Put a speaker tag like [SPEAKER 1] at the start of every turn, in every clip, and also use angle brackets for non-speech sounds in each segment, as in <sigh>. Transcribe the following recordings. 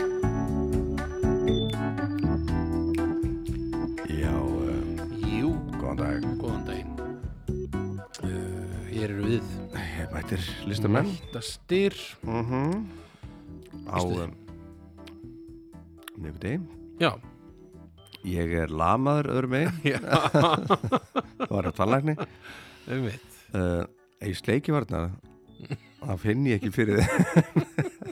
[SPEAKER 1] eh, Góðan dag.
[SPEAKER 2] Góðan daginn uh, Hér eru við
[SPEAKER 1] Ég mættir listamenn.
[SPEAKER 2] Dastir
[SPEAKER 1] Mm Á
[SPEAKER 2] Veistu
[SPEAKER 1] um, miðvikudegi.
[SPEAKER 2] Já,
[SPEAKER 1] Ég er lamaður öðrum megin,
[SPEAKER 2] <laughs> já,
[SPEAKER 1] var á tannlækni.
[SPEAKER 2] um veit
[SPEAKER 1] Uh, ef ég sleiki varna, það finn ég ekki fyrir þið. <laughs>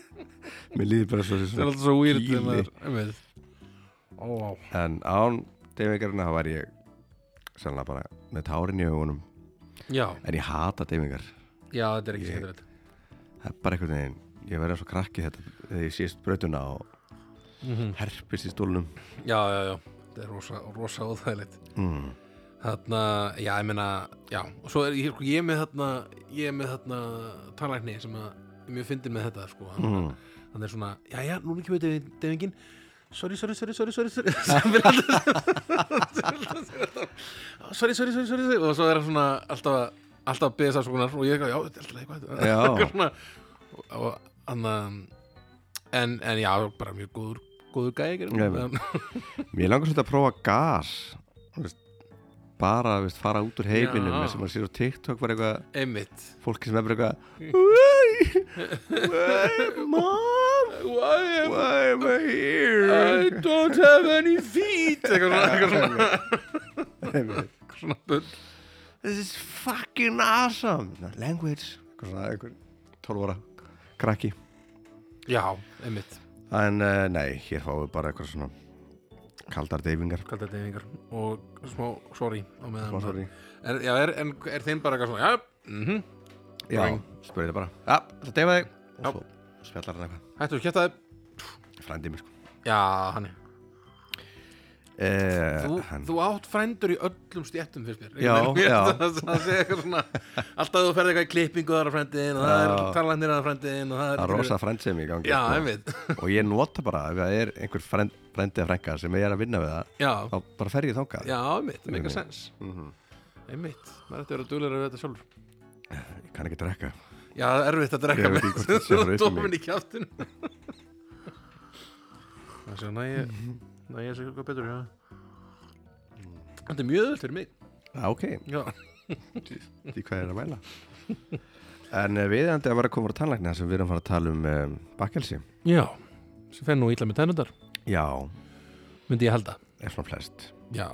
[SPEAKER 1] Mér líður bara svo
[SPEAKER 2] Það er
[SPEAKER 1] þessu.
[SPEAKER 2] alltaf svo weird
[SPEAKER 1] Gíli.
[SPEAKER 2] þegar maður, um veit Ó, á
[SPEAKER 1] En án deyfingarna var ég sannlega bara með tárin í augunum.
[SPEAKER 2] Já,
[SPEAKER 1] En ég hata deyfingar.
[SPEAKER 2] já, þetta er ekki
[SPEAKER 1] Ég-
[SPEAKER 2] skemmtilegt
[SPEAKER 1] Það er bara einhvern veginn, ég verði svo krakki þetta þegar ég síðast brautuna og
[SPEAKER 2] Mhm.
[SPEAKER 1] herpist í stólnum.
[SPEAKER 2] Já, já, já, þetta er rosa, rosa óþægilegt
[SPEAKER 1] Mm.
[SPEAKER 2] Þarna, já, ég meina, já Og svo er ég, sko, ég er með þarna Ég er með þarna talækni sem að er Mjög fyndin með þetta, sko Hann,
[SPEAKER 1] Mm.
[SPEAKER 2] hann er svona, já, já, núna kemur deyfing- deyfingin Sorry, sorry, sorry, sorry, sorry, <laughs> sorry Sem er alltaf sorry, sorry, sorry, sorry, sorry. og svo er hann svona alltaf, alltaf að beða safsókunar og ég eitthvað, já, þetta er alltaf eitthvað <laughs>
[SPEAKER 1] Já.
[SPEAKER 2] Eitthvað svona, og- og hann að en, en já, bara mjög góður góður Um, gæk
[SPEAKER 1] Já, já. Mér langar svolítið að prófa gas þú veist, bara þú veist, fara út úr heiminum
[SPEAKER 2] Já.
[SPEAKER 1] eins og maður sér á TikTok var eitthvað
[SPEAKER 2] einmitt
[SPEAKER 1] fólki sem er bara eitthvað Why, why, mom,
[SPEAKER 2] Why am
[SPEAKER 1] why am I
[SPEAKER 2] I
[SPEAKER 1] here? <laughs>
[SPEAKER 2] don't have any feet eitthvað svona, eitthvað svona, <laughs>
[SPEAKER 1] Einmitt.
[SPEAKER 2] eitthvað svona bull
[SPEAKER 1] This is fucking awesome Na, Language Eitthvað svona, einhver 12 ára krakki
[SPEAKER 2] já, einmitt,
[SPEAKER 1] En uh, nei, hér fáum við bara eitthvað svona kaldar deyfingar
[SPEAKER 2] kallta deyfingar og smá sorry á meðan
[SPEAKER 1] Smá sorry.
[SPEAKER 2] Er, já, er, en er þeim bara eitthvað svona, já, mhm
[SPEAKER 1] Já,
[SPEAKER 2] Boing.
[SPEAKER 1] spurði það bara Já, það deyfa þig
[SPEAKER 2] Já.
[SPEAKER 1] Og svo spjallar hann eitthvað
[SPEAKER 2] hættu að kjæta þeim
[SPEAKER 1] Frændi mér sko
[SPEAKER 2] já, hann er
[SPEAKER 1] Eh,
[SPEAKER 2] þú,
[SPEAKER 1] hann-
[SPEAKER 2] þú átt frændur í öllum stjættum fyrst mér
[SPEAKER 1] Já,
[SPEAKER 2] Einhvern veginn,
[SPEAKER 1] já.
[SPEAKER 2] <laughs> það, það sé eitthvað svona alltaf þú ferði eitthvað í klippingu þar á frændiðin og það er
[SPEAKER 1] Já.
[SPEAKER 2] talandir þar á frændiðin og það er
[SPEAKER 1] Það er rosa frændsemi í gangi
[SPEAKER 2] já,
[SPEAKER 1] sko.
[SPEAKER 2] einmitt,
[SPEAKER 1] Og ég nota bara ef það er einhver frend, frendi að frænka sem ég er að vinna við það
[SPEAKER 2] já,
[SPEAKER 1] þá bara fer ég þangað
[SPEAKER 2] já, einmitt make a sense,
[SPEAKER 1] Mhm.
[SPEAKER 2] einmitt maður ætti að vera duglega við þetta sjálfur
[SPEAKER 1] Ég kann ekki drekka
[SPEAKER 2] já, það er erfitt að
[SPEAKER 1] Ég
[SPEAKER 2] drekka
[SPEAKER 1] veit
[SPEAKER 2] með
[SPEAKER 1] ekki hvort þetta sé
[SPEAKER 2] þú <laughs>
[SPEAKER 1] fyrir utan
[SPEAKER 2] dómin í kjáttun það sé næ ég
[SPEAKER 1] Mhm.
[SPEAKER 2] næ ég sé eitthvað betur, já þetta er mjög öll fyrir mig
[SPEAKER 1] Já, ok,
[SPEAKER 2] já,
[SPEAKER 1] því hvað ég er að
[SPEAKER 2] <laughs>
[SPEAKER 1] mæla En eh, viðandi að vera að koma úr tannlækna sem við erum að fara að tala um um, bakkelsi
[SPEAKER 2] já sem fenn nú ítla með tennundar
[SPEAKER 1] Já,
[SPEAKER 2] myndi ég halda
[SPEAKER 1] er svona flest
[SPEAKER 2] Já,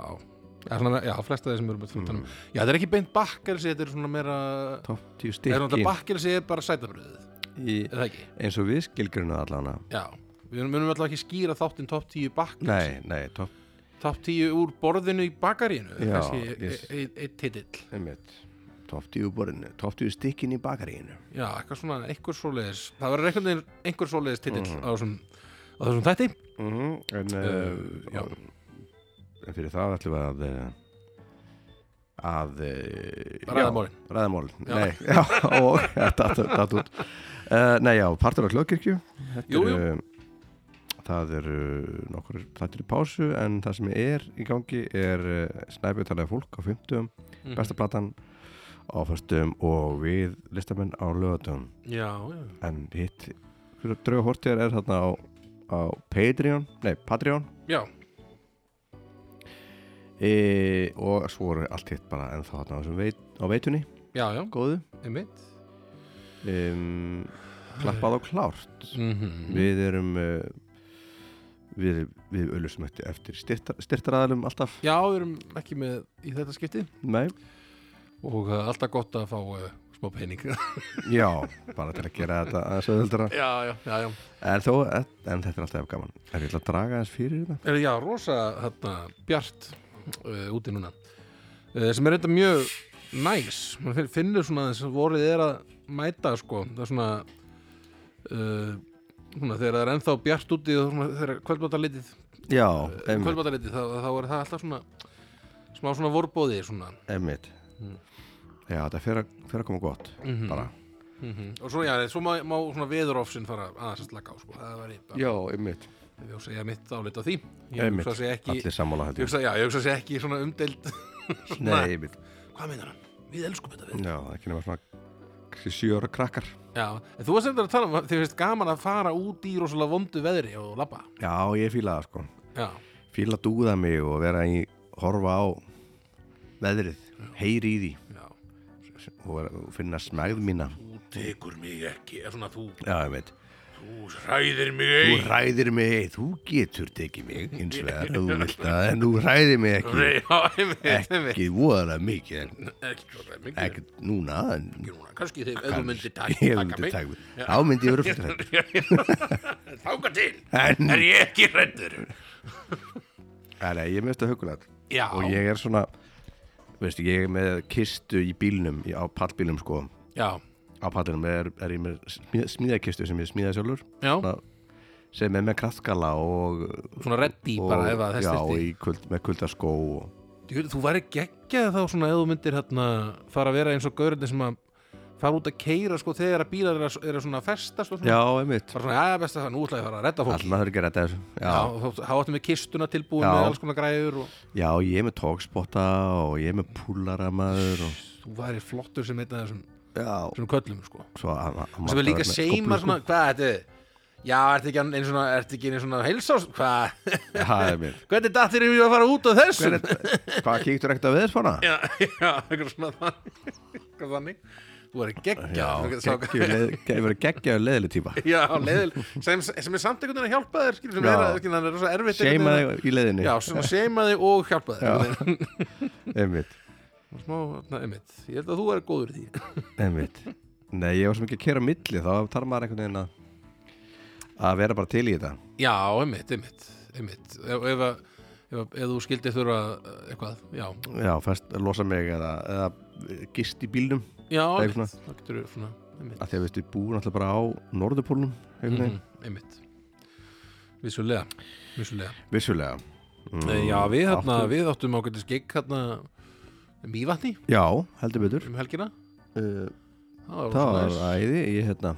[SPEAKER 2] já, svona, já flesta þeir sem eru með mm. Já, þetta er ekki beint bakkelsi, þetta er svona meira
[SPEAKER 1] Topp 10
[SPEAKER 2] Það er
[SPEAKER 1] stykki
[SPEAKER 2] náttúrulega bakkelsi er bara sætabröðið
[SPEAKER 1] í,
[SPEAKER 2] Er það ekki?
[SPEAKER 1] eins og við skilgruna allavega
[SPEAKER 2] Já, við munum alltaf ekki skýra þáttinn topp 10 bakkelsi
[SPEAKER 1] Nei, nei, topp
[SPEAKER 2] Topp 10 úr borðinu í bakarínu
[SPEAKER 1] Já,
[SPEAKER 2] Kannski
[SPEAKER 1] yes.
[SPEAKER 2] e- e- einn titill
[SPEAKER 1] einmitt, Topp 10 borinu, topp 10 stykkin í bakaríinu
[SPEAKER 2] Já, eitthvað svona, einhver svoleiðis Það verður einhvern veginn einhver svoleiðis titill á, þessum, á þessum þætti
[SPEAKER 1] mm En
[SPEAKER 2] Uh,
[SPEAKER 1] uh,
[SPEAKER 2] já.
[SPEAKER 1] En fyrir það ætlum við að eh, að eh,
[SPEAKER 2] Ræða
[SPEAKER 1] já,
[SPEAKER 2] málin.
[SPEAKER 1] ræða málin.
[SPEAKER 2] Já.
[SPEAKER 1] nei, <laughs> já, og eh, datt datt út uh, nei já, partur á klókirkju
[SPEAKER 2] Jú, jú,
[SPEAKER 1] það eru nokkur þættir í pásu en það sem er í gangi er uh, snæbjötalega fólk á 50
[SPEAKER 2] Mhm.
[SPEAKER 1] besta platan á fyrstum og við listamenn á lögatum
[SPEAKER 2] já, Mm. já
[SPEAKER 1] en hitt drauga hortjar er þarna á, á Patreon, nei Patreon
[SPEAKER 2] Já,
[SPEAKER 1] e, og svo eru allt hitt bara ennþá þarna á, þessum veit, á veitunni
[SPEAKER 2] já, já,
[SPEAKER 1] góðu
[SPEAKER 2] einmitt
[SPEAKER 1] um, klappað og klárt
[SPEAKER 2] mm -hmm.
[SPEAKER 1] við erum uh, við, við auðlustum eftir styrtaraðalum alltaf
[SPEAKER 2] Já, við erum ekki með í þetta skipti
[SPEAKER 1] nei,
[SPEAKER 2] og uh, alltaf gott að fá uh, smá <laughs> pening já,
[SPEAKER 1] já, bara til að gera þetta aðeins auðvöldara
[SPEAKER 2] já, já, já
[SPEAKER 1] en, þó, en þetta er alltaf gaman en ég ætla að draga aðeins fyrir þetta
[SPEAKER 2] er, já, rosa þarna, bjart uh, úti núna uh, sem er þetta mjög næs mann finn- finnur svona þess að vorið er að mæta sko, það er svona uh, svona þegar það er ennþá bjart úti og svona, þegar kvöldbátalitið
[SPEAKER 1] já,
[SPEAKER 2] Eh,
[SPEAKER 1] einmitt,
[SPEAKER 2] kvöldbátalitið, þá, þá er það alltaf svona smá svona vorbóði svona.
[SPEAKER 1] einmitt. já, þetta fer að, fer að koma gott bara
[SPEAKER 2] Mm og svo, já, svo má, má svona veðurofsin fara aðeins að slaka á sko. það var ég bara,
[SPEAKER 1] já, einmitt,
[SPEAKER 2] ég hugsa ég mitt álit á því ég
[SPEAKER 1] einmitt.
[SPEAKER 2] hugsa að segja ekki
[SPEAKER 1] allir sammála
[SPEAKER 2] Ég
[SPEAKER 1] þetta
[SPEAKER 2] hugsa, já, ég hugsa að sé ekki svona umdeild svona-
[SPEAKER 1] nei, einmitt,
[SPEAKER 2] <laughs> Hvað meinar hann? Við elskum þetta við
[SPEAKER 1] já, ekki nema svona kannski sjö ára krakkar
[SPEAKER 2] Já, en þú varst eftir að tala um að þið finnst gaman að fara út í rosalega vondu veðri og labba
[SPEAKER 1] já, ég fíla það sko
[SPEAKER 2] Já,
[SPEAKER 1] fíla að dúða mig og vera í horfa á veðrið, heyri í því
[SPEAKER 2] já.
[SPEAKER 1] og er- og finna smæð mína
[SPEAKER 2] Þú tekur mig ekki, er svona þú,
[SPEAKER 1] já, ég veit,
[SPEAKER 2] þú hræðir mig
[SPEAKER 1] þú
[SPEAKER 2] ekki.
[SPEAKER 1] ræðir mig ei, þú getur tekið mig hins vegar, ef þú vilt það en þú ræðir mig
[SPEAKER 2] Þú
[SPEAKER 1] ekki
[SPEAKER 2] Já, einmitt, einmitt.
[SPEAKER 1] ekki voðalega mikið en
[SPEAKER 2] Ekki svo það mikið.
[SPEAKER 1] ekki núna en
[SPEAKER 2] Ekki núna, kannski þegar ef þú myndir taka,
[SPEAKER 1] ég
[SPEAKER 2] <laughs>
[SPEAKER 1] myndi taka mig þá myndi ég vera fyrst
[SPEAKER 2] mig. Þáka til,
[SPEAKER 1] En-
[SPEAKER 2] er ég ekki hrættur.
[SPEAKER 1] Nei, nei, ég minnst það hugulegt
[SPEAKER 2] Já.
[SPEAKER 1] og ég er svona veistu, ég er með kistu í bílnum í- á pallbílnum sko
[SPEAKER 2] Já,
[SPEAKER 1] á pallinum er, er ég með smíð, smíðakistu sem ég smíða sjálfur
[SPEAKER 2] já,
[SPEAKER 1] Svona, sem er með kraftgala og,
[SPEAKER 2] svona reddi
[SPEAKER 1] og
[SPEAKER 2] bara ef að þess
[SPEAKER 1] já,
[SPEAKER 2] þyrfti.
[SPEAKER 1] í kvöld, með kuldaskó og,
[SPEAKER 2] Jú, Þú væri geggjað þá svona ef þú myndir hérna fara að vera eins og gaurinn sem að fara út að keira sko þegar að bílar eru að, eru svona að festast og svona
[SPEAKER 1] já, einmitt
[SPEAKER 2] Mm. bara svona, já, best að það, nú ætlaði að fara að redda fólk
[SPEAKER 1] allan að þurfi ekki að redda þessu
[SPEAKER 2] Já,
[SPEAKER 1] já,
[SPEAKER 2] þá þá áttum við kistuna tilbúin
[SPEAKER 1] Já.
[SPEAKER 2] með alls konar græður og
[SPEAKER 1] já, ég er með tókspotta og ég er með púlaramaður og,
[SPEAKER 2] þú væri flottur sem einn af þessum,
[SPEAKER 1] já,
[SPEAKER 2] þessum köllum sko
[SPEAKER 1] svo að, að, að
[SPEAKER 2] sem er líka seimar
[SPEAKER 1] sko.
[SPEAKER 2] svona, hvað er þetta? Já, ertu ekki einn svona, ertu ekki einn svona heilsás, hvað? <laughs>
[SPEAKER 1] já, einmitt
[SPEAKER 2] Hvernig dattir erum við að fara út á þessu?
[SPEAKER 1] Hver er- hvað kíktur ekkert að veðspána?
[SPEAKER 2] <laughs> Já, já, eitthvað svona þannig eitthvað þannig Þú væri geggjað Sá-
[SPEAKER 1] geggjaður geggjaður leðileg típa
[SPEAKER 2] Já, leðil, sem, sem er samt einhvern veginn að hjálpa þér skilur, sem
[SPEAKER 1] Já.
[SPEAKER 2] er, að- skilur, hann er rosa erfitt einhvern
[SPEAKER 1] seima
[SPEAKER 2] veginn
[SPEAKER 1] þig í leðinni
[SPEAKER 2] að- Já, sem að seima þig og hjálpa þér einhvern veginn.
[SPEAKER 1] einmitt,
[SPEAKER 2] Smá, na, einmitt, ég held að þú er góður í því
[SPEAKER 1] einmitt nei, ég var sem ekki að kera á milli þá þarf maður einhvern veginn að að vera bara til í þetta
[SPEAKER 2] Já, einmitt, einmitt, einmitt Ef, ef, að- ef, að- ef þú skildir þurfa eh, eitthvað, já
[SPEAKER 1] já, fest, losa mig eða, eða gist í bílnum
[SPEAKER 2] Já,
[SPEAKER 1] er
[SPEAKER 2] einmitt, þá getur þú svona einmitt,
[SPEAKER 1] að því að við stuðum búin alltaf bara á norðupólnum einhvern veginn,
[SPEAKER 2] mm, einmitt Vissulega, vissulega
[SPEAKER 1] vissulega
[SPEAKER 2] mm, Já, við, hérna,
[SPEAKER 1] áttu-
[SPEAKER 2] við áttum ágætis gig hérna Mývatni
[SPEAKER 1] já, heldur betur
[SPEAKER 2] um helgina
[SPEAKER 1] uh,
[SPEAKER 2] Það
[SPEAKER 1] það
[SPEAKER 2] var
[SPEAKER 1] var
[SPEAKER 2] svona
[SPEAKER 1] æði, ég hérna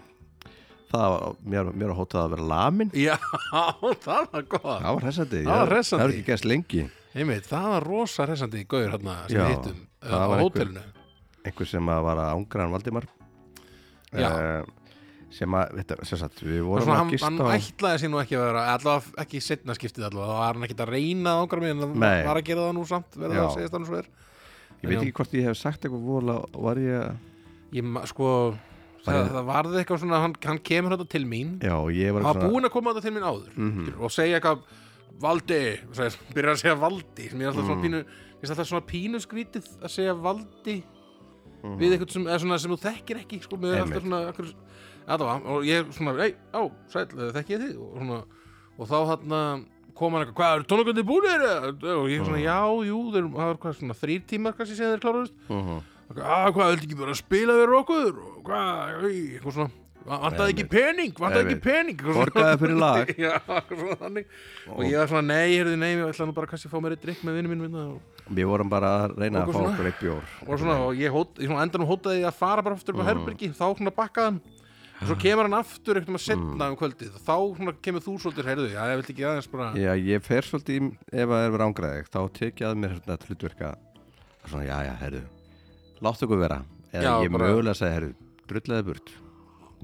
[SPEAKER 1] það var, mér, mér var hótað að vera lamin
[SPEAKER 2] Já, <laughs> það var gott
[SPEAKER 1] það var hressandi,
[SPEAKER 2] Það var
[SPEAKER 1] Ég-
[SPEAKER 2] hressandi.
[SPEAKER 1] það var ekki gæst lengi
[SPEAKER 2] Einmitt, það var rosa resandi í gaur hérna sem
[SPEAKER 1] Já,
[SPEAKER 2] við hittum uh, á
[SPEAKER 1] það var einhver-
[SPEAKER 2] hótelinu
[SPEAKER 1] einhver sem að var að ángra hann Valdimar
[SPEAKER 2] Já.
[SPEAKER 1] Eh, sem að, þetta, sem sagt, við
[SPEAKER 2] Það var
[SPEAKER 1] vorum
[SPEAKER 2] svona,
[SPEAKER 1] að
[SPEAKER 2] hann,
[SPEAKER 1] gista
[SPEAKER 2] hann ætlaði sér nú ekki að vera allavega ekki setna skiptið allavega þá var hann ekkert að reyna að ángra mig en hann
[SPEAKER 1] Nei.
[SPEAKER 2] var að gera það nú samt verður það
[SPEAKER 1] Já.
[SPEAKER 2] að segja það nú svo er
[SPEAKER 1] ég veit ekki hvort ég hef sagt eitthvað vola var ég,
[SPEAKER 2] Ég ma- sko,
[SPEAKER 1] Var
[SPEAKER 2] það,
[SPEAKER 1] ég-
[SPEAKER 2] það varði eitthvað svona hann, hann kemur þetta til mín
[SPEAKER 1] já, ég var Mhm.
[SPEAKER 2] hann var búinn að koma þetta til mín áður skilur, og segja eitthvað Valdi, sagði, byrja að segja Valdi sem ég er alltaf svona pínu ég er alltaf svona pínu skrítið að segja Valdi við eitthvað sem, eða svona, sem þú þekkir ekki sko, með alltaf
[SPEAKER 1] Einmitt.
[SPEAKER 2] svona akkur, allavega, og ég svona, ei, á, sæl, eh, þekki ég þig og, svona, og þá þarna kom hann eitthvað, hvað, eru tónleikandi búinir? eða?" og ég svona, já, jú, þeir, það var hvað, svona þrýr tímar kannski sem þeir kláruðust að "Ah, hvað, vildi ekki bara spila við okkur og hvað, æ, eitthvað svona vantaði ekki
[SPEAKER 1] Einmitt.
[SPEAKER 2] pening, vantaði ekki
[SPEAKER 1] Einmitt.
[SPEAKER 2] pening eitthvað svona.
[SPEAKER 1] borgaði fyrir lag
[SPEAKER 2] <laughs> já, eitthvað svona þannig og ég var svona, nei, heyrðu, nei, ég ætla nú bara kannski að fá mér eitt drikk með vinnum minn minna og,
[SPEAKER 1] við vorum bara að reyna
[SPEAKER 2] Okkur
[SPEAKER 1] að fá
[SPEAKER 2] svona.
[SPEAKER 1] okkur eitt bjór
[SPEAKER 2] og svona, og ég, hót, ég svona endanum hótaði ég að fara bara
[SPEAKER 1] Mm.
[SPEAKER 2] aftur upp á herbergi, þá svona bakkaði hann og svo kemur hann aftur eitthvað að
[SPEAKER 1] Mm.
[SPEAKER 2] setna um kvöldið og þá svona kemur þú svolítið, heyrðu, já, ég vildi ekki aðeins bara
[SPEAKER 1] já, ég fer svolítið í, ef að það er verið ángraðið þá tek ég að mér hérna til hlutverka svona, já, já, herðu láttu okkur vera, eða
[SPEAKER 2] Já,
[SPEAKER 1] ég
[SPEAKER 2] bara-
[SPEAKER 1] mögulega segi herðu, drullaði burt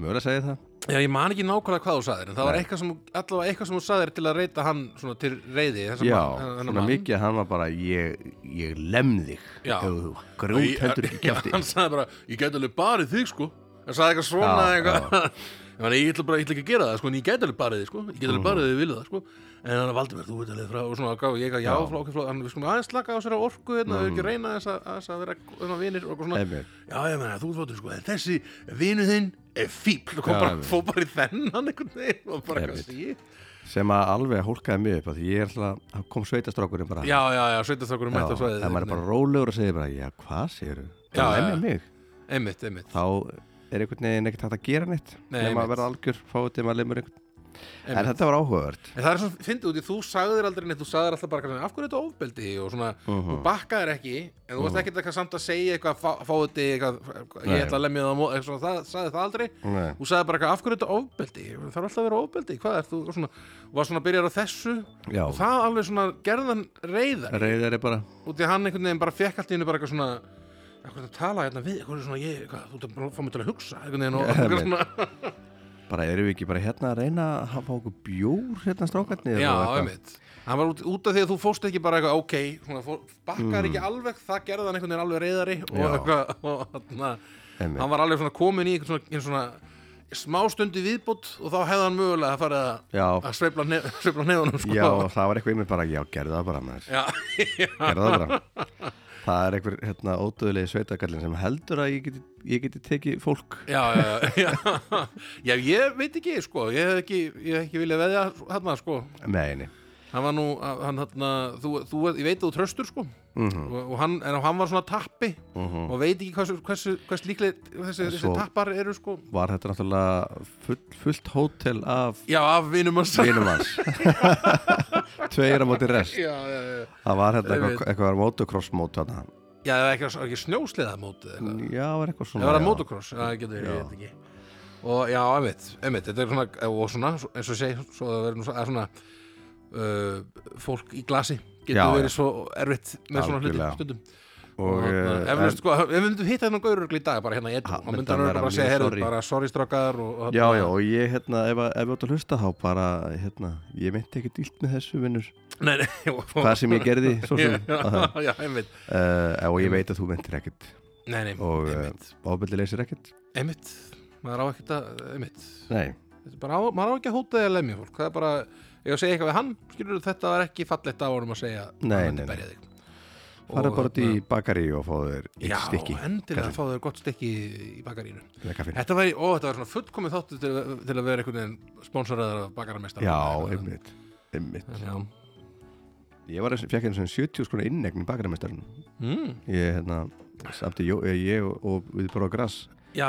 [SPEAKER 1] mögulega segi það,
[SPEAKER 2] Já, ég man ekki nákvæmlega hvað þú saðir en það var eitthvað sem, allavega eitthvað sem þú saðir til að reyta hann svona til reyði þessa
[SPEAKER 1] já,
[SPEAKER 2] mann- þennan
[SPEAKER 1] svona
[SPEAKER 2] mann.
[SPEAKER 1] mikið að hann var bara, ég, ég lem þig
[SPEAKER 2] Já.
[SPEAKER 1] ef þú grút heldur ekki
[SPEAKER 2] Já, <laughs>
[SPEAKER 1] kæfti
[SPEAKER 2] Hann sagði bara, ég gæti alveg barið þig sko Hann sagði eitthvað svona
[SPEAKER 1] Já,
[SPEAKER 2] eitthvað <laughs> Ég, meni, ég ætla bara, ég ætla ekki að gera það sko En ég gæti alveg barið þig sko, ég
[SPEAKER 1] Mhm.
[SPEAKER 2] gæti alveg barið þig vilja það sko En hann valdi mér, þú veit alveg frá Og svona gaf ég eitthvað, já,
[SPEAKER 1] Já. Mhm.
[SPEAKER 2] flókið flókið Hann við skulum aðeins slaka á sér á orku hérna mm. Ekki reyna þess að, þess að vera hérna, vinir og eitthvað svona
[SPEAKER 1] Einmitt.
[SPEAKER 2] Já, ég meina, þú ert flottur sko En þessi vinu þinn er fíbl Og kom
[SPEAKER 1] Já,
[SPEAKER 2] bara,
[SPEAKER 1] einmitt.
[SPEAKER 2] fór bara í þennan einhvern veginn Og bara
[SPEAKER 1] Einmitt.
[SPEAKER 2] eitthvað síð
[SPEAKER 1] sem að alveg hólkaði mig upp af því ég er alltaf, þá kom sveitastrákurinn bara
[SPEAKER 2] Já, já, já, sveitastrákurinn mætt á svæðið
[SPEAKER 1] en maður er
[SPEAKER 2] einhvern
[SPEAKER 1] bara rólegur og segir bara já, hvað segir
[SPEAKER 2] Já,
[SPEAKER 1] það
[SPEAKER 2] já.
[SPEAKER 1] lemja mig,
[SPEAKER 2] veginn. Einmitt, einmitt,
[SPEAKER 1] þá er einhvern veginn ekkert hægt að gera neitt
[SPEAKER 2] Nei,
[SPEAKER 1] nema
[SPEAKER 2] einmitt.
[SPEAKER 1] að vera algjör fáið maður lemur einhvern
[SPEAKER 2] einmitt.
[SPEAKER 1] en þetta var áhugavert
[SPEAKER 2] En það er svona, fyndið út í, þú sagðir aldrei neitt, þú sagðir alltaf bara, af hverju er þetta ofbeldi og svona, þú
[SPEAKER 1] Mhm.
[SPEAKER 2] bakkaðir ekki, en þú varst ekkert eitthvað samt að segja eitthvað, fá, fáið þig eitthvað, ég
[SPEAKER 1] Nei. Mhm.
[SPEAKER 2] ætla að lemja það á mót, eitthvað svona, það sagði það aldrei,
[SPEAKER 1] Nei.
[SPEAKER 2] þú sagði bara eitthvað, af hverju er þetta ofbeldi, það er alltaf að vera ofbeldi, hvað er þú, og svona, og var svona að byrja á þessu,
[SPEAKER 1] já,
[SPEAKER 2] og það alveg svona gerðan reyðar,
[SPEAKER 1] reyðar er bara
[SPEAKER 2] út í að hann einhvern veginn bara fekk allt í hennu bara eitthvað svona, eitthvað að tala hérna við, eitthvað svona, ég, hvað, þú ert að fá mig til að hugsa, einhvern veginn, og,
[SPEAKER 1] Já,
[SPEAKER 2] eitthvað svona,
[SPEAKER 1] bara erum við ekki bara hérna að reyna að hafa okkur bjór hérna strákarnir
[SPEAKER 2] Já,
[SPEAKER 1] og eitthvað?
[SPEAKER 2] einmitt Hann var út, út af því að þú fórst ekki bara eitthvað ok, svona, fór, bakkar ekki alveg það gerði hann einhvern veginn alveg reyðari og
[SPEAKER 1] Mm. Já.
[SPEAKER 2] eitthvað, og þarna,
[SPEAKER 1] Einmitt.
[SPEAKER 2] hann var alveg svona komin í einhvern svona, einhvern svona smá stundi viðbútt og þá hefði hann mögulega að fara að,
[SPEAKER 1] já,
[SPEAKER 2] að sveifla, nef, <laughs> sveifla nefnum sko.
[SPEAKER 1] já, það var eitthvað einmitt bara já, gerðu það bara maður,
[SPEAKER 2] Já,
[SPEAKER 1] gerðu það bara
[SPEAKER 2] <laughs>
[SPEAKER 1] það er einhver hérna ódöðlegi sveitakallin sem heldur að ég geti, ég geti tekið fólk
[SPEAKER 2] já, já, já, já. <laughs> Já, ég veit ekki, sko, ég hef ekki, ég hef ekki viljað veðja hann, sko,
[SPEAKER 1] meðinni
[SPEAKER 2] hann var nú, hann, hann, þú, þú, ég veit að þú tröstur, sko,
[SPEAKER 1] mm -hmm.
[SPEAKER 2] og, og hann, en hann var svona tappi og veit ekki hversu, hversu, hversu líklega þessi,
[SPEAKER 1] Mhm. En
[SPEAKER 2] þessi
[SPEAKER 1] svo-
[SPEAKER 2] tappar eru, sko.
[SPEAKER 1] var þetta náttúrulega full, fullt hótel af
[SPEAKER 2] Já, af vinum hans.
[SPEAKER 1] vinum hans <laughs> tveir á móti rest
[SPEAKER 2] <laughs> Já, já, já.
[SPEAKER 1] það var hérna
[SPEAKER 2] Einmitt.
[SPEAKER 1] eitthvað, eitthvað motocross mót þarna
[SPEAKER 2] Já, það var ekki, það var ekki snjósliða mótið eitthvað.
[SPEAKER 1] já, var eitthvað svona
[SPEAKER 2] Það var að
[SPEAKER 1] Mm, já.
[SPEAKER 2] motocross, já, það getur verið, ég veit ekki. Og já, einmitt, einmitt, þetta er svona, og svona, svo- eins og ég segi, svo það verður nú svo- að svona, uh, fólk í glasi getur
[SPEAKER 1] Já, já.
[SPEAKER 2] verið svo erfitt með svona hluti
[SPEAKER 1] Algjörlega.
[SPEAKER 2] stundum.
[SPEAKER 1] og,
[SPEAKER 2] þarna, ef
[SPEAKER 1] eh,
[SPEAKER 2] við sko, ef við myndum hitta þennan gaurugl í dag bara hérna í edru,
[SPEAKER 1] Ha,
[SPEAKER 2] þá
[SPEAKER 1] myndi
[SPEAKER 2] myndi
[SPEAKER 1] hann
[SPEAKER 2] hann örugglega
[SPEAKER 1] vera
[SPEAKER 2] bara að segja,
[SPEAKER 1] mjög
[SPEAKER 2] heyrðu,
[SPEAKER 1] sorry."
[SPEAKER 2] bara sorry strákar og, og
[SPEAKER 1] Já,
[SPEAKER 2] þarna-
[SPEAKER 1] já, og ég, hérna, ef, að- ef við áttu að hlusta þá bara, hérna, ég myndi ekki dýlt með þessu vinnur,
[SPEAKER 2] <laughs> Nei, nei, og-
[SPEAKER 1] það sem ég gerði, svo sem,
[SPEAKER 2] <laughs> Já, já, einmitt.
[SPEAKER 1] uh, og ég veit að þú myndir ekkert,
[SPEAKER 2] Nei, nei,
[SPEAKER 1] Og, eh,
[SPEAKER 2] einmitt.
[SPEAKER 1] ábyrði leysir ekkert,
[SPEAKER 2] Einmitt, maður á ekkert að, einmitt.
[SPEAKER 1] nei,
[SPEAKER 2] Þetta er bara, á, maður á ekki að hóta eða lemja fólk það er bara, ef ég segi eitthvað við hann skilur þetta var ekki fallegt af honum að segja að
[SPEAKER 1] Nei,
[SPEAKER 2] hann
[SPEAKER 1] nei,
[SPEAKER 2] myndi
[SPEAKER 1] nei.
[SPEAKER 2] berja þig. Og
[SPEAKER 1] fara bara út í
[SPEAKER 2] þarna-
[SPEAKER 1] bakari og fá þér
[SPEAKER 2] Já,
[SPEAKER 1] eitt stykki,
[SPEAKER 2] endilega
[SPEAKER 1] kannski.
[SPEAKER 2] fá þau gott stykki í bakarínu
[SPEAKER 1] eða kaffin,
[SPEAKER 2] Þetta var, ó, þetta var svona fullkomið þáttu til, að- til að vera einhvern veginn spónsoraðar af bakaramestar
[SPEAKER 1] já, einmitt, einmitt,
[SPEAKER 2] Já,
[SPEAKER 1] ég var, fekk einu svona 70 skona innegn í bakaramestarinn,
[SPEAKER 2] mm,
[SPEAKER 1] ég, hérna, samt í, ég og, og við bara á gras,
[SPEAKER 2] já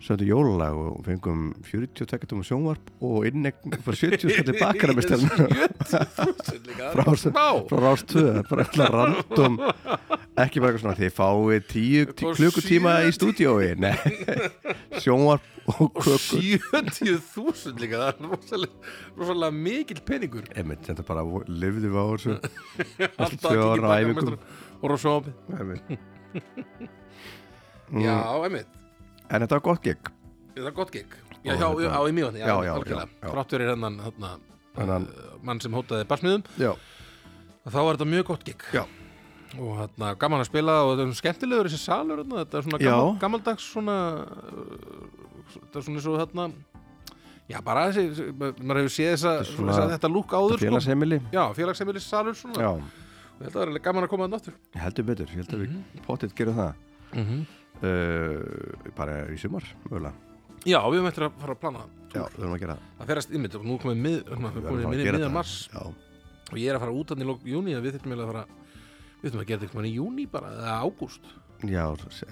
[SPEAKER 1] sömdu jólalag og fengum 42 tómum sjónvarp og innegn fyrir 70 skona
[SPEAKER 2] <laughs>
[SPEAKER 1] bakaramestarinn.
[SPEAKER 2] Frá
[SPEAKER 1] Frá- frá rástöðu, bara alltaf random ekki bara eitthvað svona, þið fáið tíu tí,
[SPEAKER 2] Og
[SPEAKER 1] klukkutíma
[SPEAKER 2] sjö
[SPEAKER 1] í stúdiói nei, <laughs> sjónvarp og kökur
[SPEAKER 2] 70.000 líka það er rosalega, rosalega mikil peningur
[SPEAKER 1] einmitt, þetta bara lifðum við á þessu
[SPEAKER 2] <laughs> Alltaf
[SPEAKER 1] tvö
[SPEAKER 2] tekið
[SPEAKER 1] ár á æfingum.
[SPEAKER 2] bakaramestara og rosópi
[SPEAKER 1] einmitt
[SPEAKER 2] Já,
[SPEAKER 1] mm,
[SPEAKER 2] einmitt
[SPEAKER 1] en þetta var gott gig
[SPEAKER 2] Það er gott gig Já,
[SPEAKER 1] Og
[SPEAKER 2] hjá,
[SPEAKER 1] hérna-
[SPEAKER 2] á í mjóðni,
[SPEAKER 1] Já, já, já, já.
[SPEAKER 2] Þrátt fyrir hennan þarna,
[SPEAKER 1] Þennan-
[SPEAKER 2] uh, mann sem hótaði barsmiðum
[SPEAKER 1] já,
[SPEAKER 2] að þá var þetta mjög gott gig
[SPEAKER 1] Já.
[SPEAKER 2] Og þarna, gaman að spila og þetta er skemmtilegur þessi salur þarna, Þetta er svona
[SPEAKER 1] Já.
[SPEAKER 2] gamal, gamaldags svona uh, Þetta er svona svo þarna Já, bara þessi, maður hefur séð þessa,
[SPEAKER 1] Þetta er svona-
[SPEAKER 2] þessa, þetta lúk áður sko.
[SPEAKER 1] félagsheimili
[SPEAKER 2] Já, félagsheimilis salur svona
[SPEAKER 1] já,
[SPEAKER 2] Ég held að það er alveg gaman að koma þarna aftur
[SPEAKER 1] ég heldur betur, ég held að
[SPEAKER 2] Mhm.
[SPEAKER 1] við pottitt gerum það
[SPEAKER 2] mm
[SPEAKER 1] Mhm.
[SPEAKER 2] -hmm.
[SPEAKER 1] uh, bara í sumar, mögulega
[SPEAKER 2] Já, við höfum eftir að fara að plana það.
[SPEAKER 1] já, við höfum að gera það
[SPEAKER 2] Það ferast ymmit og nú er komið mið, hérna, við
[SPEAKER 1] Við verðum
[SPEAKER 2] komið
[SPEAKER 1] að
[SPEAKER 2] mið,
[SPEAKER 1] gera
[SPEAKER 2] miðan
[SPEAKER 1] þetta.
[SPEAKER 2] mars
[SPEAKER 1] já,
[SPEAKER 2] og ég er að fara út hann í lók júni að við þurfum eiginlega að fara við þurfum að gera þetta eitthvað í júni bara eða ágúst,
[SPEAKER 1] já,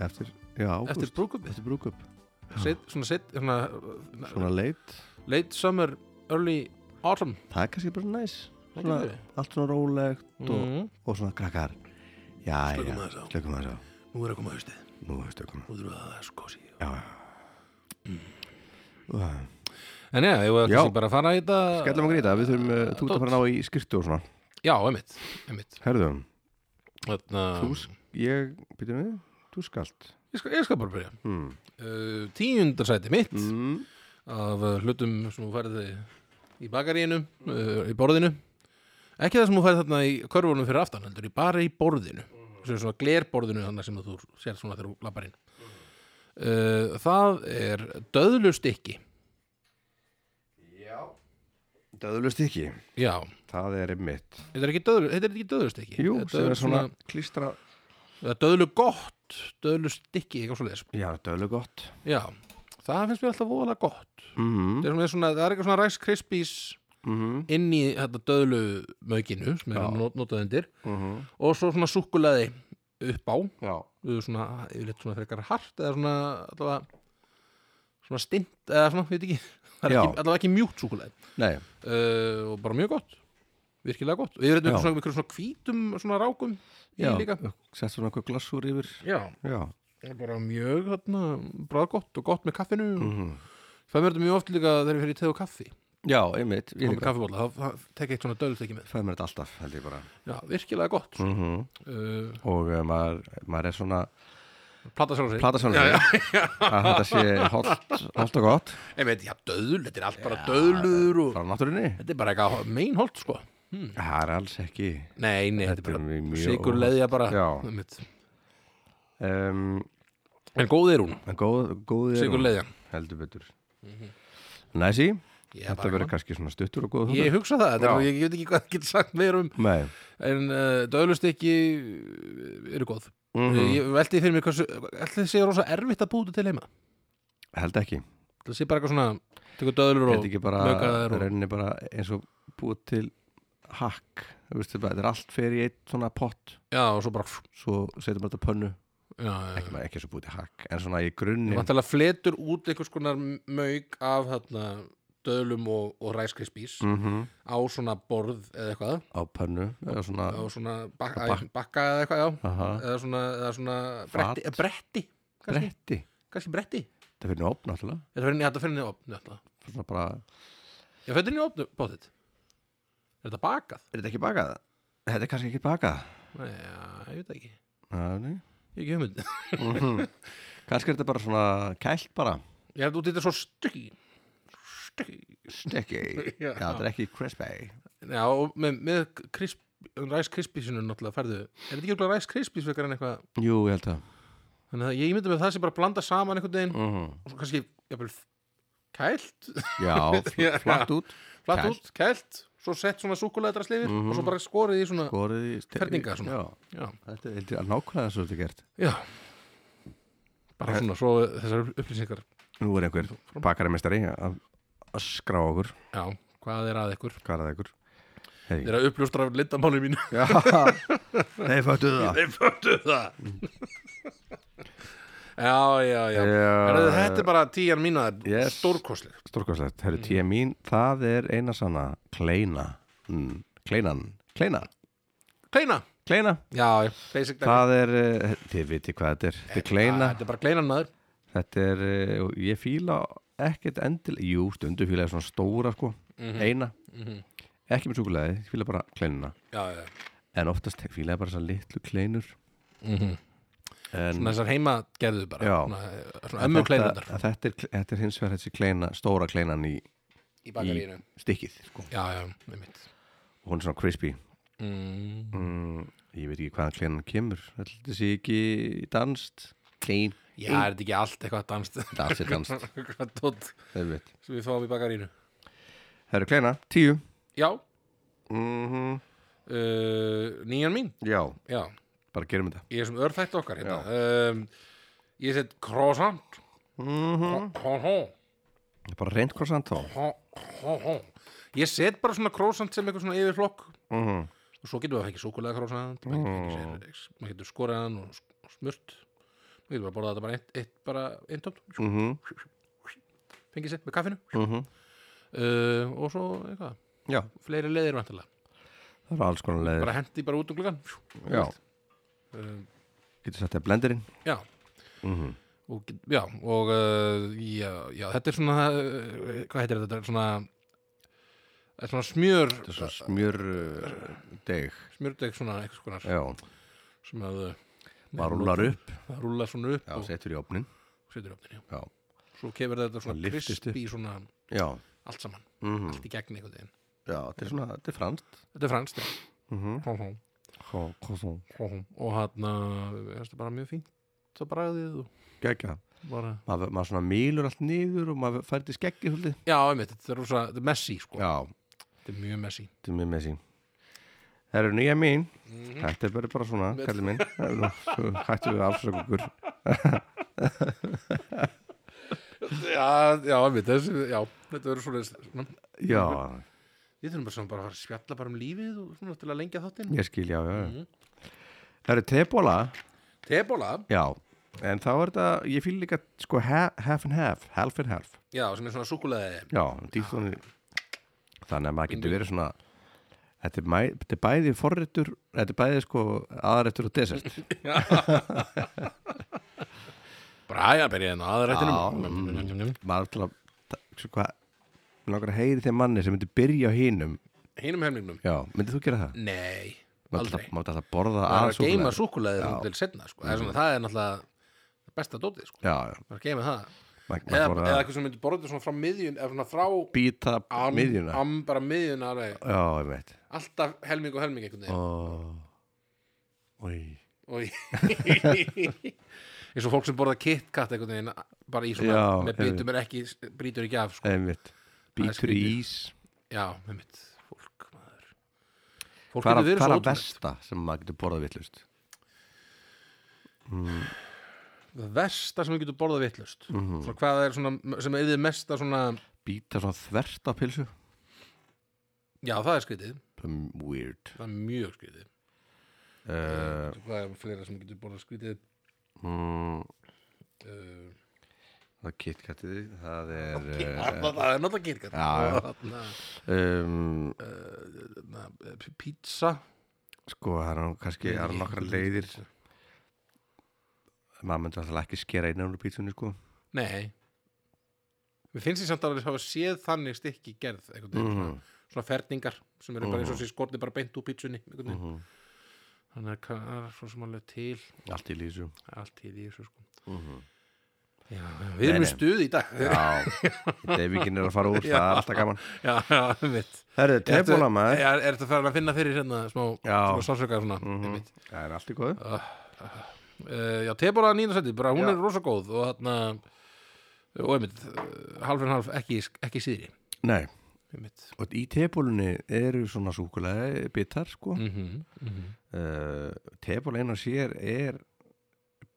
[SPEAKER 1] eftir já,
[SPEAKER 2] eftir
[SPEAKER 1] ágúst,
[SPEAKER 2] brúkupið
[SPEAKER 1] eftir brúkup
[SPEAKER 2] svona, set, svona, svona
[SPEAKER 1] svona leit,
[SPEAKER 2] late summer, early autumn
[SPEAKER 1] það er kannski bara næs
[SPEAKER 2] Það
[SPEAKER 1] svona,
[SPEAKER 2] getur verið.
[SPEAKER 1] allt svona rólegt og
[SPEAKER 2] Mhm.
[SPEAKER 1] og svona krakkar já,
[SPEAKER 2] Slökum
[SPEAKER 1] já,
[SPEAKER 2] aðeins á.
[SPEAKER 1] slökum aðeins á
[SPEAKER 2] nú er að koma haustið,
[SPEAKER 1] nú er slökum
[SPEAKER 2] nú þurfum við að skosi
[SPEAKER 1] já, já Uh,
[SPEAKER 2] en já, ég var
[SPEAKER 1] Já.
[SPEAKER 2] kannski bara að fara í þetta
[SPEAKER 1] skellum okkur í þetta, við þurfum uh, þú ert að fara að ná í skirtu og svona
[SPEAKER 2] já, emitt, emitt
[SPEAKER 1] herðum,
[SPEAKER 2] Þarna,
[SPEAKER 1] þú, sk- ég, býtum við þú skalt
[SPEAKER 2] ég, skal, ég skal bara byrja
[SPEAKER 1] mm.
[SPEAKER 2] uh, tíundarsæti mitt
[SPEAKER 1] Mm.
[SPEAKER 2] af uh, hlutum sem þú færði í bakaríinu, uh, í borðinu ekki það sem þú færði þarna í körfunum fyrir aftan, heldur í bara í borðinu sem er svona glerborðinu þannig sem þú sér svona þegar þú lappar inn
[SPEAKER 1] Mm.
[SPEAKER 2] uh, það er döðlustykki
[SPEAKER 1] döðlust ekki,
[SPEAKER 2] já,
[SPEAKER 1] það er mitt
[SPEAKER 2] þetta er ekki, döðlu, þetta er ekki döðlustykki
[SPEAKER 1] jú,
[SPEAKER 2] Þetta
[SPEAKER 1] sem er svona klístra
[SPEAKER 2] eða döðlu gott, döðlustykki eitthvað svo leis,
[SPEAKER 1] já, döðlu gott
[SPEAKER 2] já það finnst mér alltaf voðalega gott
[SPEAKER 1] mm.
[SPEAKER 2] það er, svona, svona, það er eitthvað svona Rice Krispies
[SPEAKER 1] Mm.
[SPEAKER 2] inn í þetta döðlu möginu sem er not- notað undir
[SPEAKER 1] Mm.
[SPEAKER 2] og svo svona súkkulaði upp á
[SPEAKER 1] já,
[SPEAKER 2] uh, svona, yfirleitt svona frekar hart eða svona, allavega svona stint eða svona, veit ekki það er
[SPEAKER 1] Já.
[SPEAKER 2] ekki, allavega ekki mjúkt súkkulaði
[SPEAKER 1] nei,
[SPEAKER 2] uh, og bara mjög gott, virkilega gott og yfirleitt
[SPEAKER 1] Já.
[SPEAKER 2] með svona, einhverjum svona hvítum svona rákum í
[SPEAKER 1] já
[SPEAKER 2] líka
[SPEAKER 1] sett svona okkur glassúr yfir
[SPEAKER 2] já,
[SPEAKER 1] já,
[SPEAKER 2] bara mjög þarna, bráðgott og gott með kaffinu mm.
[SPEAKER 1] mm.
[SPEAKER 2] það verður mjög oft líka þegar ég fer í teð og kaffi
[SPEAKER 1] já, einmitt
[SPEAKER 2] og
[SPEAKER 1] ég
[SPEAKER 2] með
[SPEAKER 1] líka,
[SPEAKER 2] kaffibóla, það, það tek eitt svona döðlut ekki með
[SPEAKER 1] fæði mér þetta alltaf held ég bara
[SPEAKER 2] já, virkilega gott
[SPEAKER 1] mhm
[SPEAKER 2] uh,
[SPEAKER 1] og uh, maður, maður er svona
[SPEAKER 2] Plata sjálf sig
[SPEAKER 1] plata sjálf
[SPEAKER 2] <laughs>
[SPEAKER 1] að þetta sé holdt holdt og gott
[SPEAKER 2] Einmitt, já, döðl, þetta er allt bara döðlur og...
[SPEAKER 1] frá náttúrunni
[SPEAKER 2] Þetta er bara eitthvað meinholt, sko hmm.
[SPEAKER 1] það er alls ekki
[SPEAKER 2] Nei, nei,
[SPEAKER 1] Þetta
[SPEAKER 2] þetta er
[SPEAKER 1] er mjög-
[SPEAKER 2] bara
[SPEAKER 1] mjög
[SPEAKER 2] sigur leðja bara
[SPEAKER 1] Já.
[SPEAKER 2] einmitt.
[SPEAKER 1] um,
[SPEAKER 2] En góð er hún,
[SPEAKER 1] en góð, góð er
[SPEAKER 2] sigur
[SPEAKER 1] hún,
[SPEAKER 2] leðjan
[SPEAKER 1] heldur betur næsi
[SPEAKER 2] Ég
[SPEAKER 1] þetta
[SPEAKER 2] bara-
[SPEAKER 1] verður kannski svona stuttur og góð
[SPEAKER 2] Ég hugsa það, þetta er,
[SPEAKER 1] Já.
[SPEAKER 2] nú- ég, ég veit ekki hvað það getur sagt meir um
[SPEAKER 1] nei
[SPEAKER 2] En uh, döðlustykki eru góð
[SPEAKER 1] mm
[SPEAKER 2] Ég veldi fyrir mér hversu, ætli það sé rosa erfitt að búta til heima
[SPEAKER 1] held ekki
[SPEAKER 2] Það sé bara eitthvað svona, tekur döðlur
[SPEAKER 1] held
[SPEAKER 2] og
[SPEAKER 1] ekki bara
[SPEAKER 2] laukaðar og-
[SPEAKER 1] rauninni bara eins og búið til hakk þú veist, þetta er allt fer í eitt svona pott
[SPEAKER 2] Já, og svo bara
[SPEAKER 1] svo setjum við þetta á pönnu
[SPEAKER 2] Já, já,
[SPEAKER 1] ekki,
[SPEAKER 2] já.
[SPEAKER 1] maður er ekki svo búið til hakk en svona í grunni
[SPEAKER 2] Vantalega fletur út einhvers konar mög af þarna, döðlum og, og ræskrispís
[SPEAKER 1] mm
[SPEAKER 2] á svona borð eða eitthvað
[SPEAKER 1] á pönnu eða svona
[SPEAKER 2] á svona bak,
[SPEAKER 1] Á bak-
[SPEAKER 2] æ, bakka eða eitthvað, já
[SPEAKER 1] aha,
[SPEAKER 2] eða svona, eða svona
[SPEAKER 1] Fat.
[SPEAKER 2] bretti, eh, bretti kannski,
[SPEAKER 1] bretti
[SPEAKER 2] kannski bretti
[SPEAKER 1] þetta fyrir nóp náttúrulega
[SPEAKER 2] Þetta fyrir nýja, þetta fyrir nýja opn þetta.
[SPEAKER 1] svona bara
[SPEAKER 2] Já, þetta er nýja opn bóðið Er þetta bakað?
[SPEAKER 1] er þetta ekki bakað? þetta er kannski ekki bakað
[SPEAKER 2] Nei, já, ég veit það ekki
[SPEAKER 1] Já,
[SPEAKER 2] Ég
[SPEAKER 1] nei.
[SPEAKER 2] er ekki hugmynd <laughs>
[SPEAKER 1] Mhm. kannski er þetta bara svona kælt bara
[SPEAKER 2] Ég held út í þetta svo stökki Stökki
[SPEAKER 1] stekki
[SPEAKER 2] <laughs> Já.
[SPEAKER 1] já þetta er ekki crispy
[SPEAKER 2] Já, og með, með krisp, Rice Krispiesinu náttúrulega færðu Er þetta ekki eitthvað Rice Krispies frekar en eitthvað
[SPEAKER 1] jú ég held að
[SPEAKER 2] Þannig að ég myndi með það sem bara blanda saman einhvern veginn
[SPEAKER 1] mm
[SPEAKER 2] og svo kannski, jafnvel, kælt <laughs>
[SPEAKER 1] já
[SPEAKER 2] Já.
[SPEAKER 1] fl- flatt út
[SPEAKER 2] flatt
[SPEAKER 1] Kælt.
[SPEAKER 2] út, kælt, svo sett svona súkulæðdrast yfir
[SPEAKER 1] Mhm.
[SPEAKER 2] og svo bara skorið í svona
[SPEAKER 1] skorið í ste-
[SPEAKER 2] Ferninga svona.
[SPEAKER 1] já
[SPEAKER 2] já,
[SPEAKER 1] þetta er held ég að nákvæmlega svo þetta er gert
[SPEAKER 2] já bara svona, svo þessar upplýsingar
[SPEAKER 1] nú er einhver bakaramestari að að skrá okkur
[SPEAKER 2] já, hvað er að ykkur
[SPEAKER 1] hvað er það ykkur hey.
[SPEAKER 2] þeir eru að uppljóstra lindamáli mínu
[SPEAKER 1] Já, <laughs> þeir föttuðu það
[SPEAKER 2] <laughs> þeir föttu það já, já, já Herðu, þetta
[SPEAKER 1] Já,
[SPEAKER 2] er bara tíjan mína yes.
[SPEAKER 1] Yes.
[SPEAKER 2] stórkosleg
[SPEAKER 1] stórkvæmslegt, herru tíu mín það er eina sanna, kleina mm, kleinan, kleina
[SPEAKER 2] kleina,
[SPEAKER 1] kleina,
[SPEAKER 2] já, já, basic dæmi.
[SPEAKER 1] það er eh, þið viti hvað þetta er, þetta er kleina
[SPEAKER 2] Já, þetta er bara kleinan maður
[SPEAKER 1] þetta er, eh, og ég fíla ekkert endil, jú, stundu fíla ég svona stóra sko,
[SPEAKER 2] Mhm.
[SPEAKER 1] eina ekki með súkulegði, ég fíla bara kleinina
[SPEAKER 2] já, já, já.
[SPEAKER 1] en oftast fíla ég bara svona litlu kleinur en
[SPEAKER 2] svona þessar heima gerðu bara
[SPEAKER 1] Já.
[SPEAKER 2] svona, eh, svona ömmu
[SPEAKER 1] þetta,
[SPEAKER 2] kleinunar
[SPEAKER 1] þetta, er, þetta er hins vegar þessi kleina, stóra kleinan í,
[SPEAKER 2] í
[SPEAKER 1] í
[SPEAKER 2] bakaríinu
[SPEAKER 1] stikkið sko.
[SPEAKER 2] já, já, einmitt
[SPEAKER 1] og hún er svona crispy
[SPEAKER 2] mm.
[SPEAKER 1] mm, ég veit ekki hvaðan kleinan kemur þetta sé ekki danst klein,
[SPEAKER 2] já, er þetta ekki allt eitthvað danst
[SPEAKER 1] danst er danst
[SPEAKER 2] <laughs>
[SPEAKER 1] <laughs>
[SPEAKER 2] eitthvað tótt
[SPEAKER 1] það veit,
[SPEAKER 2] sem við fáum í bakaríinu
[SPEAKER 1] það eru kleina, tíu
[SPEAKER 2] já,
[SPEAKER 1] mm
[SPEAKER 2] uh, nýjan mín
[SPEAKER 1] já,
[SPEAKER 2] já,
[SPEAKER 1] bara gerum þetta
[SPEAKER 2] ég er sem örþætt okkar hérna. um, ég set croissant
[SPEAKER 1] mm
[SPEAKER 2] hó, hó,
[SPEAKER 1] bara reynd krossant þá
[SPEAKER 2] hó, hó, hó. ég set bara svona croissant sem eitthvað svona yfirflokk
[SPEAKER 1] mm
[SPEAKER 2] og svo getum við að fengið súkulega croissant maður getur, fengið sér- maður getur skorið hann og sk- og smurt maður getur bara borðað þetta bara eitt, eitt bara einn tómt
[SPEAKER 1] -hmm.
[SPEAKER 2] fengið sér með kaffinu
[SPEAKER 1] Mm -hmm.
[SPEAKER 2] uh, og svo eitthvað,
[SPEAKER 1] já,
[SPEAKER 2] fleiri leiðir vantilega
[SPEAKER 1] það eru alls konar leðir
[SPEAKER 2] bara hendi bara út um gluggan
[SPEAKER 1] Eh. já,
[SPEAKER 2] uh,
[SPEAKER 1] getur sett þetta blenderinn
[SPEAKER 2] já
[SPEAKER 1] mm -hmm.
[SPEAKER 2] og, get- já, og uh, já, já, þetta er svona uh, hvað heitir þetta, þetta er svona þetta er svona smjör
[SPEAKER 1] þetta er svo smjör uh, deg,
[SPEAKER 2] smjördeg svona eitthvað konar
[SPEAKER 1] já,
[SPEAKER 2] sem að uh,
[SPEAKER 1] bara rúlar upp
[SPEAKER 2] það rúlar svona upp
[SPEAKER 1] já,
[SPEAKER 2] og
[SPEAKER 1] settur í opnin
[SPEAKER 2] setur upp þenni
[SPEAKER 1] já,
[SPEAKER 2] svo kemur þetta
[SPEAKER 1] Það
[SPEAKER 2] svona
[SPEAKER 1] lyftist upp.
[SPEAKER 2] krispi svona
[SPEAKER 1] já,
[SPEAKER 2] allt saman,
[SPEAKER 1] mm
[SPEAKER 2] allt í gegn einhvern veginn
[SPEAKER 1] já þetta er svona, þetta er franskt
[SPEAKER 2] þetta er franskt já.
[SPEAKER 1] mm -hmm.
[SPEAKER 2] Hó, hó, hó, hó. og hann þetta er bara mjög fínt að bragðið og
[SPEAKER 1] geggjað
[SPEAKER 2] bara
[SPEAKER 1] maður, maður svona mýlur allt niður og maður færði skeggi svolítið
[SPEAKER 2] já, einmitt, þetta er, rosa, þetta er messy sko.
[SPEAKER 1] já,
[SPEAKER 2] þetta er mjög messy
[SPEAKER 1] þetta er mjög með Mm. sín það eru nýja mín
[SPEAKER 2] Mhm.
[SPEAKER 1] þetta er bara, bara svona,
[SPEAKER 2] Með-
[SPEAKER 1] kallið minn Nú, svo hættum við að afsöka okkur
[SPEAKER 2] já, já, einmitt, þessi, já þetta verður svona við
[SPEAKER 1] já,
[SPEAKER 2] þurfum bara, svona bara að fara að spjalla bara um lífið og svona til að lengja þáttinn
[SPEAKER 1] ég skil, já, já já. það eru tebóla
[SPEAKER 2] tebóla,
[SPEAKER 1] já, en þá er þetta ég fíl líka, sko, ha- half and half half and half,
[SPEAKER 2] já, sem er svona súkulega
[SPEAKER 1] já, dýft þannig þannig að maður getur verið svona þetta er, mæ, þetta er bæði forrættur þetta er bæði, sko, aðrættur og desert
[SPEAKER 2] <laughs> bræja byrja hérna aðrættinum
[SPEAKER 1] maður til að ta- svo hvað mig langar að heyri þeim manni sem myndi byrja á hinum
[SPEAKER 2] hinum hefningnum
[SPEAKER 1] já, myndi þú gera það?
[SPEAKER 2] nei,
[SPEAKER 1] maður
[SPEAKER 2] aldrei
[SPEAKER 1] alltaf, maður alltaf borða
[SPEAKER 2] það er að
[SPEAKER 1] að
[SPEAKER 2] geima
[SPEAKER 1] súkkulaði
[SPEAKER 2] súkulega
[SPEAKER 1] Já.
[SPEAKER 2] til setna sko. mm. svona, það er náttúrulega besta dótið sko.
[SPEAKER 1] já, já
[SPEAKER 2] maður geymir það
[SPEAKER 1] Mæk,
[SPEAKER 2] eða,
[SPEAKER 1] bara,
[SPEAKER 2] eða eitthvað sem myndi borða svona frá miðjun eða svona frá
[SPEAKER 1] býta
[SPEAKER 2] am,
[SPEAKER 1] miðjuna
[SPEAKER 2] am, bara miðjuna alveg
[SPEAKER 1] já, ég veit
[SPEAKER 2] alltaf helming og helming einhvern veginn
[SPEAKER 1] og Í.
[SPEAKER 2] og <laughs> eins og fólk sem borða KitKat einhvern veginn bara í svona
[SPEAKER 1] Já,
[SPEAKER 2] með
[SPEAKER 1] einmitt.
[SPEAKER 2] bitum er ekki, brýtur ekki af sko.
[SPEAKER 1] einmitt býtur í
[SPEAKER 2] skrítið.
[SPEAKER 1] ís
[SPEAKER 2] já, með mitt fólk maður fólk getur
[SPEAKER 1] hvað er
[SPEAKER 2] verið
[SPEAKER 1] hvað er
[SPEAKER 2] svo
[SPEAKER 1] að
[SPEAKER 2] ótrúlegt
[SPEAKER 1] versta sem maður getur borðað villust
[SPEAKER 2] það versta sem við getum borðað vittlust mm
[SPEAKER 1] Mhm.
[SPEAKER 2] -hmm. hvað er svona sem er yfir mesta svona
[SPEAKER 1] býta svona þvert á pilsu
[SPEAKER 2] já, það er skrítið,
[SPEAKER 1] Um, weird
[SPEAKER 2] það er mjög skrítið
[SPEAKER 1] uh,
[SPEAKER 2] hvað er fleira sem getur borðað skrítið
[SPEAKER 1] mm,
[SPEAKER 2] uh,
[SPEAKER 1] það er kitkattið það er eh,
[SPEAKER 2] það það er náttúrulega KitKat
[SPEAKER 1] Já,
[SPEAKER 2] Þarna,
[SPEAKER 1] uh, um,
[SPEAKER 2] na, pizza
[SPEAKER 1] sko það er nú kannski það er nokkra leiðir maður myndi alltaf ekki skera einu úr pítsunni sko
[SPEAKER 2] Nei Við finnst því samt að við hafa séð þannig stykki gerð einhvern veginn,
[SPEAKER 1] Mhm.
[SPEAKER 2] svona, svona ferningar sem eru bara eins og sér skorni bara beint úr pítsunni einhvern
[SPEAKER 1] Mhm.
[SPEAKER 2] veginn Þannig að hvað- það er svo sem alveg til
[SPEAKER 1] allt í lísu
[SPEAKER 2] allt í því þessu sko
[SPEAKER 1] Mhm.
[SPEAKER 2] Já, já, við erum í
[SPEAKER 1] Nei, nei.
[SPEAKER 2] stuði í dag
[SPEAKER 1] já, deyfingin er að fara úr
[SPEAKER 2] Já.
[SPEAKER 1] það er alltaf gaman
[SPEAKER 2] <laughs> Já, já, mitt
[SPEAKER 1] herðu, tebóla maður
[SPEAKER 2] Er, er þetta farin að finna fyrir hérna smá,
[SPEAKER 1] Já.
[SPEAKER 2] smá sálsöka svona mm
[SPEAKER 1] Mhm. það er allt í góðu
[SPEAKER 2] uh, Já, tebóla nýnarsætti, bara hún
[SPEAKER 1] Já.
[SPEAKER 2] er rosa góð og þarna eh, og einmitt, uh, half en half ekki, ekki síðri
[SPEAKER 1] nei,
[SPEAKER 2] einmitt
[SPEAKER 1] og í tebólunni eru svona súkulega bitar sko
[SPEAKER 2] mm -hmm, mm -hmm.
[SPEAKER 1] uh, tebóla einu og sér er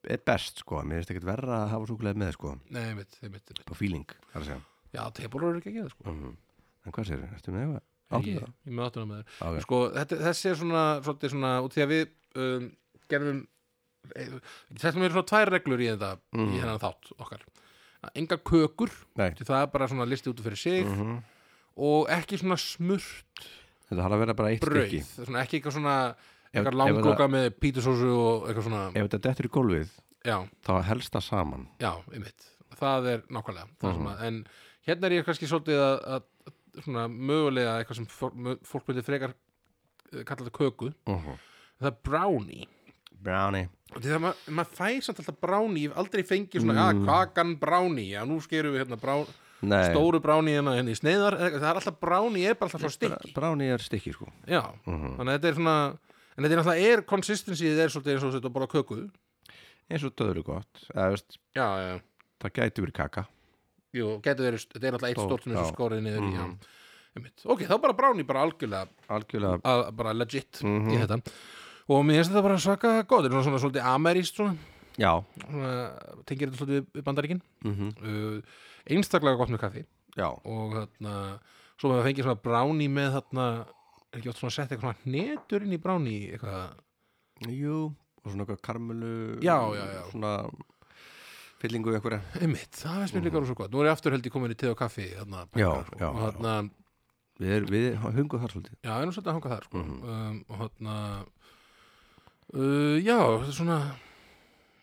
[SPEAKER 1] er best sko, mér finnst ekkert verra að hafa súkulega með sko,
[SPEAKER 2] Nei, einmitt, einmitt, einmitt
[SPEAKER 1] på feeling þar að segja
[SPEAKER 2] Já, tebólur eru ekki ekki það sko
[SPEAKER 1] mm. en hvað sér, ertu með eitthvað? Áttu
[SPEAKER 2] Ég,
[SPEAKER 1] það?
[SPEAKER 2] ég með áttuna með þér
[SPEAKER 1] Ok.
[SPEAKER 2] sko, þetta, Þessi er svona, svolítið svona út því að við um, gerðum Þessum er svona tvær reglur í þetta
[SPEAKER 1] Mm.
[SPEAKER 2] í hennan þátt okkar að Enga kökur,
[SPEAKER 1] Nei.
[SPEAKER 2] því það er bara svona listi út fyrir sig
[SPEAKER 1] Mhm.
[SPEAKER 2] og ekki svona smurt
[SPEAKER 1] Þetta har að vera bara eitt
[SPEAKER 2] brauð
[SPEAKER 1] stykki
[SPEAKER 2] svona, ekki eitthvað svona
[SPEAKER 1] Ef-
[SPEAKER 2] eitthvað
[SPEAKER 1] ef
[SPEAKER 2] langloka með pítusósu og eitthvað svona
[SPEAKER 1] Ef þetta dettur í gólfið,
[SPEAKER 2] Já,
[SPEAKER 1] þá helst það saman
[SPEAKER 2] já, einmitt Það er nákvæmlega það sem að, En hérna er ég kannski svolítið að, að svona mögulega eitthvað sem fór- mö- fólk myndi frekar eh, kalla þetta köku
[SPEAKER 1] uh -huh.
[SPEAKER 2] það er brownie
[SPEAKER 1] Brownie
[SPEAKER 2] og þegar maður mað fær samt alltaf brownie ég hef aldrei fengið svona, mm. að kakan brownie já, nú skerum við hérna brá,
[SPEAKER 1] Nei,
[SPEAKER 2] stóru brownie hérna, hérna í sneiðar eða eitthvað. það er alltaf brownie, er bara alltaf frá
[SPEAKER 1] bra-
[SPEAKER 2] stikki
[SPEAKER 1] brownie er stykki sko
[SPEAKER 2] já, þannig að þetta er svona en þetta er alltaf, er konsistensið er svolítið eins og þetta bara köku
[SPEAKER 1] eins og döður er gott Eða, veist,
[SPEAKER 2] já, já,
[SPEAKER 1] það gæti verið kaka
[SPEAKER 2] jú, getur verið þetta er alltaf eitt
[SPEAKER 1] Stór,
[SPEAKER 2] stort sem er
[SPEAKER 1] já. Mhm.
[SPEAKER 2] svo skórið niður í já. Einmitt. ok, þá bara brownie bara algjörlega
[SPEAKER 1] algjörlega
[SPEAKER 2] að, bara legit
[SPEAKER 1] Mhm.
[SPEAKER 2] í þetta og mér finnst þetta bara svaka gott þetta er svona, svona svolítið ameríst svona,
[SPEAKER 1] já,
[SPEAKER 2] svona tengir þetta svolítið við bandaríkin
[SPEAKER 1] mm
[SPEAKER 2] uh, einstaklega gott með kaffi
[SPEAKER 1] já.
[SPEAKER 2] og þarna, svo maður fengið svona brownie með þarna, er ekki oft svona sett eitthvað svona hnetur inn í brownie eitthvað,
[SPEAKER 1] Jú, og svona eitthvað karmelu
[SPEAKER 2] Já, já, já.
[SPEAKER 1] svona fyllingu einhverja
[SPEAKER 2] einmitt, það veist mér líka rosa gott nú er ég aftur held ég komin í te og kaffi þarna, pakka,
[SPEAKER 1] Mhm. Já,
[SPEAKER 2] sko.
[SPEAKER 1] já,
[SPEAKER 2] og þarna,
[SPEAKER 1] Við, er, við hungum þar svolítið
[SPEAKER 2] já, en nú svolítið að hanga þar sko.
[SPEAKER 1] Mhm.
[SPEAKER 2] um, og þarna uh, já, þetta er svona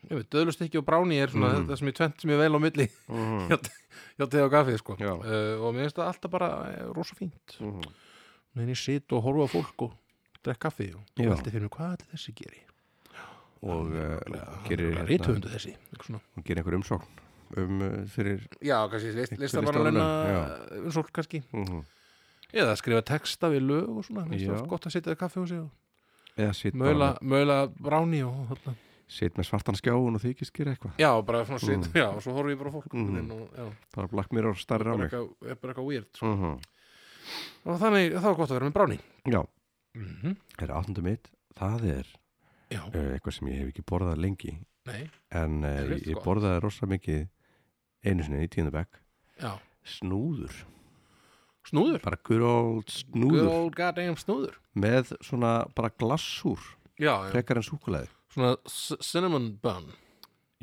[SPEAKER 2] ég veit, döðlust ekki og brownie er svona
[SPEAKER 1] Mhm.
[SPEAKER 2] þetta sem ég tvent sem ég vel á milli
[SPEAKER 1] mm
[SPEAKER 2] <laughs> hjá te- hjá te og kaffi, sko
[SPEAKER 1] Já.
[SPEAKER 2] uh, og mér finnst það alltaf bara eh, rosa fínt
[SPEAKER 1] -hmm.
[SPEAKER 2] meðan ég sit og horfa á fólk og drekk kaffi og
[SPEAKER 1] Já.
[SPEAKER 2] velti fyrir mér hvað allir þessi geri
[SPEAKER 1] Og uh, gerir,
[SPEAKER 2] gerir
[SPEAKER 1] hérna,
[SPEAKER 2] rítuhundu þessi eitthvað svona.
[SPEAKER 1] og gerir einhver umsókn um uh, fyrir
[SPEAKER 2] já, kannski list,
[SPEAKER 1] Einhver
[SPEAKER 2] listamannalenna
[SPEAKER 1] listamanna,
[SPEAKER 2] umsók kannski
[SPEAKER 1] mm
[SPEAKER 2] eða skrifa texta við lög og svona Mér finnst
[SPEAKER 1] Já.
[SPEAKER 2] það oft gott að setja það kaffi og sig
[SPEAKER 1] eða sitt
[SPEAKER 2] mögulega mögulega bráni og þarna
[SPEAKER 1] sitt með svartan skjáun og þykist gera eitthvað
[SPEAKER 2] já, bara svona setja, já, og svo horfum ég bara á fólk
[SPEAKER 1] Mm.
[SPEAKER 2] mm. og, já,
[SPEAKER 1] það er blakk mér og starri á
[SPEAKER 2] bara
[SPEAKER 1] mig
[SPEAKER 2] eitthvað, er bara eitthvað weird
[SPEAKER 1] mm
[SPEAKER 2] og þannig, þá er gott að vera með bráni
[SPEAKER 1] já,
[SPEAKER 2] mm
[SPEAKER 1] er áttundu mitt það er
[SPEAKER 2] já,
[SPEAKER 1] uh, eitthvað sem ég hef ekki borðað lengi
[SPEAKER 2] nei,
[SPEAKER 1] en
[SPEAKER 2] Er
[SPEAKER 1] uh,
[SPEAKER 2] þetta
[SPEAKER 1] ég
[SPEAKER 2] gott?
[SPEAKER 1] borðaði rosa mikið einu sinni í tíundabæk
[SPEAKER 2] já,
[SPEAKER 1] snúður,
[SPEAKER 2] snúður
[SPEAKER 1] bara good old
[SPEAKER 2] good
[SPEAKER 1] snúður
[SPEAKER 2] old goddamn snúður
[SPEAKER 1] með svona bara glassúr
[SPEAKER 2] já, já.
[SPEAKER 1] frekar en súkulæði
[SPEAKER 2] svona c- cinnamon bun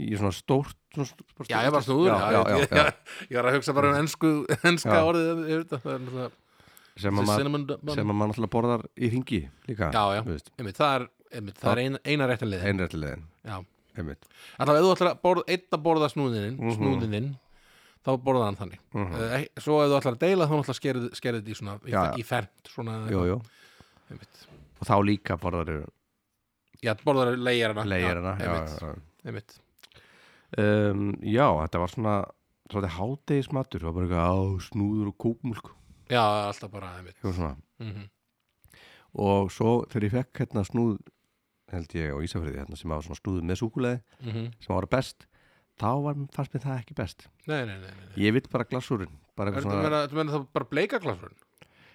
[SPEAKER 1] í svona stórt svona st- stórt-
[SPEAKER 2] Já, ég var snúður
[SPEAKER 1] já, já, já, já.
[SPEAKER 2] <laughs> Ég var að hugsa bara um ensku, enska
[SPEAKER 1] Já.
[SPEAKER 2] orðið yfir þetta Það er náttúrulega-
[SPEAKER 1] sem að maður
[SPEAKER 2] cinnamon bun
[SPEAKER 1] sem að maður náttúrulega borðar í ringi líka
[SPEAKER 2] Já, já,
[SPEAKER 1] þú veist,
[SPEAKER 2] einmitt, það er, einmitt, það er ein, eina réttanlið
[SPEAKER 1] einrættilegin
[SPEAKER 2] Já,
[SPEAKER 1] einmitt
[SPEAKER 2] alltaf ef þú ætlar að borða, eitt að borða snúðininn
[SPEAKER 1] Mhm.
[SPEAKER 2] snúðininn, þá borða hann þannig mm
[SPEAKER 1] Mhm.
[SPEAKER 2] Svo ef þú ætlar að deila þá náttúrulega skerið, skerið þetta í svona, í,
[SPEAKER 1] Já, já.
[SPEAKER 2] í fernt svona,
[SPEAKER 1] jú, jú.
[SPEAKER 2] einmitt
[SPEAKER 1] og þá líka borðar
[SPEAKER 2] Já, borðar leigjarana
[SPEAKER 1] leigjarina
[SPEAKER 2] já,
[SPEAKER 1] já,
[SPEAKER 2] einmitt,
[SPEAKER 1] já, já.
[SPEAKER 2] einmitt
[SPEAKER 1] um, já, þetta var svona svolítið hádegismatur, það var bara eitthvað á snúður og kúkmúlk
[SPEAKER 2] já, alltaf bara einmitt
[SPEAKER 1] eitthvað svona.
[SPEAKER 2] mm
[SPEAKER 1] og svo þegar ég fekk hérna snúð held ég á Ísafriði hérna sem var svona snúð með súkuleði
[SPEAKER 2] mhm.
[SPEAKER 1] sem var best þá var, fannst mér það ekki best
[SPEAKER 2] Nei, nei, nei, nei, nei.
[SPEAKER 1] ég vill bara glasúrin bara
[SPEAKER 2] Er
[SPEAKER 1] eitthvað
[SPEAKER 2] þetta
[SPEAKER 1] svona,
[SPEAKER 2] meina, þetta meina það bara bleika glasurinn?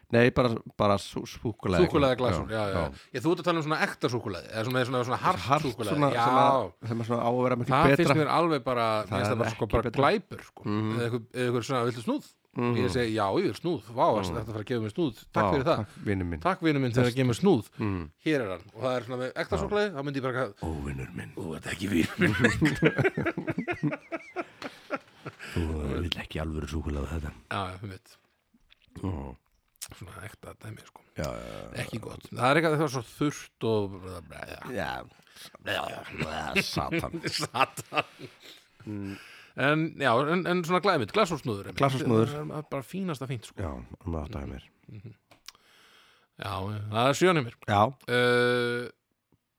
[SPEAKER 1] nei bara, bara súkuleði
[SPEAKER 2] Súkulega glasur, já, já, já. Ég, Þú ert að tala um svona ekta súkulega eða svona, svona, svona hart,
[SPEAKER 1] hart
[SPEAKER 2] súkkulaði.
[SPEAKER 1] svona,
[SPEAKER 2] já,
[SPEAKER 1] svona, sem er svona á að vera miklu
[SPEAKER 2] það
[SPEAKER 1] betra
[SPEAKER 2] finnst mér alveg bara,
[SPEAKER 1] Það
[SPEAKER 2] mér finnst
[SPEAKER 1] er
[SPEAKER 2] það bara, sko,
[SPEAKER 1] ekki
[SPEAKER 2] bara
[SPEAKER 1] betra. Mhm.
[SPEAKER 2] glæpur sko. eða eitthvað, eða eitthvað svona, viltu snúð? Ég segi, já, ég vil snúð, vá, mm. þetta fara að gefa mér snúð Takk fyrir það,
[SPEAKER 1] Mhm. takk vinnur minn
[SPEAKER 2] takk vinur minn þegar að gefa mér snúð Hér er hann, og það er svona með ekta súkulega þá myndi ég bara,
[SPEAKER 1] Ó, vinnur minn,
[SPEAKER 2] ú, þetta er ekki vinur
[SPEAKER 1] <laughs>
[SPEAKER 2] minn
[SPEAKER 1] þú vill ekki alvöru súkulega þetta
[SPEAKER 2] Já, þú veit,
[SPEAKER 1] mm.
[SPEAKER 2] svona ekta dæmi, sko
[SPEAKER 1] Já, já, já
[SPEAKER 2] Ekki gott, það er eitthvað það er svo þurft og
[SPEAKER 1] Já, satan
[SPEAKER 2] <laughs> Satan
[SPEAKER 1] Mm.
[SPEAKER 2] En, já, en, en svona glæmið, glasúrsnúður
[SPEAKER 1] Glasúrsnúður.
[SPEAKER 2] Bara fínasta fínt, sko
[SPEAKER 1] Já, hann var átt að mér
[SPEAKER 2] Já, það er sjónið mér
[SPEAKER 1] Já,
[SPEAKER 2] uh,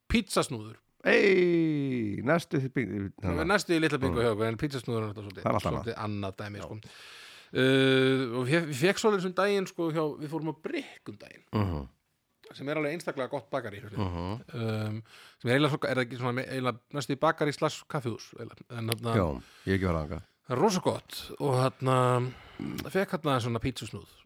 [SPEAKER 2] Pizzasnúður
[SPEAKER 1] ei, næstu hérna. því bing
[SPEAKER 2] Það er
[SPEAKER 1] þannig að-
[SPEAKER 2] næstu í litla bingo hjá okkur en pizzasnúður er alltaf
[SPEAKER 1] Það
[SPEAKER 2] svolítið,
[SPEAKER 1] er allt annað.
[SPEAKER 2] svolítið annað dæmi sko. uh, og við fekk svolítið sem daginn sko, hjá, við fórum á brikkum daginn
[SPEAKER 1] Mhm,
[SPEAKER 2] sem er alveg einstaklega gott bakari mm.
[SPEAKER 1] mhm.
[SPEAKER 2] um, sem er eiginlega, svo- er það ekki svona, eiginlega næstu í bakari slags kaffihús eiginlega. en þarna,
[SPEAKER 1] Já, ég hef ekki var anga
[SPEAKER 2] það er rosa gott og þarna mm, fekk þarna svona pizzasnúð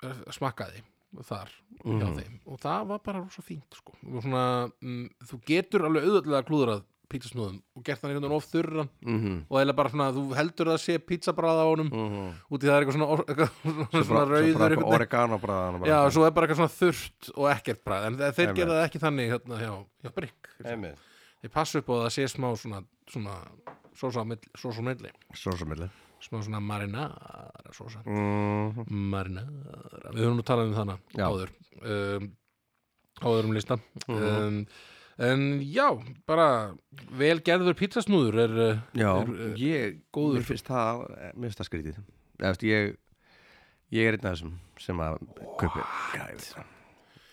[SPEAKER 2] eh, smakkaði þar hjá
[SPEAKER 1] Mhm.
[SPEAKER 2] þeim og það var bara rosa fínt sko. og svona, um, þú getur alveg auðvöldlega klúðrað pizzasnúðum og gert hann einhvern veginn of þurran
[SPEAKER 1] Mhm,
[SPEAKER 2] og eða bara svona, þú heldur það sé pizzabræða á honum
[SPEAKER 1] mhm.
[SPEAKER 2] út í það er eitthvað svona, or- <laughs> eitthvað,
[SPEAKER 1] Svo
[SPEAKER 2] svona, svona
[SPEAKER 1] bara- svo bara
[SPEAKER 2] rauður
[SPEAKER 1] eitthvað
[SPEAKER 2] eitthvað,
[SPEAKER 1] oregano bræðan
[SPEAKER 2] já, svo er bara eitthvað svona þurrt og ekkert bræð, en þe- þeir
[SPEAKER 1] Einmitt.
[SPEAKER 2] gera það ekki þannig hérna, hjá, hjá Brick,
[SPEAKER 1] Einmitt
[SPEAKER 2] þeir passa upp á að það sé smá svona, svona sósa á milli, sósa á milli
[SPEAKER 1] Svo sem milli
[SPEAKER 2] smá svona marinara sósa
[SPEAKER 1] Mhm.
[SPEAKER 2] marinara, við höfum nú talað um þannig
[SPEAKER 1] Já.
[SPEAKER 2] áður um, áður um lista
[SPEAKER 1] Mhm.
[SPEAKER 2] um, en já, bara velgerður pizzasnúður er uh,
[SPEAKER 1] Já,
[SPEAKER 2] er,
[SPEAKER 1] ég,
[SPEAKER 2] góður.
[SPEAKER 1] mér finnst það eh, Mér finnst það skrítið Eða, veist, ég, ég er einn af þessum sem að kaupi Já, ég veit það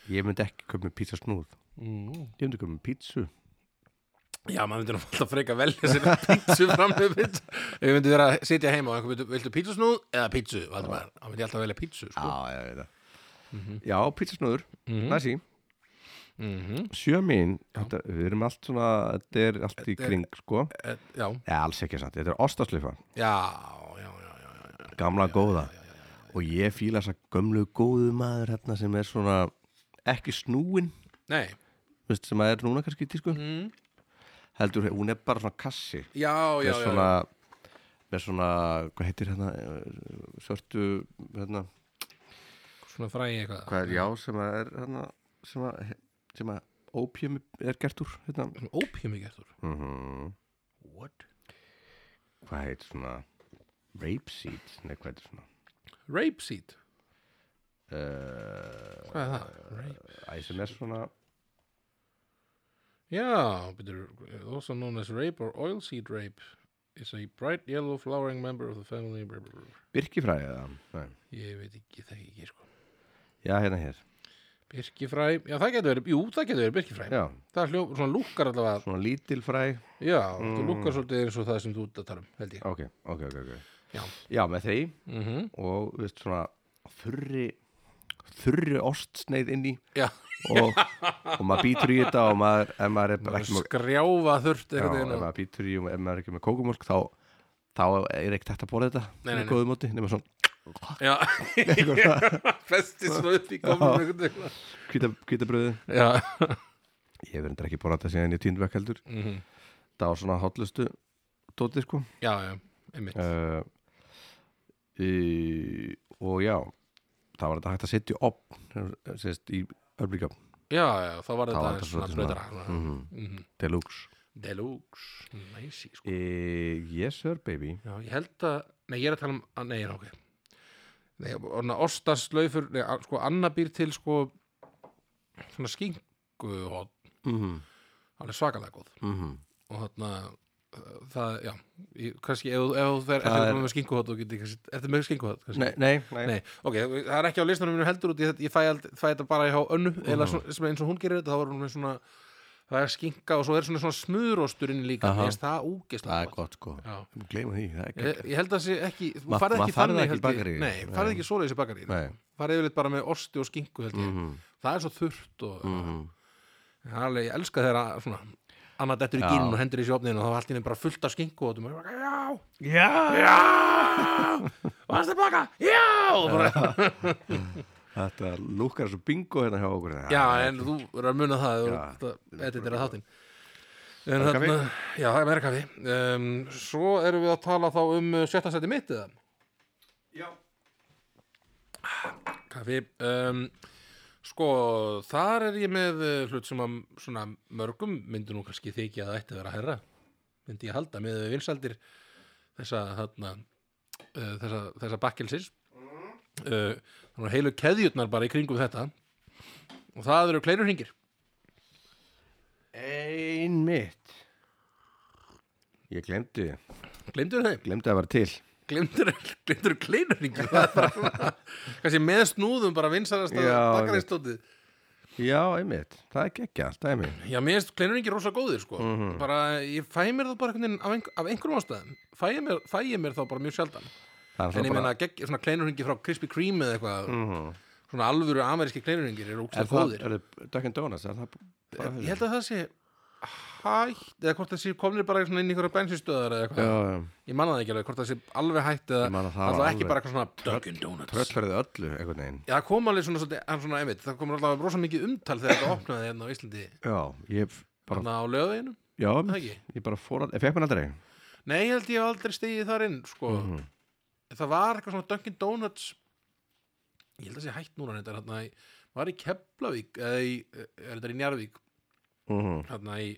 [SPEAKER 1] Ég myndi ekki kaupa með pizza snúð
[SPEAKER 2] mm,
[SPEAKER 1] Ég myndi kaupa með pizzu
[SPEAKER 2] Já, maður myndi nú <laughs> alltaf freka að velja sér pítsu <laughs> fram með pítsu Ef ég myndi vera að sitja heima og einhver myndi, viltu pítsusnúð eða pítsu, valdur maður þá myndi ég alltaf velja pítsu, sko
[SPEAKER 1] Já, ég veit það Já, pizza snúður,
[SPEAKER 2] Mhm.
[SPEAKER 1] næsí
[SPEAKER 2] mm -hmm.
[SPEAKER 1] Sjö mín, þetta, við erum allt svona Þetta er allt í
[SPEAKER 2] er-
[SPEAKER 1] kring, sko
[SPEAKER 2] Eh, Já,
[SPEAKER 1] Eða, alls ekki sant, þetta er ostaslifa
[SPEAKER 2] já, já, já, já, já.
[SPEAKER 1] Gamla góða Og ég fíla þess að gömlu góðu maður hérna sem er svona ekki snúin
[SPEAKER 2] Nei,
[SPEAKER 1] veist, sem að er núna kannski í tísku
[SPEAKER 2] mm.
[SPEAKER 1] heldur, hún er bara svona kassi
[SPEAKER 2] já, já,
[SPEAKER 1] með
[SPEAKER 2] já,
[SPEAKER 1] svona
[SPEAKER 2] já.
[SPEAKER 1] með svona, hvað heitir hérna eh, svörtu hérna,
[SPEAKER 2] Svona fræði eitthvað
[SPEAKER 1] hvað er já sem að er hérna, sem að, sem að opium er gert úr hérna.
[SPEAKER 2] Svona ópími gert úr
[SPEAKER 1] mm
[SPEAKER 2] What?
[SPEAKER 1] hvað heitir svona rapeseed, nei hvað heitir svona
[SPEAKER 2] Rapeseed,
[SPEAKER 1] uh,
[SPEAKER 2] hvað er það? Rape.
[SPEAKER 1] æ, sem er svona
[SPEAKER 2] Já, betur, eh, also known as rape or oilseed rape is a bright yellow flowering member of the family blah, blah, blah.
[SPEAKER 1] birkifræði eða, nei,
[SPEAKER 2] Ég veit ekki, það ekki, sko
[SPEAKER 1] já hérna hér
[SPEAKER 2] Birkifræ, já það getur verið, jú það getur verið birkifræ
[SPEAKER 1] já,
[SPEAKER 2] Það er hljó, svona lúkkar allavega
[SPEAKER 1] svona lítil fræ
[SPEAKER 2] Já, þú
[SPEAKER 1] Mm.
[SPEAKER 2] lúkkar svolítið eins og það sem þú ert að tala um, held ég
[SPEAKER 1] ok, ok, ok, ok
[SPEAKER 2] Já.
[SPEAKER 1] já, með þeim
[SPEAKER 2] mm -hmm.
[SPEAKER 1] og þú veist svona þurri þurri ostsneið inn í
[SPEAKER 2] Já,
[SPEAKER 1] og, og maður býtur í þetta og maður, ef maður er bara ekki með
[SPEAKER 2] skrjáfa þurft
[SPEAKER 1] já,
[SPEAKER 2] einhvern
[SPEAKER 1] ef
[SPEAKER 2] veginn og-
[SPEAKER 1] maður býtur í og ef maður er ekki með kókumólk þá, þá er ekki hægt að borða þetta
[SPEAKER 2] Nei, nei, nei.
[SPEAKER 1] með góðu móti, nema svona
[SPEAKER 2] Já, <laughs> festið svona upp í komum einhvern veginn
[SPEAKER 1] hvíta, hvítabröði
[SPEAKER 2] Já,
[SPEAKER 1] ég verður ekki borða þetta síðan ég týndvekk heldur
[SPEAKER 2] Mhm.
[SPEAKER 1] það var svona hátlustu dótið sko
[SPEAKER 2] já, já, einmitt
[SPEAKER 1] uh, í, og já það var þetta hægt að setja í opn sérst í örbríkjöfn
[SPEAKER 2] Já, já, þá var
[SPEAKER 1] þá
[SPEAKER 2] þetta
[SPEAKER 1] var
[SPEAKER 2] svona
[SPEAKER 1] þetta svolítið svona-
[SPEAKER 2] blöðra svona.
[SPEAKER 1] mm,
[SPEAKER 2] Mhm.
[SPEAKER 1] deluxe
[SPEAKER 2] Deluxe, næsi, sko
[SPEAKER 1] e, yes sir baby
[SPEAKER 2] Já, ég held að, nei, ég er að tala um að, nei, já, ok Nei, orna ostaslaufur, nei, a- sko, Anna býr til, sko svona skinkuhótt
[SPEAKER 1] mm -hmm.
[SPEAKER 2] alveg svakalega góð
[SPEAKER 1] Mm -hmm.
[SPEAKER 2] og þarna uh, það, já, ég, kannski ef, þú- ef þú fer,
[SPEAKER 1] Það
[SPEAKER 2] eftir er...
[SPEAKER 1] er-
[SPEAKER 2] með skinkuhótt og geti, kannski, eftir með skinkuhótt kannski
[SPEAKER 1] nei, nei, nei.
[SPEAKER 2] Nei, ok, það er ekki á listanum mínum heldur út í þetta, ég fæ, ald, fæ þetta bara hjá önnu, eða svona, sem eins og hún gerir þetta, þá var hún með svona það er skinka og svo er svona, svona smurostur inn í líka,
[SPEAKER 1] Aha.
[SPEAKER 2] Aha. það úgeislega
[SPEAKER 1] það er gott sko
[SPEAKER 2] Já.
[SPEAKER 1] Við gleymum því, það er
[SPEAKER 2] Ég,
[SPEAKER 1] ekki
[SPEAKER 2] ég held að það sé ekki, þú
[SPEAKER 1] Ma-
[SPEAKER 2] farið
[SPEAKER 1] maður
[SPEAKER 2] ekki
[SPEAKER 1] þarf það
[SPEAKER 2] þannig
[SPEAKER 1] ekki í
[SPEAKER 2] held ég,
[SPEAKER 1] bakaríið.
[SPEAKER 2] nei, farið
[SPEAKER 1] Nei.
[SPEAKER 2] ekki svoleiðis í bakaríð
[SPEAKER 1] Nei.
[SPEAKER 2] farið yfirleitt bara með osti og skinku held ég,
[SPEAKER 1] Mhm.
[SPEAKER 2] það er svo þurft og
[SPEAKER 1] Mhm.
[SPEAKER 2] það er alveg, ég elska þeirra svona, annað dettur í
[SPEAKER 1] Já.
[SPEAKER 2] gírin og hendur í sjófninu og þá er allt í nefn bara fullt af skinku og þú maður bara, já,
[SPEAKER 1] Já,
[SPEAKER 2] já varst að baka, já og bara,
[SPEAKER 1] Þetta lúkar svo bingo hérna hjá okkur
[SPEAKER 2] já, en þú er að muna það
[SPEAKER 1] Já.
[SPEAKER 2] og þetta er þáttinn en
[SPEAKER 1] Meira kaffi?
[SPEAKER 2] þarna, já, það er meira kaffi um, svo erum við að tala þá um uh, sjötta seti mitt eða
[SPEAKER 1] Já.
[SPEAKER 2] kaffi um, sko, þar er ég með uh, hlut sem að svona mörgum myndi nú kannski þykja að það ætti að vera að herra myndi ég halda með vinsaldir þessa þarna uh, þessa, þessa bakkelsis
[SPEAKER 1] Mm-hmm.
[SPEAKER 2] uh, þannig að heilu keðjurnar bara í kringum þetta og það eru kleinurhingir
[SPEAKER 1] Einmitt Ég glemdi,
[SPEAKER 2] glemdur þeim,
[SPEAKER 1] glemdi að vera til
[SPEAKER 2] glemdur, glemdur kleinurhingir það er bara svona kannski með snúðum bara vinsalast að
[SPEAKER 1] Já,
[SPEAKER 2] bakkaristótið
[SPEAKER 1] Já, einmitt, það er gekkja, dæmi
[SPEAKER 2] Já, mér finnst kleinurinn rósa góðir sko
[SPEAKER 1] Mhm.
[SPEAKER 2] bara, ég fæ mér það bara einhvern veginn af, einhver, af einhverjum ástæðum fæ ég, mér, fæ ég mér þá bara mjög sjaldan
[SPEAKER 1] Það er
[SPEAKER 2] en ég
[SPEAKER 1] alltaf bara
[SPEAKER 2] meina, gegg, svona kleinurinn frá Krispy Kreme eða eitthvað,
[SPEAKER 1] Mhm.
[SPEAKER 2] svona alvöru ameríski kleinurinn eru
[SPEAKER 1] Er Eh,
[SPEAKER 2] ókslega
[SPEAKER 1] það,
[SPEAKER 2] góðir
[SPEAKER 1] er það Dunkin Donuts, er það bara-
[SPEAKER 2] ég held að það sé hætt, eða hvort það sé komnir bara svona inn í einhverja bensinstöðar eða eitthvað,
[SPEAKER 1] Já, já,
[SPEAKER 2] ég manna það ekki alveg hvort það sé alveg hætt eða
[SPEAKER 1] Ég man að það var
[SPEAKER 2] alltaf ekki
[SPEAKER 1] alveg-
[SPEAKER 2] bara eitthvað svona Dunkin Donuts
[SPEAKER 1] tröllferðið öllu, einhvern veginn
[SPEAKER 2] Já, það kom alveg svona, svona, svona, svona einmitt, það komur alltaf rosa mikið umtal þegar þetta opnaði hérna á Íslandi,
[SPEAKER 1] Já, ég bara,
[SPEAKER 2] hérna á löðinu,
[SPEAKER 1] já,
[SPEAKER 2] það ekki?
[SPEAKER 1] ég bara fór að, ég fekk mér aldrei
[SPEAKER 2] Nei, ég held ég hef aldrei stigið þar inn sko.
[SPEAKER 1] Mhm.
[SPEAKER 2] Það var eitthvað svona Dunkin Donuts Ég held að sé hætt núna þetta er hérna í, var í Keflavík eða í, er þetta í Njarvík
[SPEAKER 1] Mhm,
[SPEAKER 2] hérna í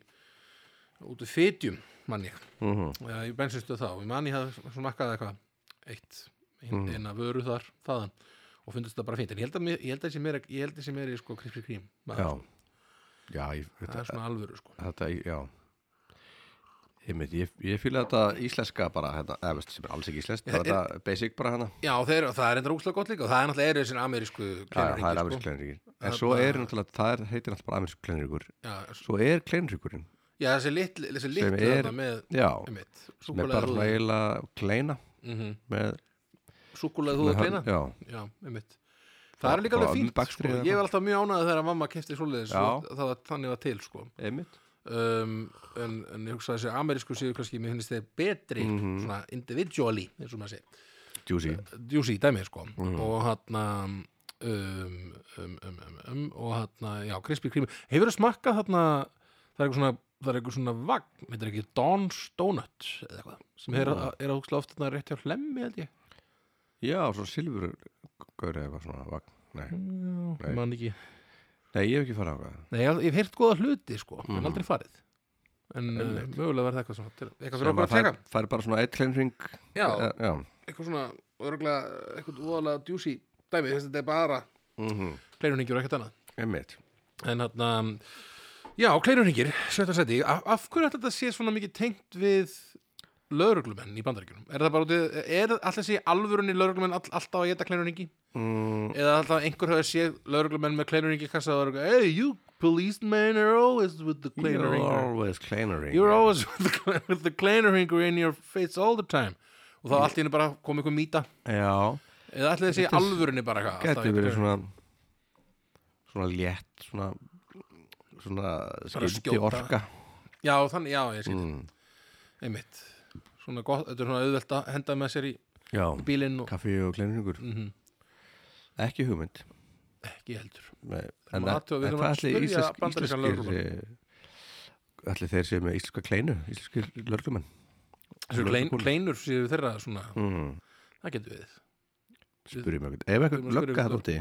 [SPEAKER 2] út úr Fytjum, mann ég
[SPEAKER 1] mhm,
[SPEAKER 2] eða í bensinstu þá, ég mann ég hafði svona akkað eitthvað eitt ein,
[SPEAKER 1] Mhm.
[SPEAKER 2] eina vöru þar, þaðan og fundist það bara fínt, en ég held að, mér- ég held að sé meira ég held að sé meira í sko Krispy Kreme
[SPEAKER 1] Já
[SPEAKER 2] maður.
[SPEAKER 1] Já, ég,
[SPEAKER 2] það er
[SPEAKER 1] þetta,
[SPEAKER 2] svona alvöru sko
[SPEAKER 1] þetta, já Einmitt, ég, ég fýla þetta íslenska bara, hérna, eða veist, sem er alls ekki íslenskt,
[SPEAKER 2] Ég-
[SPEAKER 1] bara þetta basic bara hérna
[SPEAKER 2] Já, þeir, það er enda rúkslega gott líka og það er náttúrulega eru þessin amerísku
[SPEAKER 1] Já, já, það er
[SPEAKER 2] kleinurhringir,
[SPEAKER 1] amerísk
[SPEAKER 2] sko.
[SPEAKER 1] kleinríkur
[SPEAKER 2] Það
[SPEAKER 1] En
[SPEAKER 2] er
[SPEAKER 1] svo
[SPEAKER 2] bara-
[SPEAKER 1] er náttúrulega, það er, heitir náttúrulega bara amerísk kleinríkur
[SPEAKER 2] Já,
[SPEAKER 1] Svo er kleinríkurinn
[SPEAKER 2] Já, þessi litli, þessi
[SPEAKER 1] Sem
[SPEAKER 2] litli
[SPEAKER 1] er-
[SPEAKER 2] þarna með,
[SPEAKER 1] Já,
[SPEAKER 2] einmitt,
[SPEAKER 1] sem er bara
[SPEAKER 2] súkulega
[SPEAKER 1] svona
[SPEAKER 2] húðu,
[SPEAKER 1] eiginlega kleina
[SPEAKER 2] mm -hmm.
[SPEAKER 1] með
[SPEAKER 2] súkulega
[SPEAKER 1] með
[SPEAKER 2] húðu
[SPEAKER 1] hann-
[SPEAKER 2] kleina,
[SPEAKER 1] Já,
[SPEAKER 2] já, einmitt. Það
[SPEAKER 1] Bara-
[SPEAKER 2] er líka
[SPEAKER 1] bara
[SPEAKER 2] alveg fínt,
[SPEAKER 1] bakstri
[SPEAKER 2] sko.
[SPEAKER 1] eða
[SPEAKER 2] ég
[SPEAKER 1] eitthvað.
[SPEAKER 2] var alltaf mjög ánægð þegar að mamma kefti svoleiðis
[SPEAKER 1] Já.
[SPEAKER 2] og það var þannig var til, sko.
[SPEAKER 1] einmitt
[SPEAKER 2] Um, en, en ég hugsa að þessi amerísku séu kannski, mér finnst þeir betri,
[SPEAKER 1] Mhm.
[SPEAKER 2] svona individually, eins og maður segir.
[SPEAKER 1] Juicy
[SPEAKER 2] djúsi í dæmi sko og hann um, um, um, um, um, og hann, já, Krispy Kreme hefur það smakkað hann það er eitthvað svona, það er eitthvað svona vagn heitir ekki Don's Donut eða eitthvað sem er,
[SPEAKER 1] Já.
[SPEAKER 2] er að hugsa oft þarna rétt hjá hlemmi held ég
[SPEAKER 1] Já, svona silfur Gauri eða eitthvað svona vagn Nei,
[SPEAKER 2] já,
[SPEAKER 1] Nei.
[SPEAKER 2] mann ekki
[SPEAKER 1] Nei ég hef ekki farað á hvað
[SPEAKER 2] Nei, ég, ég hef heyrt góða hluti sko, en
[SPEAKER 1] Mhm.
[SPEAKER 2] aldrei farið en uh,
[SPEAKER 1] Einmitt.
[SPEAKER 2] mögulega verði eitthvað svona til, eitthvað fyrir
[SPEAKER 1] Sem
[SPEAKER 2] okkur
[SPEAKER 1] að
[SPEAKER 2] að teka
[SPEAKER 1] fær, fær bara svona eitt kleinring
[SPEAKER 2] já,
[SPEAKER 1] eh, Já
[SPEAKER 2] eitthvað svona, örgulega eitthvað úðalega djúsi dæmi, þess að þetta er bara
[SPEAKER 1] Mhm.
[SPEAKER 2] kleinurningjur og ekkert annað
[SPEAKER 1] Einmitt
[SPEAKER 2] en hann já, kleinurhingir, sjötta seti af, af hverju ætla þetta sé svona mikið tengt við lögreglumenn í bandaríkjunum er það bara út í, er alltaf sé í alvörunni lögreglumenn all, alltaf að geta kleinurhingi
[SPEAKER 1] Mm,
[SPEAKER 2] eða alltaf einhver hefur séð lögreglumenn með kleinurhingi kassa og er eitthvað, hey, you policemen are always with the
[SPEAKER 1] You're
[SPEAKER 2] kleinurhingur
[SPEAKER 1] always kleinring
[SPEAKER 2] you're always with the, with the kleinurhingur in your face all the time og þá allt í henni bara kom einhver mýta
[SPEAKER 1] Já,
[SPEAKER 2] eða ætla þessi
[SPEAKER 1] Mm. Þetta er-
[SPEAKER 2] alvörunni bara eitthvað alltaf
[SPEAKER 1] gæti
[SPEAKER 2] einhver
[SPEAKER 1] verið
[SPEAKER 2] kleinurhingur.
[SPEAKER 1] svona Svona létt Svona Svona skildi
[SPEAKER 2] skjóta.
[SPEAKER 1] orka
[SPEAKER 2] já, þannig, já, ég sé
[SPEAKER 1] mm.
[SPEAKER 2] einmitt svona gott, þetta er svona auðvelt að henda með sér í
[SPEAKER 1] Já,
[SPEAKER 2] bílinn og
[SPEAKER 1] kaffi og kleinringur
[SPEAKER 2] mm
[SPEAKER 1] Ekki hugmynd
[SPEAKER 2] ekki heldur
[SPEAKER 1] Nei,
[SPEAKER 2] að
[SPEAKER 1] en,
[SPEAKER 2] athuga,
[SPEAKER 1] að,
[SPEAKER 2] við
[SPEAKER 1] en
[SPEAKER 2] þurfum
[SPEAKER 1] hvað
[SPEAKER 2] að
[SPEAKER 1] ætli
[SPEAKER 2] spyrja
[SPEAKER 1] íslensk,
[SPEAKER 2] bandarískan
[SPEAKER 1] íslenskir eh, ætli þeir séu með íslenska kleinu íslenskir lörglumenn
[SPEAKER 2] þessu klein, kleinur séu þeirra svona
[SPEAKER 1] mm,
[SPEAKER 2] það getur við
[SPEAKER 1] spyrjum eitthvað ef
[SPEAKER 2] Hmm. Við
[SPEAKER 1] eitthvað
[SPEAKER 2] erum að
[SPEAKER 1] lögga
[SPEAKER 2] spyrja
[SPEAKER 1] það úti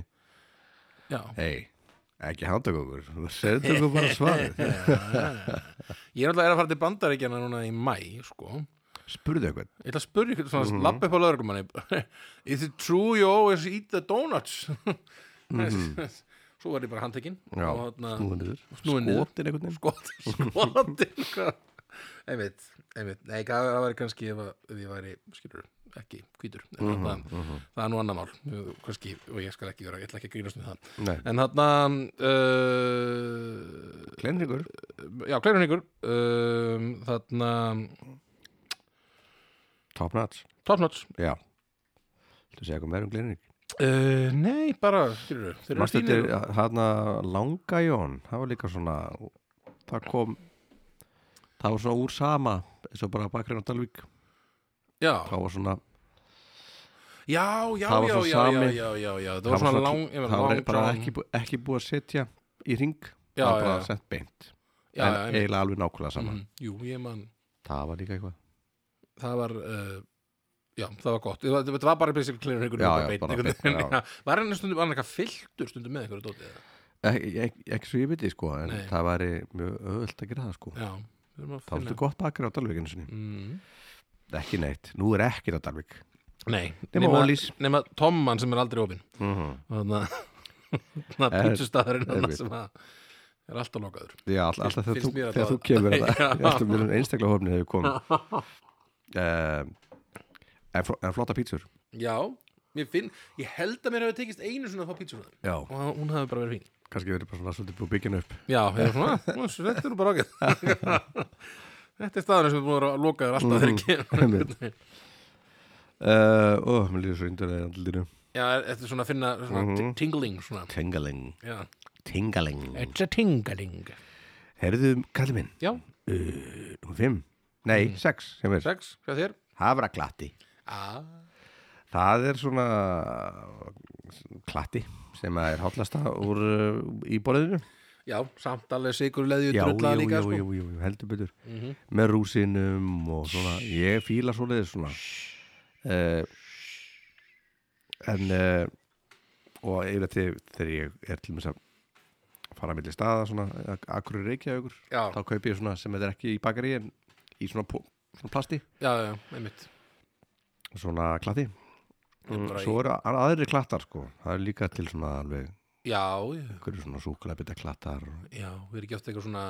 [SPEAKER 2] já.
[SPEAKER 1] hei, ekki handtak <laughs> okkur þú sendur okkur bara svarið
[SPEAKER 2] <laughs> ég er alltaf að fara til bandaríkjana núna í mæ sko.
[SPEAKER 1] spurðu eitthvað
[SPEAKER 2] ég ætla að spyrja ykkur svona mm -hmm. lappa upp á lögreglumanni <laughs> is it true you always eat the donuts <laughs> svo var ég bara handtekinn
[SPEAKER 1] Já,
[SPEAKER 2] og þarna
[SPEAKER 1] snúið niður
[SPEAKER 2] Snúið niður.
[SPEAKER 1] skotin einhvern veginn
[SPEAKER 2] skot, sko. skotin einmitt, einmitt, nei, það það væri kannski ef, að- ef ég væri skilur, ekki hvítur mm það, það er nú annar mál Ég- kannski, og ég skal ekki vera, ég ætla ekki að grínast með það
[SPEAKER 1] Nei,
[SPEAKER 2] en þarna uh,
[SPEAKER 1] klenningur
[SPEAKER 2] já, Kleinurningur uh, þarna
[SPEAKER 1] Top notch,
[SPEAKER 2] Topnots
[SPEAKER 1] já Þú segja eitthvað meira um klenning
[SPEAKER 2] uh, nei, bara, skilur þau þeir eru
[SPEAKER 1] Mastu
[SPEAKER 2] fínir
[SPEAKER 1] þetta er þarna Langa Jón Það var líka svona Það kom Það var svona úr sama eins og bara bakrein á Dalvík
[SPEAKER 2] já,
[SPEAKER 1] Það var svona
[SPEAKER 2] já, já,
[SPEAKER 1] Það var
[SPEAKER 2] já,
[SPEAKER 1] svo
[SPEAKER 2] já, já,
[SPEAKER 1] sami.
[SPEAKER 2] já, já, já það var svona lang, ég meina,
[SPEAKER 1] Það var
[SPEAKER 2] long
[SPEAKER 1] bara
[SPEAKER 2] John.
[SPEAKER 1] ekki, bú- ekki búið að setja í ring
[SPEAKER 2] Já,
[SPEAKER 1] Það var
[SPEAKER 2] já,
[SPEAKER 1] bara
[SPEAKER 2] já.
[SPEAKER 1] sett beint
[SPEAKER 2] já, já,
[SPEAKER 1] En
[SPEAKER 2] einmitt.
[SPEAKER 1] eiginlega alveg nákvæmlega sama
[SPEAKER 2] Mhm, jú, ég man
[SPEAKER 1] Það var líka eitthvað
[SPEAKER 2] það var uh, já, það var gott, þetta þetta var bara basically clear einhvern
[SPEAKER 1] Já,
[SPEAKER 2] veginn
[SPEAKER 1] já,
[SPEAKER 2] beinn
[SPEAKER 1] bara
[SPEAKER 2] einhvern
[SPEAKER 1] beinn,
[SPEAKER 2] veginn. <laughs>
[SPEAKER 1] já.
[SPEAKER 2] var hann stundum, var hann eitthvað fylltur stundum með einhverju dótið eða?
[SPEAKER 1] Ek, ek, Ekki svo Eh, ég viti sko En
[SPEAKER 2] Nei.
[SPEAKER 1] það væri mjög öðvöld að gera það sko
[SPEAKER 2] já, við erum að
[SPEAKER 1] Það var
[SPEAKER 2] finna
[SPEAKER 1] þetta gott bakrein á Dalvík einu sinni
[SPEAKER 2] mm.
[SPEAKER 1] Ekki neitt, nú er ekki á Dalvík
[SPEAKER 2] nei,
[SPEAKER 1] Nema Ólís
[SPEAKER 2] nema Tomman sem er aldrei opinn <laughs> þannig að
[SPEAKER 1] Er-
[SPEAKER 2] pítsustæðurinn
[SPEAKER 1] er við.
[SPEAKER 2] sem að er alltaf lokaður
[SPEAKER 1] Já, all- alltaf þegar
[SPEAKER 2] finnst
[SPEAKER 1] þú,
[SPEAKER 2] mér
[SPEAKER 1] þegar þú
[SPEAKER 2] allavega. Já.
[SPEAKER 1] <laughs> kemur að það Alltaf mér um einstaklega hófni þegar þú <laughs> kom um, en, fl en flotta pítsur
[SPEAKER 2] já, ég finn, ég held að mér hefur tekist einu svona að fá pítsur
[SPEAKER 1] Já,
[SPEAKER 2] og að hún hafi bara verið fín
[SPEAKER 1] kannski verið bara svona svolítið búið byggjan upp
[SPEAKER 2] já, ég er svona, "Nú, þetta er nú bara ágætt <laughs> þetta er staðurinn sem er búin að vera lokaður alltaf
[SPEAKER 1] Mhm.
[SPEAKER 2] þegar ég kemur <laughs>
[SPEAKER 1] <laughs> <laughs> Einmitt. Uh, Ó, mér líður svo yndarlega í andlutinu
[SPEAKER 2] Já, þetta er svona að finna svona
[SPEAKER 1] Mhm.
[SPEAKER 2] tingling svona.
[SPEAKER 1] Tingaling
[SPEAKER 2] Já.
[SPEAKER 1] Tingaling
[SPEAKER 2] It's a tingling
[SPEAKER 1] Herðu, kallið minn,
[SPEAKER 2] Já,
[SPEAKER 1] nummer 5 Nei, 6 sem er
[SPEAKER 2] sex, hvað þér?
[SPEAKER 1] Hafraklatti
[SPEAKER 2] Ah.
[SPEAKER 1] Það er svona klatti sem að er hátlasta úr, uh, í borðinu
[SPEAKER 2] Já, samt alveg sigurleði
[SPEAKER 1] já,
[SPEAKER 2] drulla
[SPEAKER 1] jú,
[SPEAKER 2] líka
[SPEAKER 1] jú,
[SPEAKER 2] sko. Mhm.
[SPEAKER 1] jú, jú, jú, heldur betur með rúsinum og svona ég fíla svoleiðis svona uh, en uh, og yfirlega til þegar ég er til þess að fara milli staða svona akkur reykja ykkur
[SPEAKER 2] Já,
[SPEAKER 1] þá kaupi ég svona sem þetta er ekki í bakari en í svona, pó, svona plasti
[SPEAKER 2] já, já, einmitt
[SPEAKER 1] svona klatti
[SPEAKER 2] er bara í-
[SPEAKER 1] svo eru a- aðri klattar sko það er líka til svona alveg
[SPEAKER 2] Já, já,
[SPEAKER 1] ykkur svona súkulabita klattar
[SPEAKER 2] <laughs>
[SPEAKER 1] og
[SPEAKER 2] já, við erum ekki átt eitthvað svona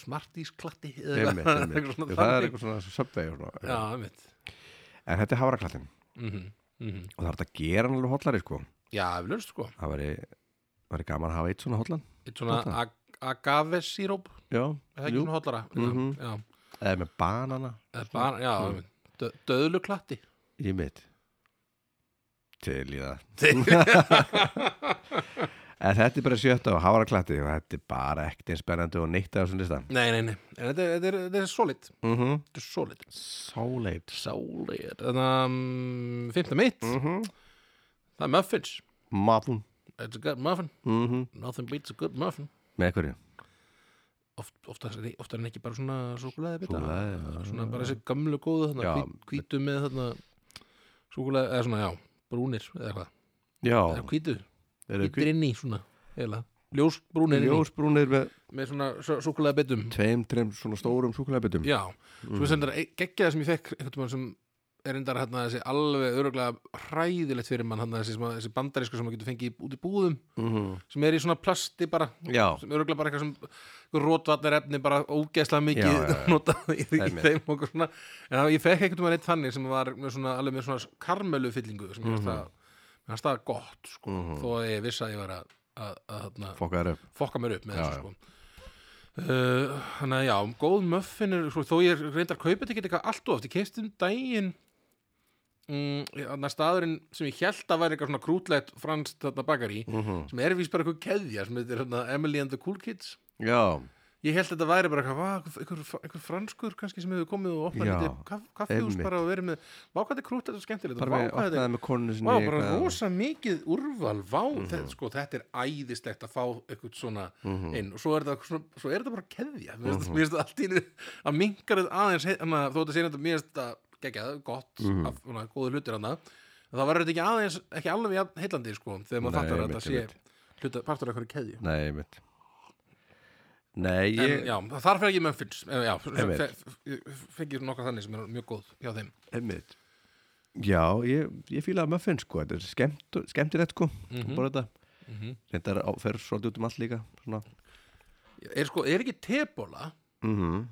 [SPEAKER 2] smartísklatti eða
[SPEAKER 1] Einmitt,
[SPEAKER 2] eitthvað-
[SPEAKER 1] einmitt.
[SPEAKER 2] svona
[SPEAKER 1] það er
[SPEAKER 2] þannig.
[SPEAKER 1] eitthvað svona söpvegi og svona.
[SPEAKER 2] Já, einmitt
[SPEAKER 1] en þetta er hafraklattin
[SPEAKER 2] mm -hmm. Mm -hmm.
[SPEAKER 1] og það er hægt að gera hann alveg hollari sko
[SPEAKER 2] Já, við löst sko
[SPEAKER 1] það væri, væri gaman að hafa eitt svona hollan
[SPEAKER 2] Eitt svona
[SPEAKER 1] Holla.
[SPEAKER 2] ag agave síróp
[SPEAKER 1] já,
[SPEAKER 2] Er það ekki svona hollara?
[SPEAKER 1] Mhm.
[SPEAKER 2] Já,
[SPEAKER 1] eða með banana
[SPEAKER 2] eða bara, já,
[SPEAKER 1] Mm.
[SPEAKER 2] einmitt Dö Döðluklatti
[SPEAKER 1] í mitt til í það en þetta er bara sjötta og hafaraklatti og þetta er bara ekkert eins spennandi og neitt af þessum listan
[SPEAKER 2] Nei, nei, nei, en þetta, er- þetta, er- þetta er solid
[SPEAKER 1] mm -hmm.
[SPEAKER 2] Þetta er solid
[SPEAKER 1] sóleit
[SPEAKER 2] Sáleir Þannig að um, fymta mitt Það er muffins
[SPEAKER 1] matun
[SPEAKER 2] It's a good muffin
[SPEAKER 1] mm -hmm.
[SPEAKER 2] Nothing beats a good muffin
[SPEAKER 1] með hverju
[SPEAKER 2] Oft, ofta, ofta er hann ekki bara svona súkulega bita
[SPEAKER 1] Súkkulaði, já.
[SPEAKER 2] Svona bara þessi gamlu góðu
[SPEAKER 1] Mm. Já.
[SPEAKER 2] þarna, hvít, Hvítu með þarna Súkulega, eða svona, já Brúnir eða eitthvað
[SPEAKER 1] já,
[SPEAKER 2] Það er hvítu,
[SPEAKER 1] eru
[SPEAKER 2] hvítur inn í svona Eða ljósbrúnir inn í
[SPEAKER 1] ljósbrúnir með
[SPEAKER 2] Með svona súkulega bitum
[SPEAKER 1] tveim, treim svona stórum súkulabitum
[SPEAKER 2] Já, svo
[SPEAKER 1] Mm.
[SPEAKER 2] sem þetta geggjaði sem ég fekk einhvern veginn sem er endar hérna þessi alveg öruglega hræðilegt fyrir mann hérna þessi, sem að- þessi bandarísku sem maður getur fengið í- út í búðum
[SPEAKER 1] mm -hmm.
[SPEAKER 2] sem er í svona plasti bara
[SPEAKER 1] já.
[SPEAKER 2] sem öruglega bara eitthvað sem rótvarnar efni bara ógeðslega mikið
[SPEAKER 1] Já, já, já.
[SPEAKER 2] <laughs> notað í, í
[SPEAKER 1] Einmitt.
[SPEAKER 2] þeim og eitthvað svona en það, ég fekk einhvern veginn eitt þannig sem var með svona, alveg með svona karmölu fyllingu sem mm -hmm. það, mér fannst það gott sko,
[SPEAKER 1] Mhm.
[SPEAKER 2] þó að ég vissi að ég var að, að, að, að
[SPEAKER 1] fokkaður upp
[SPEAKER 2] fokka mér upp með
[SPEAKER 1] Já,
[SPEAKER 2] þessu sko Uh, þannig að já, góð muffin er, svo, þó ég reyndar að kaupa þetta ekki eitthvað allt of oft ég kefst um daginn mm, þannig að staðurinn sem ég held að væri eitthvað svona krútlegt franskt þarna bakari
[SPEAKER 1] mm -hmm.
[SPEAKER 2] sem er víst bara eitthvað keðja sem þetta er hérna, Emily and the Cool Kids
[SPEAKER 1] já,
[SPEAKER 2] ég held að þetta væri bara eitthvað, vá, einhver- einhver, einhver franskur kannski sem hefur komið og opnað
[SPEAKER 1] Já,
[SPEAKER 2] lítið kaff- kaffihús
[SPEAKER 1] einmitt.
[SPEAKER 2] bara og verið með vá hvað þetta er krútlegt og skemmtilegt og
[SPEAKER 1] bara
[SPEAKER 2] vá
[SPEAKER 1] með
[SPEAKER 2] hvað þetta er
[SPEAKER 1] opnaði með konunni sinni
[SPEAKER 2] Vá, bara
[SPEAKER 1] eitthvað.
[SPEAKER 2] rosa mikið úrval Vá,
[SPEAKER 1] Mhm.
[SPEAKER 2] þetta, sko, þetta er æðislegt að fá eitthvað svona inn og svo er þetta, svona, svo er þetta bara keðja Mér
[SPEAKER 1] Mhm.
[SPEAKER 2] finnst- mér finnst þetta allt í einu að minkar þetta aðeins he- þannig að þó þetta sé þetta mér finnst þetta geggjað, gott
[SPEAKER 1] Mhm.
[SPEAKER 2] af svona, góðu hlutir hana það var þetta ekki aðeins, ekki alveg jafn heillandi sko, þegar maður
[SPEAKER 1] Nei,
[SPEAKER 2] fattar að
[SPEAKER 1] einmitt,
[SPEAKER 2] þetta sé
[SPEAKER 1] einmitt.
[SPEAKER 2] hluta, partur af hverju keðju
[SPEAKER 1] Nei, mitt Nei,
[SPEAKER 2] en,
[SPEAKER 1] ég,
[SPEAKER 2] já, þar fer ég með finns eh, já,
[SPEAKER 1] Einmitt.
[SPEAKER 2] fe- fe- ég fengi nokkað þannig sem er mjög góð hjá þeim
[SPEAKER 1] einmitt Já, ég, ég fílaði muffin sko Þetta er skemmt, skemmtilegt sko
[SPEAKER 2] Mhm.
[SPEAKER 1] Bara þetta Þetta er á, fer svolítið út um allt líka svona.
[SPEAKER 2] er, sko, er ekki tebóla
[SPEAKER 1] Mm -hmm.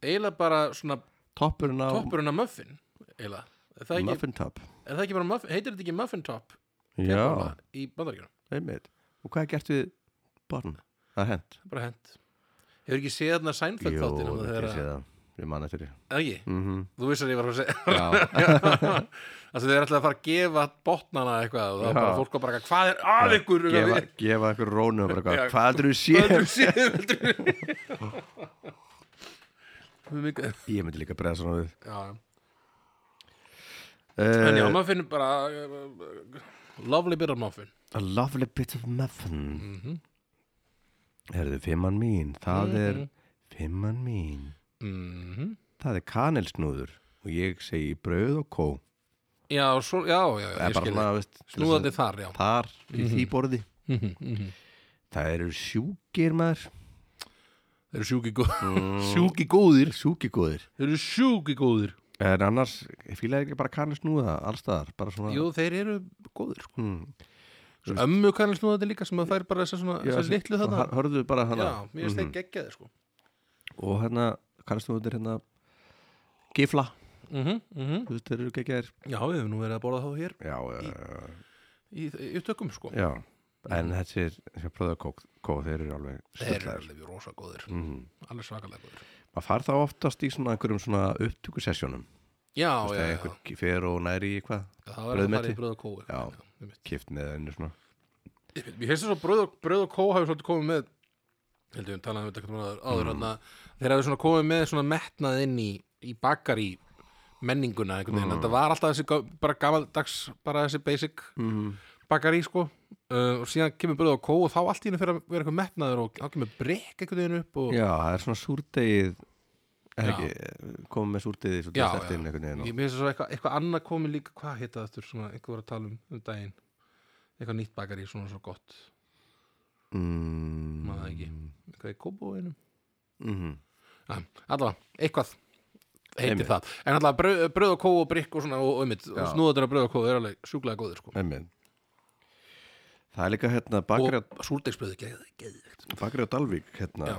[SPEAKER 2] eiginlega bara svona
[SPEAKER 1] Toppurinn á
[SPEAKER 2] toppurinn af muffin eiginlega er það ekki,
[SPEAKER 1] Muffin Top
[SPEAKER 2] er það ekki bara muff, heitir þetta ekki Muffin Top
[SPEAKER 1] Já,
[SPEAKER 2] kebabana í bandaríkjunum,
[SPEAKER 1] einmitt Og hvað er gert við barn? Það er hent
[SPEAKER 2] það er bara hent hefur ekki séð þarna Seinfeld
[SPEAKER 1] Jó,
[SPEAKER 2] þáttin
[SPEAKER 1] þetta
[SPEAKER 2] þegar
[SPEAKER 1] ég sé
[SPEAKER 2] um að,
[SPEAKER 1] það Ég man eftir því
[SPEAKER 2] eða ekki,
[SPEAKER 1] Mhm.
[SPEAKER 2] <laughs> þú vissar ég var að segja
[SPEAKER 1] Já, <laughs>
[SPEAKER 2] <laughs> það sem þeir ætlaði að fara að gefa botnana eitthvað og það var
[SPEAKER 1] Já.
[SPEAKER 2] bara fólk var bara eitthvað, hvað er að ykkur
[SPEAKER 1] gefa, gefa eitthvað rónu og bara
[SPEAKER 2] Já.
[SPEAKER 1] eitthvað, Hvað heldur þú
[SPEAKER 2] Hvað
[SPEAKER 1] sé?
[SPEAKER 2] heldur séð heldur
[SPEAKER 1] <laughs>
[SPEAKER 2] við mikið
[SPEAKER 1] Ég myndi líka bregða svona við
[SPEAKER 2] já, en já,
[SPEAKER 1] uh,
[SPEAKER 2] maður finnir bara uh, lovely bit of muffin
[SPEAKER 1] A lovely bit of muffin
[SPEAKER 2] Mhm.
[SPEAKER 1] Herðu, fimmann mín Það
[SPEAKER 2] Mhm.
[SPEAKER 1] er fimmann mín
[SPEAKER 2] mm
[SPEAKER 1] Það er kanelsnúður og ég segi brauð og kó
[SPEAKER 2] já, svo, já, já, já,
[SPEAKER 1] Það er
[SPEAKER 2] ég
[SPEAKER 1] bara
[SPEAKER 2] skilja
[SPEAKER 1] svona, veist til
[SPEAKER 2] snúðandi
[SPEAKER 1] þess
[SPEAKER 2] þar, já
[SPEAKER 1] að- Þar, í því borði
[SPEAKER 2] Mhm, mhm.
[SPEAKER 1] Það eru sjúkir maður
[SPEAKER 2] þeir eru sjúki góð sjúki góðir,
[SPEAKER 1] Sjúkigóðir
[SPEAKER 2] <laughs> þeir eru sjúki góðir
[SPEAKER 1] En annars, ég fílaði ekki bara kanelsnúða allstaðar, bara svona
[SPEAKER 2] jú, þeir eru góðir sko.
[SPEAKER 1] hmm,
[SPEAKER 2] svo ömmu kannast nú þetta líka sem að fær bara þessar svona, þessar litlu þarna
[SPEAKER 1] hör- Hörðu bara hana
[SPEAKER 2] já, mér finnst þeir geggjaði sko
[SPEAKER 1] Og hérna, kanelsnúður hérna Gifla,
[SPEAKER 2] mhm, mhm
[SPEAKER 1] þú veist, þeir eru geggjaðir
[SPEAKER 2] Já, við hefum nú verið að borða þá hér
[SPEAKER 1] Já, já,
[SPEAKER 2] í, í upptökum sko
[SPEAKER 1] já En þessir, þessir bröðu kó, kó, þeir eru alveg
[SPEAKER 2] Þeir eru
[SPEAKER 1] sturlaðir.
[SPEAKER 2] alveg rosa góðir,
[SPEAKER 1] Mhm.
[SPEAKER 2] alveg svakalega góðir
[SPEAKER 1] Maður fær þá oftast í svona einhverjum svona upptökusessjónum
[SPEAKER 2] Já, já,
[SPEAKER 1] þegar
[SPEAKER 2] já,
[SPEAKER 1] einhver já. fer og næri í eitthvað
[SPEAKER 2] það var að fara
[SPEAKER 1] brauðmeti.
[SPEAKER 2] í bröð og kói
[SPEAKER 1] Já. kift með einu svona
[SPEAKER 2] Ég finnst þess að bröð og, bröð og kó hafi svolítið komið með heldur við talaðum um við eitthvað áður, áður mm. þeir hafi svona komið með svona metnað inn í, í bakar í menninguna einhvern veginn, þetta var alltaf þessi gá- bara gamaldags, bara þessi basic
[SPEAKER 1] mm.
[SPEAKER 2] bakar í sko uh, og síðan kemur bröð og kó og þá allt í henni fyrir að vera eitthvað metnaður og þá kemur brekk einhvern veginn upp og
[SPEAKER 1] Já, það er svona súrdegið
[SPEAKER 2] Já.
[SPEAKER 1] eða ekki, eh, komið með súrdegið svo
[SPEAKER 2] Já,
[SPEAKER 1] dæst eftir
[SPEAKER 2] já.
[SPEAKER 1] inn einhvern
[SPEAKER 2] Ég
[SPEAKER 1] veginn og-
[SPEAKER 2] minnst svo eitthvað, eitthvað annað komið líka, hvað heita þetta aftur, svona, eitthvað var að tala um, um daginn eitthvað nýtt bakar í svona svo gott
[SPEAKER 1] mm.
[SPEAKER 2] Maður það ekki. eitthvað í kóbúinu
[SPEAKER 1] mm.
[SPEAKER 2] allavega, eitthvað heitir
[SPEAKER 1] Einmitt.
[SPEAKER 2] það, en allavega brauð, brauð og kó og brikk og svona og umitt,
[SPEAKER 1] Já.
[SPEAKER 2] snúðatur að brauð og kó er alveg sjúklega góðir sko
[SPEAKER 1] Einmitt. Það er líka hérna bakari,
[SPEAKER 2] og súldegsbrauði geðvikt
[SPEAKER 1] bakari á Dalvík hérna,
[SPEAKER 2] Já.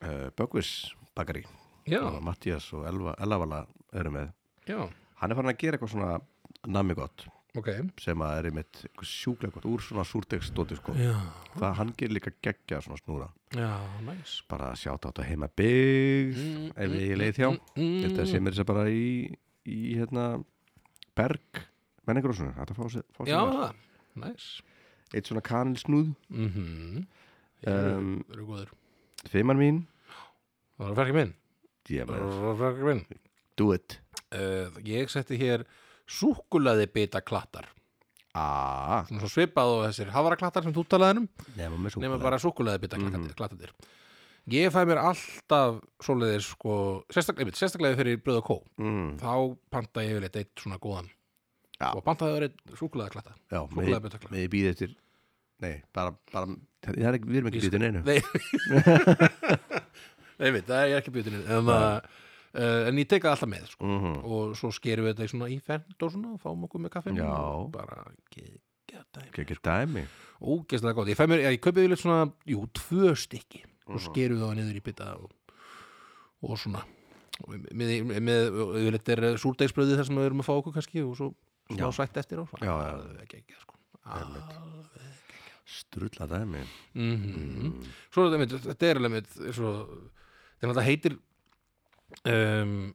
[SPEAKER 1] uh, Böggvis bakari
[SPEAKER 2] já,
[SPEAKER 1] og Mattias og Elva, Elvala eru með
[SPEAKER 2] já,
[SPEAKER 1] Hann er farin að gera eitthvað svona nami gott
[SPEAKER 2] ok
[SPEAKER 1] sem að er einmitt eitthvað sjúklega gott úr svona súrdegsdóti sko
[SPEAKER 2] já,
[SPEAKER 1] Það hann gerir líka geggja svona snúra
[SPEAKER 2] já, næs
[SPEAKER 1] bara að sjáta átt að heima byggð
[SPEAKER 2] Mm,
[SPEAKER 1] ef ég leið hjá þetta sem er þess að bara í, í hérna berg menningrúsinu, þetta fá sér, fá sér
[SPEAKER 2] já,
[SPEAKER 1] þar.
[SPEAKER 2] það, næs
[SPEAKER 1] eitt svona kanilsnúð
[SPEAKER 2] mhm,
[SPEAKER 1] um,
[SPEAKER 2] það eru góðir
[SPEAKER 1] fimmann mín,
[SPEAKER 2] það var færkið minn,
[SPEAKER 1] ég
[SPEAKER 2] það
[SPEAKER 1] með
[SPEAKER 2] var færkið minn
[SPEAKER 1] do it,
[SPEAKER 2] uh, ég setti hér súkulaði bita klattar
[SPEAKER 1] aaa
[SPEAKER 2] svona svo svipað og þessir havaraklattar sem þú talaðir um
[SPEAKER 1] Ah, nema
[SPEAKER 2] nema
[SPEAKER 1] með súkulega
[SPEAKER 2] bara súkulaði bita
[SPEAKER 1] Mhm.
[SPEAKER 2] klattardir ég fæ mér alltaf svoleiðir sko, sérstaklega, einmitt, sérstaklega fyrir bröð og kó
[SPEAKER 1] mm,
[SPEAKER 2] þá panta ég yfirleitt eitt svona góðan
[SPEAKER 1] Já.
[SPEAKER 2] og pantaði verið súkulaði klatta
[SPEAKER 1] já,
[SPEAKER 2] súkkulaði
[SPEAKER 1] með,
[SPEAKER 2] bitaklatt.
[SPEAKER 1] með ég býði eftir nei, bara, bara það er ekki, við erum ekki býðið neinu
[SPEAKER 2] nei
[SPEAKER 1] <laughs>
[SPEAKER 2] nei, veit, það er ég er ekki bjötinu en, uh, uh, en ég teka alltaf með sko.
[SPEAKER 1] mm
[SPEAKER 2] og svo skerum við þetta í svona í fend og svona, fáum okkur með kaffi
[SPEAKER 1] Já.
[SPEAKER 2] og bara geða dæmi
[SPEAKER 1] ekki dæmi
[SPEAKER 2] ógeðslega gott, ég fæ mér, ég kaupið yfirleitt svona, jú, tvö stykki og
[SPEAKER 1] Mhm.
[SPEAKER 2] skerum þá niður í bita og, og svona Og með, með, með yfirleitt er súrdeisbröði þar sem við erum að fá okkur kannski og svo smá
[SPEAKER 1] Já.
[SPEAKER 2] sætt eftir á
[SPEAKER 1] Já, já.
[SPEAKER 2] alveg ekki, sko alveg
[SPEAKER 1] strulla dæmi
[SPEAKER 2] mm svo er þetta einmitt, þetta er alveg einmitt svo, þetta er náttúrulega heitir um,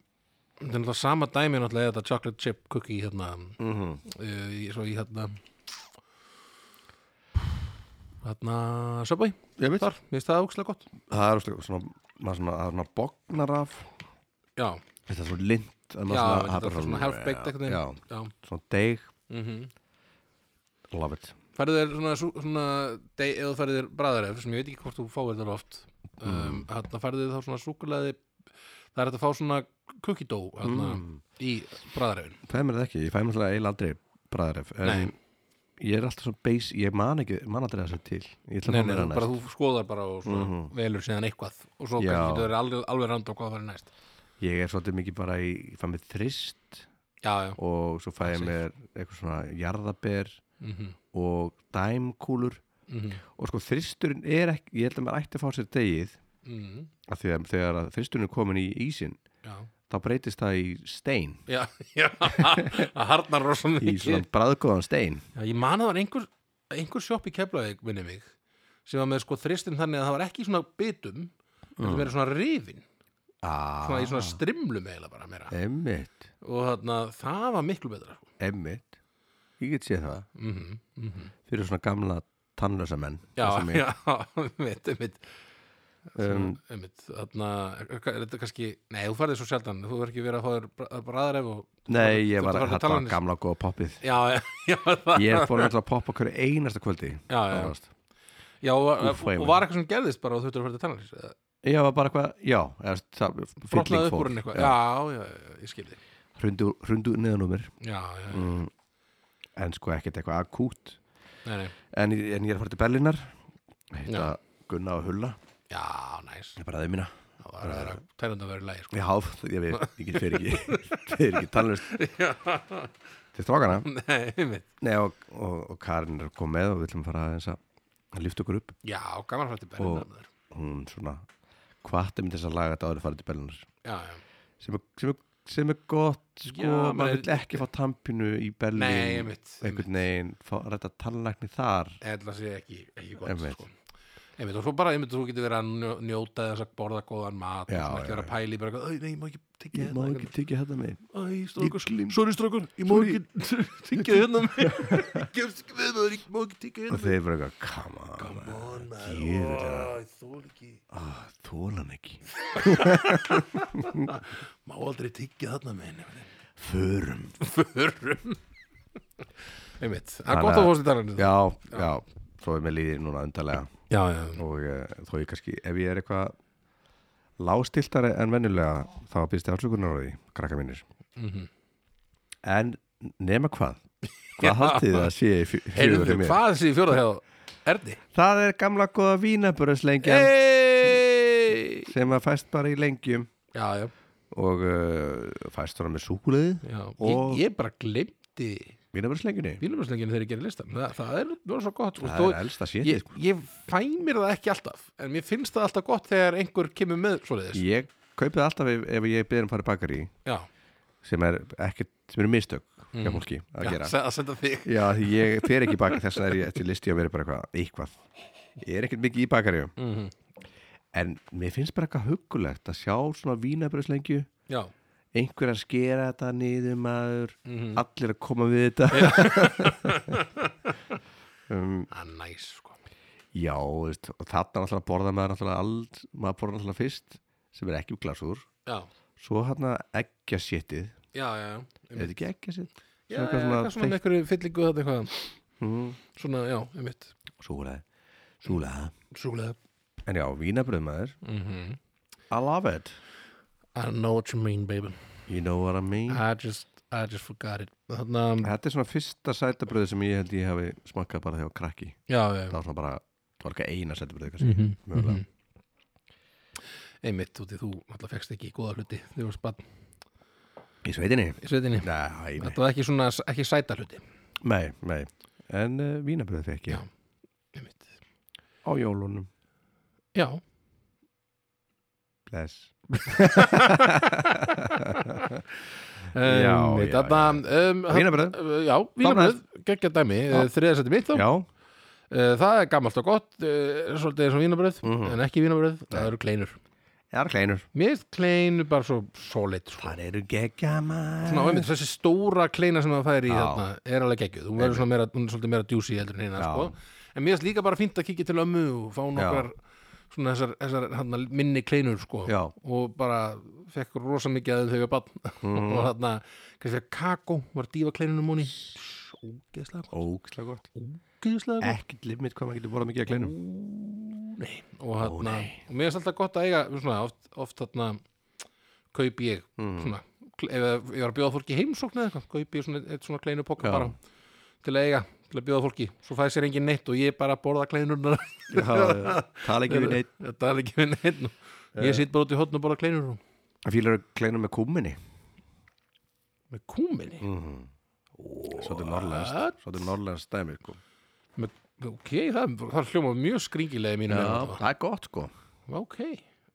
[SPEAKER 2] þetta er náttúrulega sama dæmi náttúrulega þetta chocolate chip cookie hérna
[SPEAKER 1] mm -hmm.
[SPEAKER 2] uh, í- svo í hérna hérna Subway
[SPEAKER 1] ég veit,
[SPEAKER 2] þar, mér finnst það ógstlega gott
[SPEAKER 1] það er svona, svona, maður svona, það er svona bognar af
[SPEAKER 2] já,
[SPEAKER 1] þetta er svo lind að maður
[SPEAKER 2] já
[SPEAKER 1] svona-
[SPEAKER 2] þetta
[SPEAKER 1] bara
[SPEAKER 2] er svona half-baked
[SPEAKER 1] já,
[SPEAKER 2] eitthvað
[SPEAKER 1] já,
[SPEAKER 2] já.
[SPEAKER 1] svona deig
[SPEAKER 2] Mm -hmm.
[SPEAKER 1] Love it
[SPEAKER 2] færðu þér svona, sú- svona deg, eða þú færðu þér bræðaref sem ég veit ekki hvort þú fáir þetta oft um, hérna færðu þér þá svona súkulaði það er hægt að fá svona cookie dough hérna, í bræðarefin
[SPEAKER 1] Fæði Mm. mér það ekki, ég fæði mér það eiginlega aldrei bræðaref
[SPEAKER 2] Nei.
[SPEAKER 1] Ég er alltaf svo base, ég man ekki, man aldrei þessu til Ég ætla
[SPEAKER 2] Nei, nei,
[SPEAKER 1] að
[SPEAKER 2] þú
[SPEAKER 1] mér það
[SPEAKER 2] bara
[SPEAKER 1] næst
[SPEAKER 2] þú skoðar bara og svona velur síðan eitthvað og svo
[SPEAKER 1] Já.
[SPEAKER 2] kannski getur þér alveg, alveg randa á hvað það er næst
[SPEAKER 1] Ég er svolítið mikið bara í, ég fæði mér þrist
[SPEAKER 2] Já, já,
[SPEAKER 1] Og svo fæði
[SPEAKER 2] Safe.
[SPEAKER 1] mér eitthvað svona jarðaber
[SPEAKER 2] mm -hmm.
[SPEAKER 1] Og dæmkúlur
[SPEAKER 2] mhm,
[SPEAKER 1] Og sko þristurinn er ekki, ég held að maður ætti að fá sér degið Af því að þegar að þristurinn er komin í ísinn
[SPEAKER 2] mhm, já
[SPEAKER 1] þá breytist það í stein
[SPEAKER 2] já, <laughs> já, að harnar rosa
[SPEAKER 1] í
[SPEAKER 2] mikið
[SPEAKER 1] svona bræðgóðan stein
[SPEAKER 2] Já, ég man að það var einhver, einhver sjopp í Keflavík, minni mig, sem var með sko þristinn þannig að það var ekki í svona bitum, heldur meira svona rifin,
[SPEAKER 1] ah, Eh.
[SPEAKER 2] svona í svona strimlum eiginlega bara meira.
[SPEAKER 1] emmitt,
[SPEAKER 2] Og þarna, það var miklu betra. sko. Mhm,
[SPEAKER 1] emmitt ég get séð það fyrir svona gamla tannlösa menn
[SPEAKER 2] Já,
[SPEAKER 1] eins og mig.
[SPEAKER 2] já, <laughs> einmitt, einmitt,
[SPEAKER 1] um,
[SPEAKER 2] einmitt, þarna, er þetta kannski, nei, þú farið svo sjaldan, þú verður ekki verið að fá þér bra- að bræðaref og...
[SPEAKER 1] nei, ég
[SPEAKER 2] Þú
[SPEAKER 1] var
[SPEAKER 2] ert að fara til
[SPEAKER 1] þetta var
[SPEAKER 2] tannlæknis.
[SPEAKER 1] gamla góða poppið
[SPEAKER 2] Já, já, <laughs> já, það,
[SPEAKER 1] ég er fór náttúrulega að poppa hverju einasta kvöldi
[SPEAKER 2] já, já,
[SPEAKER 1] nánast.
[SPEAKER 2] já, og,
[SPEAKER 1] Úff,
[SPEAKER 2] og var eitthvað sem gerðist bara og þú þurftur að fara til tannarins,
[SPEAKER 1] ég var bara eitthvað, já eða, það- fylling
[SPEAKER 2] brotnaði upp úr henni eitthvað, já, já, já, já, ég skildi,
[SPEAKER 1] hrundu, hrundu neðan úr mér
[SPEAKER 2] já, já, já,
[SPEAKER 1] mm, en sko ekkert eitthvað akút
[SPEAKER 2] nei, nei,
[SPEAKER 1] en, en ég er að fara til Berlínar hitta
[SPEAKER 2] Já.
[SPEAKER 1] Gunna og Hulla
[SPEAKER 2] já, næs.
[SPEAKER 1] bræði mína
[SPEAKER 2] Það var það að tælunda að vera í lægi sko.
[SPEAKER 1] já, ég,
[SPEAKER 2] <laughs>
[SPEAKER 1] ég, ég get fyrir ekki fyrir ekki tannlust til strákana
[SPEAKER 2] Nei, einmitt.
[SPEAKER 1] <laughs> Nei, og, og, og Karin er að koma með og við ætlum að fara aðeins að að lyfta okkur upp
[SPEAKER 2] Já, gaman að fara til Berlínar maður.
[SPEAKER 1] hún svona hvati með þess að laga þetta áður að fara til Berlínar
[SPEAKER 2] Já, já.
[SPEAKER 1] sem er, sem er, sem er gott sko,
[SPEAKER 2] Já, maður
[SPEAKER 1] maður
[SPEAKER 2] er-
[SPEAKER 1] vil ekki fá tampinu í Berlín
[SPEAKER 2] Nei, einmitt,
[SPEAKER 1] einhvern veginn, fá rætta tannlækni þar
[SPEAKER 2] Eðla sé ekki, ekki gott
[SPEAKER 1] Einmitt.
[SPEAKER 2] sko. Einmitt, og svo bara, einmitt, þú getur verið að njó- njóta þess að borða góðan mat
[SPEAKER 1] Já,
[SPEAKER 2] og svona ekki
[SPEAKER 1] já,
[SPEAKER 2] vera að pæla í bara eitthvað, "Æ, nei, ég má ekki tekja
[SPEAKER 1] ég má ekki tekið þetta með
[SPEAKER 2] Æ, strókur,
[SPEAKER 1] Ég glím-
[SPEAKER 2] sorry strókur, ég má
[SPEAKER 1] Sorry. <laughs>
[SPEAKER 2] ekki tekja hérna <laughs> mig. Gefst ekki við maður, ég má ekki tekja
[SPEAKER 1] og
[SPEAKER 2] hérna mig.
[SPEAKER 1] þeir verður eitthvað, come on, come
[SPEAKER 2] Ó, maður,
[SPEAKER 1] Djöfull er
[SPEAKER 2] ó, ég þoli ekki.
[SPEAKER 1] on. þólan ekki
[SPEAKER 2] Má aldrei tekja þarna með henni.
[SPEAKER 1] förum
[SPEAKER 2] Förum. <laughs> Einmitt, það er
[SPEAKER 1] Þannig
[SPEAKER 2] gott að
[SPEAKER 1] að-
[SPEAKER 2] fórstu í talanum.
[SPEAKER 1] já, já, svo er mér líðið núna undarlega
[SPEAKER 2] já, já.
[SPEAKER 1] og eh, þó ég kannski, ef ég er eitthvað lástiltari en venjulega þá byrst ég afsökunar á því, krakka mínir
[SPEAKER 2] Mhm.
[SPEAKER 1] en nema hvað
[SPEAKER 2] <laughs>
[SPEAKER 1] hvað haldið þið að sé í fjö- fjögur í
[SPEAKER 2] Heyrðu,
[SPEAKER 1] mér?
[SPEAKER 2] hvað sé í fjóra hjá Erni?
[SPEAKER 1] það er gamla góða vínaburðslengjan
[SPEAKER 2] Hey!
[SPEAKER 1] sem að fæst bara í lengjum
[SPEAKER 2] Já, já,
[SPEAKER 1] og uh, fæst hún með súkuleði
[SPEAKER 2] já.
[SPEAKER 1] Og-
[SPEAKER 2] Ég, ég bara glemdi
[SPEAKER 1] vínaburðslengjunni,
[SPEAKER 2] bílumarslengjunni þegar ég gerði listan það, það er nú svo gott og
[SPEAKER 1] það
[SPEAKER 2] þó-
[SPEAKER 1] er sko. elsta sétið
[SPEAKER 2] ég, ég fæ mér það ekki alltaf en mér finnst það alltaf gott þegar einhver kemur með svoleiðis
[SPEAKER 1] ég kaupi það alltaf ef, ef ég byrðum farið bakar í
[SPEAKER 2] Já,
[SPEAKER 1] sem er ekkert, sem eru mistök hjá fólki að
[SPEAKER 2] Mm. já
[SPEAKER 1] gera
[SPEAKER 2] se- að senda þig
[SPEAKER 1] já, því ég fer ekki í bakar þess vegna er ég til listi að vera bara eitthvað, eitthvað ég er ekkert mikið í bakari
[SPEAKER 2] Mhm.
[SPEAKER 1] en mér finnst bara eitthvað huggulegt að sjá svona vínabröðslengju
[SPEAKER 2] Já,
[SPEAKER 1] einhver að skera þetta niður maður
[SPEAKER 2] Mhm.
[SPEAKER 1] allir að koma við þetta um,
[SPEAKER 2] það er næs sko
[SPEAKER 1] <laughs> já, þú veist, og þarna alltaf borða maður alltaf allt, maður borða alltaf fyrst sem er ekki glasur,
[SPEAKER 2] Já,
[SPEAKER 1] svo hann eggja sétið
[SPEAKER 2] já, já, já,
[SPEAKER 1] er þetta ekki eggja sétið?
[SPEAKER 2] já,
[SPEAKER 1] Svona
[SPEAKER 2] já,
[SPEAKER 1] eitthvað svona
[SPEAKER 2] eitthvað svona með einhverju fyllingu þetta eitthvað
[SPEAKER 1] Mm.
[SPEAKER 2] Svona, já, einmitt
[SPEAKER 1] Súlaði Súlaði
[SPEAKER 2] Súlega
[SPEAKER 1] En já, vínabröð maður
[SPEAKER 2] mm -hmm.
[SPEAKER 1] I love it
[SPEAKER 2] I know what you mean, baby
[SPEAKER 1] You know what I mean
[SPEAKER 2] I just, I just forgot it Þannig að,
[SPEAKER 1] Þetta er svona fyrsta sætabröð sem ég held ég hafi smakkað bara þegar krakki
[SPEAKER 2] já, já, já
[SPEAKER 1] Það var svona bara, það var eitthvað eina sætabröð kannski
[SPEAKER 2] Mhm,
[SPEAKER 1] mögulega.
[SPEAKER 2] mhm. einmitt út í þú alltaf fekst ekki góða hluti þegar þú varst bann
[SPEAKER 1] Í sveitinni?
[SPEAKER 2] í sveitinni
[SPEAKER 1] Nei, nei,
[SPEAKER 2] þetta var ekki svona ekki sæta hluti
[SPEAKER 1] nei, nei. En uh, vínabröð fekk ég
[SPEAKER 2] Já. einmitt
[SPEAKER 1] Á jólunum
[SPEAKER 2] já
[SPEAKER 1] <laughs> Bless Já,
[SPEAKER 2] um,
[SPEAKER 1] já,
[SPEAKER 2] þetta, um, hann-
[SPEAKER 1] Vínabröð?
[SPEAKER 2] uh, já, vínabröð geggja dæmi
[SPEAKER 1] Já.
[SPEAKER 2] þriðarsætti mitt þá uh,
[SPEAKER 1] Já
[SPEAKER 2] það er gammalt og gott uh, svolítið eins og vínabröð
[SPEAKER 1] Mhm.
[SPEAKER 2] en ekki vínabröð
[SPEAKER 1] Nei.
[SPEAKER 2] það eru kleinur
[SPEAKER 1] Það eru kleinur
[SPEAKER 2] mér finnst kleinu bara svo solid sko.
[SPEAKER 1] Það eru geggja maður
[SPEAKER 2] svona, og einmitt, þessi stóra kleina sem það fær í
[SPEAKER 1] Já.
[SPEAKER 2] þarna er alveg geggjuð, hún verður svona meira, hún er svolítið meira djúsi heldur en hérna
[SPEAKER 1] Já.
[SPEAKER 2] sko. en mér finnst líka bara fínt að kíkja til ömmu og fá nokkar svona þessar, þessar hana, minni kleinur sko.
[SPEAKER 1] Já.
[SPEAKER 2] og bara fekk rosa mikið að þeim þegar ég var barn <laughs>
[SPEAKER 1] Mhm.
[SPEAKER 2] og þarna, kannski að kakó var dýfa kleinunum hún í ógeðslega gott,
[SPEAKER 1] Ókslega gott
[SPEAKER 2] ógeðslega gott
[SPEAKER 1] Ekkert limit hvað maður getur borðað mikið að kleinum
[SPEAKER 2] nei. og þarna,
[SPEAKER 1] nei.
[SPEAKER 2] og mér finnst alltaf gott að eiga svona, oft, oft þarna kaup ég
[SPEAKER 1] Mm.
[SPEAKER 2] svona, kl- ef ef ég var að bjóða fólki í heimsókn eða eitthvað, kaup ég svona, eitt svona kleinu poka
[SPEAKER 1] Já.
[SPEAKER 2] bara til að eiga, til að bjóða fólki svo fæði sér engin neitt og ég bara borða kleinurnar <laughs>
[SPEAKER 1] Já, já. Tala ekki við neitt
[SPEAKER 2] þetta er ekki við neitt nú.
[SPEAKER 1] Eh.
[SPEAKER 2] ég sitt bara út í hotn og borða kleinur og-
[SPEAKER 1] Fýlar kleinur með kúminni
[SPEAKER 2] með kúminni
[SPEAKER 1] Mm. Svolítið norrlenskt Svolítið norrlenskt dæmi sko.
[SPEAKER 2] með, ok, það, það hljóma mjög skringilega í mínum
[SPEAKER 1] Já,
[SPEAKER 2] mennum
[SPEAKER 1] það er gott sko
[SPEAKER 2] ok,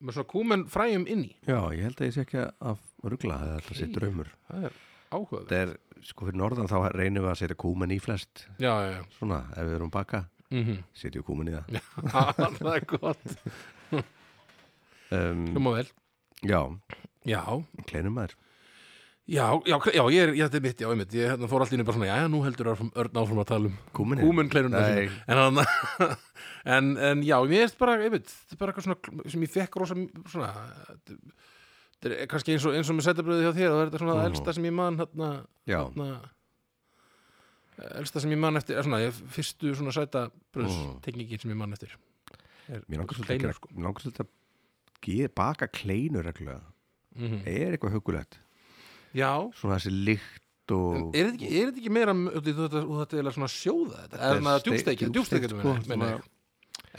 [SPEAKER 2] með svona kúmen fræjum inn í
[SPEAKER 1] Já, ég held að ég sé ekki að ruggla að þetta sé
[SPEAKER 2] Í.
[SPEAKER 1] draumur
[SPEAKER 2] það er áhugaverð
[SPEAKER 1] Þetta er, sko fyrir norðan þá reynum við að setja kúmen í flest
[SPEAKER 2] já, já, já
[SPEAKER 1] Svona, ef við erum að baka,
[SPEAKER 2] mm
[SPEAKER 1] setjum við kúmen í það
[SPEAKER 2] <laughs> það er gott
[SPEAKER 1] um,
[SPEAKER 2] hljóma vel
[SPEAKER 1] Já,
[SPEAKER 2] já,
[SPEAKER 1] kleinum maður
[SPEAKER 2] já, já, já, ég er, já, þetta er mitt, já, einmitt ég hérna, fór allt í einu bara svona, já, já, nú heldur Örn Örn áfram að tala um
[SPEAKER 1] Kúmen
[SPEAKER 2] kúmen kleinuna
[SPEAKER 1] Nei.
[SPEAKER 2] sína. en, hann, <laughs> en, en já, mér erst bara, einmitt þetta er bara eitthvað svona sem ég fekk rosa svona, þetta er kannski eins og, eins og með setabröði hjá þér það er þetta svona það
[SPEAKER 1] Mhm.
[SPEAKER 2] elsta sem ég man hérna,
[SPEAKER 1] Já,
[SPEAKER 2] hérna elsta sem ég man eftir, er svona, ég, fyrstu svona sæta bröðs
[SPEAKER 1] Mhm.
[SPEAKER 2] sem ég man eftir er,
[SPEAKER 1] mér langar svolítið að
[SPEAKER 2] kleinur,
[SPEAKER 1] gera-
[SPEAKER 2] sko.
[SPEAKER 1] mér langar svolítið að ge- baka kleinur reglulega
[SPEAKER 2] Mhm.
[SPEAKER 1] Er eitthvað hugulegt
[SPEAKER 2] já,
[SPEAKER 1] Svona þessi lykt
[SPEAKER 2] En
[SPEAKER 1] og
[SPEAKER 2] er þetta ekki, er þetta ekki meira og þetta, og þetta er eiginlega svona sjóða þetta
[SPEAKER 1] Þetta
[SPEAKER 2] er
[SPEAKER 1] er
[SPEAKER 2] maður
[SPEAKER 1] steik-
[SPEAKER 2] djúbsteikja, djúbsteikja
[SPEAKER 1] djúpsteikt, sko,
[SPEAKER 2] menna ég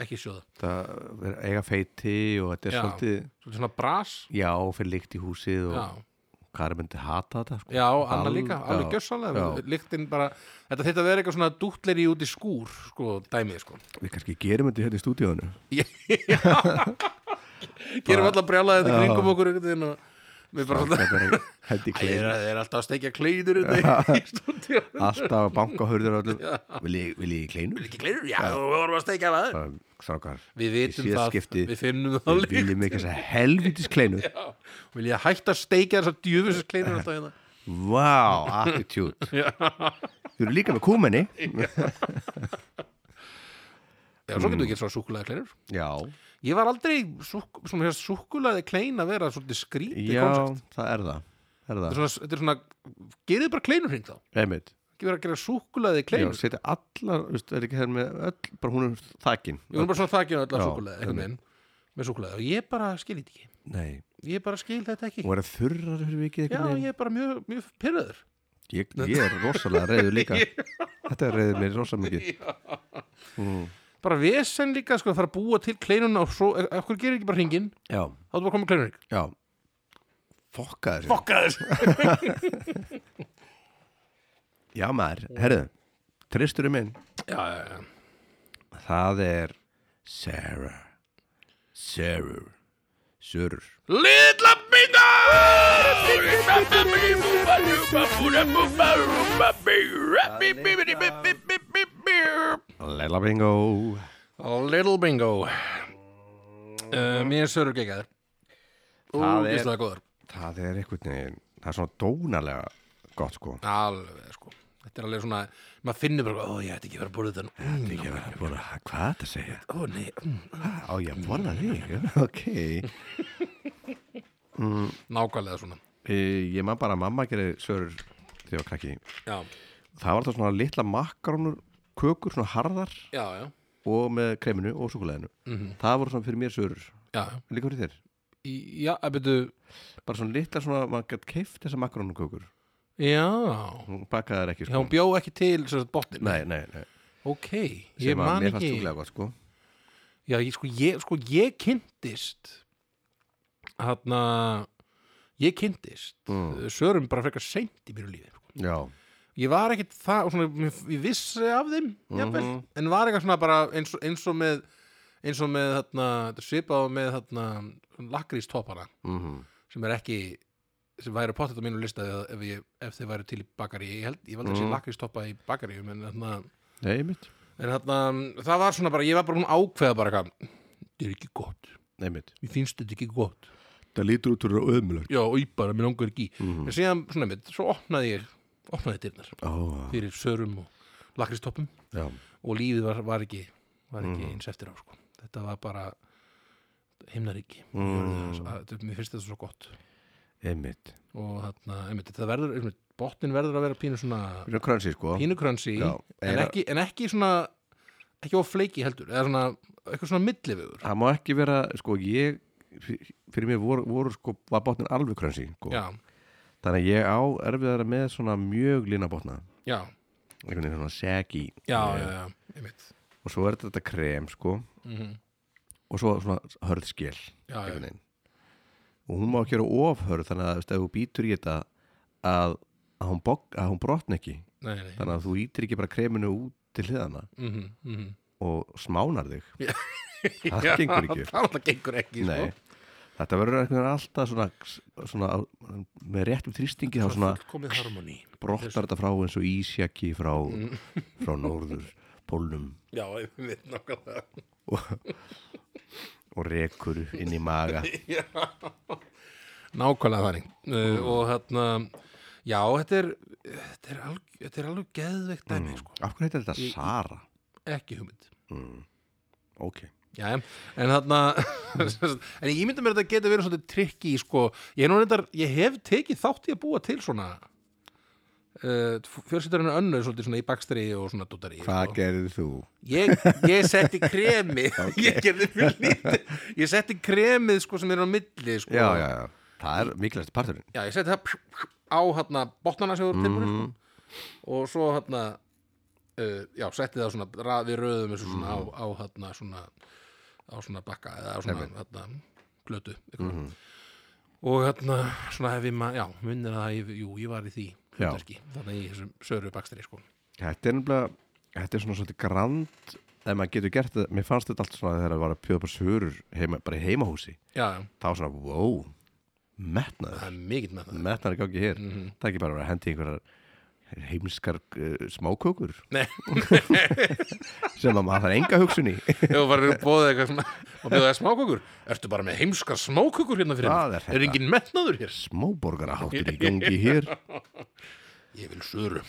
[SPEAKER 2] ekki sjóða,
[SPEAKER 1] það er eiga feiti og þetta er
[SPEAKER 2] Já.
[SPEAKER 1] svolítið
[SPEAKER 2] svolítið svona bras
[SPEAKER 1] Já, fyrir lykt í húsið og
[SPEAKER 2] já,
[SPEAKER 1] hvað er myndi hata þetta sko?
[SPEAKER 2] já annar
[SPEAKER 1] Al-
[SPEAKER 2] líka, alveg
[SPEAKER 1] já.
[SPEAKER 2] gjörsálega
[SPEAKER 1] Já.
[SPEAKER 2] líktin bara, þetta þetta verður eitthvað svona dútleri út í skúr, sko, dæmið sko.
[SPEAKER 1] Við kannski gerum þetta hérna í stúdíónu
[SPEAKER 2] gerum alltaf brjálaði þetta
[SPEAKER 1] Já.
[SPEAKER 2] kringum okkur einhvern veginn og við bara svona
[SPEAKER 1] Hendi
[SPEAKER 2] Æ,
[SPEAKER 1] klein
[SPEAKER 2] það er alltaf að steikja kleinur þetta <laughs> í stúdíu
[SPEAKER 1] Alltaf að banka hörður öllum Vil ég, vil ég í kleinu?
[SPEAKER 2] ekki kleinur, já, við vorum að steikja það
[SPEAKER 1] Bara, Strákar,
[SPEAKER 2] við vitum
[SPEAKER 1] síðasta
[SPEAKER 2] það,
[SPEAKER 1] skipti-
[SPEAKER 2] við finnum það
[SPEAKER 1] við
[SPEAKER 2] líka
[SPEAKER 1] viljum ekki þess að helvitis kleinu
[SPEAKER 2] Já, vil ég hætta að steikja þessar djöfisins
[SPEAKER 1] <laughs>
[SPEAKER 2] kleinur alltaf hérna
[SPEAKER 1] Vá, attitude
[SPEAKER 2] Já.
[SPEAKER 1] Þú eru líka með kúmenni
[SPEAKER 2] Já, svo getur við gert svona súkulega kleinur
[SPEAKER 1] Já,
[SPEAKER 2] Ég var aldrei súk, svona súkulega klein að vera svolítið skrítið
[SPEAKER 1] já,
[SPEAKER 2] koncept.
[SPEAKER 1] það er það Er
[SPEAKER 2] Þetta er
[SPEAKER 1] það,
[SPEAKER 2] svona, þetta er svona, gerðið bara kleinur hring þá
[SPEAKER 1] einmitt
[SPEAKER 2] Ekki vera að gera súkulega
[SPEAKER 1] Já,
[SPEAKER 2] kleinur
[SPEAKER 1] setja allar, veist, er ekki hér með öll bara hún er þakin
[SPEAKER 2] Ég var bara svona þakið öll að
[SPEAKER 1] Já,
[SPEAKER 2] súkulega einhvern veginn með súkulega og ég bara skil þetta ekki
[SPEAKER 1] Nei,
[SPEAKER 2] Ég bara skil þetta ekki
[SPEAKER 1] og er það þurrar fyrir vikið
[SPEAKER 2] Já, ég er bara mjög, mjög pyrraður
[SPEAKER 1] Ég, ég er rosalega reyður
[SPEAKER 2] <laughs>
[SPEAKER 1] líka Þetta reyður mér rosalega mikið mm.
[SPEAKER 2] Bara vesen líka, sko, að fara að búa til kleinuna og svo, af hverju gerir ekki bara hringin
[SPEAKER 1] Já,
[SPEAKER 2] þá er bara komið kleinur hring
[SPEAKER 1] já Fokka þessu
[SPEAKER 2] Fokka þess
[SPEAKER 1] Já maður, herðu, tristurum minn
[SPEAKER 2] Já, já, já
[SPEAKER 1] Það er Sarah Sarah Sörur
[SPEAKER 2] Litla bita
[SPEAKER 1] Leila bingo
[SPEAKER 2] Little bingo uh, Mér er sörur gekkað
[SPEAKER 1] Það er-
[SPEAKER 2] Úgislega góður
[SPEAKER 1] Það er einhvern veginn, það er svona dónalega gott sko
[SPEAKER 2] Alveg sko Þetta er alveg svona Maður finnur bara Ó, ég ætti ekki verið að borða þetta Mm,
[SPEAKER 1] Ég var að búin að, hvað er þetta að segja?
[SPEAKER 2] Ó, nei mm,
[SPEAKER 1] Á ég að borða þig, Já,
[SPEAKER 2] <laughs>
[SPEAKER 1] ok
[SPEAKER 2] Nákvæmlega svona
[SPEAKER 1] e, Ég maður bara að mamma gerir sörur þegar ég var krakki
[SPEAKER 2] Já,
[SPEAKER 1] Það var það svona litla makkarónur kökur, svona harðar
[SPEAKER 2] já, já
[SPEAKER 1] og með kreminu og súkuleginu Það voru svona fyrir mér sörur,
[SPEAKER 2] Mhm, Já, já
[SPEAKER 1] líka fyrir þér
[SPEAKER 2] Í, Já, að byrju
[SPEAKER 1] Bara svona litla svona, maður gætt keift þessa makkarónur kökur
[SPEAKER 2] Já
[SPEAKER 1] Hún bakaði þær ekki
[SPEAKER 2] Já,
[SPEAKER 1] sko
[SPEAKER 2] hún bjó ekki til Svo þetta botnin
[SPEAKER 1] Nei, nei, nei
[SPEAKER 2] Ok Ég
[SPEAKER 1] Sem að
[SPEAKER 2] man
[SPEAKER 1] mér fannst
[SPEAKER 2] ekki
[SPEAKER 1] súkulega gott sko
[SPEAKER 2] Já, ég, sko, ég, sko, ég kynntist hérna ég kynntist
[SPEAKER 1] Mm.
[SPEAKER 2] mm. sörum bara frekar seint í mínu lífi sko.
[SPEAKER 1] Já,
[SPEAKER 2] ég var ekkit það og svona, mér- ég vissi af þeim jafnvel,
[SPEAKER 1] Mhm.
[SPEAKER 2] en var eitthvað svona bara eins, og- eins og með eins og með þarna, þetta er svipað og með þarna lakrístoppana
[SPEAKER 1] mm
[SPEAKER 2] sem er ekki sem væri pottet á mínu lista ef, ef, ég, ef þið væri til í bakari ég held, ég held að sé
[SPEAKER 1] Mm.
[SPEAKER 2] lakrístoppa í bakari en þarna
[SPEAKER 1] nei mitt
[SPEAKER 2] En þarna, það var svona bara, ég var bara hún ákveða bara eitthvað, þetta er ekki gott,
[SPEAKER 1] Nei mitt
[SPEAKER 2] mér finnst þetta ekki gott.
[SPEAKER 1] Það lítur út úr öðmulegt
[SPEAKER 2] Já, og ég bara, mér langar ekki. í.
[SPEAKER 1] Mhm.
[SPEAKER 2] En síðan, svona mitt, svo opnaði ég, opnaði dyrnar
[SPEAKER 1] Ó,
[SPEAKER 2] fyrir sörum og lakristoppum
[SPEAKER 1] já
[SPEAKER 2] og lífið var, var ekki, var ekki
[SPEAKER 1] Mhm.
[SPEAKER 2] eins eftir á, sko. Þetta var bara himnaríki.
[SPEAKER 1] Mm.
[SPEAKER 2] Jörðu, að- þetta- Mér finnst þetta svo gott.
[SPEAKER 1] Einmitt
[SPEAKER 2] Og þarna, einmitt, þetta verður, einmitt, botnin verður að vera pínu svona
[SPEAKER 1] Fyrir krönsi sko
[SPEAKER 2] pínukrönsi,
[SPEAKER 1] Já,
[SPEAKER 2] en
[SPEAKER 1] eiginlega-
[SPEAKER 2] ekki, en ekki svona, ekki of fleiki heldur, eða svona, eitthvað svona millivegur.
[SPEAKER 1] Það má ekki vera, sko, ég fyr- Fyrir mér voru, voru sko, var botnin alveg krönsi sko.
[SPEAKER 2] Já,
[SPEAKER 1] Þannig að ég á erfiðara með svona mjög lína botna
[SPEAKER 2] já,
[SPEAKER 1] Einhvern veginn svona segi
[SPEAKER 2] já, já, já, einmitt
[SPEAKER 1] Og svo er þetta krem, sko
[SPEAKER 2] mm
[SPEAKER 1] Og svo svona hörðskil
[SPEAKER 2] Já, já,
[SPEAKER 1] einhvern veginn og hún má ekki vera ofhörð þannig að veist, ef þú býtur í þetta að, að, hún bog, að hún brotna ekki
[SPEAKER 2] nei, nei
[SPEAKER 1] þannig að þú ítir ekki bara kreminu út til hliðana
[SPEAKER 2] Mhm, mhm.
[SPEAKER 1] og smánar þig
[SPEAKER 2] Já,
[SPEAKER 1] gengur ekki.
[SPEAKER 2] Það alltaf gengur ekki,
[SPEAKER 1] Nei.
[SPEAKER 2] sko
[SPEAKER 1] Þetta verður einhvern veginn alltaf svona, svona á- með réttum þrýstingi þá svona
[SPEAKER 2] fullkomið harmoni
[SPEAKER 1] brottar þetta frá eins og ísjaki frá, frá norður pólnum
[SPEAKER 2] já, ég veit nákvæmlega <laughs>
[SPEAKER 1] og rekur inn í maga
[SPEAKER 2] nákvæmlega þannig uh, og hérna já, þetta er þetta er alveg, þetta er alveg geðveikt dæmi sko.
[SPEAKER 1] Mm. Af hverju heitir þetta Sara?
[SPEAKER 2] ekki hugmynd
[SPEAKER 1] Ok
[SPEAKER 2] já, en þarna <laughs> en ég myndi mér að þetta geti verið svolítið trikki sko. ég, er nú reyndar, ég hef tekið þátt í að búa til svona uh, fjölsýttarinn önnu svolítið svona í bakstri og svona dóttari
[SPEAKER 1] Hvað gerðið þú?
[SPEAKER 2] Ég, ég setti kremi
[SPEAKER 1] <laughs>
[SPEAKER 2] ég gerði mjög lítið ég setti kremið sko sem er á milli sko.
[SPEAKER 1] Já, já, já, það er mikilvægt parturinn
[SPEAKER 2] Já, ég setti það pjú, pjú, á hérna botnana sem voru tilbúin sko.
[SPEAKER 1] Mhm.
[SPEAKER 2] og svo hérna uh, já, setti það svona ra- við röðum þessu svona á,
[SPEAKER 1] Mhm.
[SPEAKER 2] á hérna svona á svona bakka eða á svona hérna glötu mm
[SPEAKER 1] Mhm.
[SPEAKER 2] og hérna svona hef ég maður, já, minnir að ég, jú, ég var í því
[SPEAKER 1] Já.
[SPEAKER 2] hlutverki, þannig í þessum söru bakstri sko.
[SPEAKER 1] Þetta er nefnilega, þetta er svona svolítið grand ef maður getur gert þetta, mér fannst þetta allt svona þegar það var að pjóða bara svörur heima, bara í heimahúsi,
[SPEAKER 2] Já, já,
[SPEAKER 1] þá svona, wow metnaður,
[SPEAKER 2] það er mikill með það
[SPEAKER 1] metnaður í gangi hér það er ekki bara að vera að hendi einhverjar heimskar uh, smákökur
[SPEAKER 2] Nei,
[SPEAKER 1] sem að maður þarf enga hugsun í <laughs>
[SPEAKER 2] ef þú varir bóðið eitthvað svona og bjóðið smákökur, ertu bara með heimskar smákökur hérna fyrir
[SPEAKER 1] Það
[SPEAKER 2] mig?
[SPEAKER 1] er
[SPEAKER 2] er
[SPEAKER 1] þetta.
[SPEAKER 2] engin metnaður hér
[SPEAKER 1] smáborgaraháttur í gangi hér
[SPEAKER 2] Ég vil söru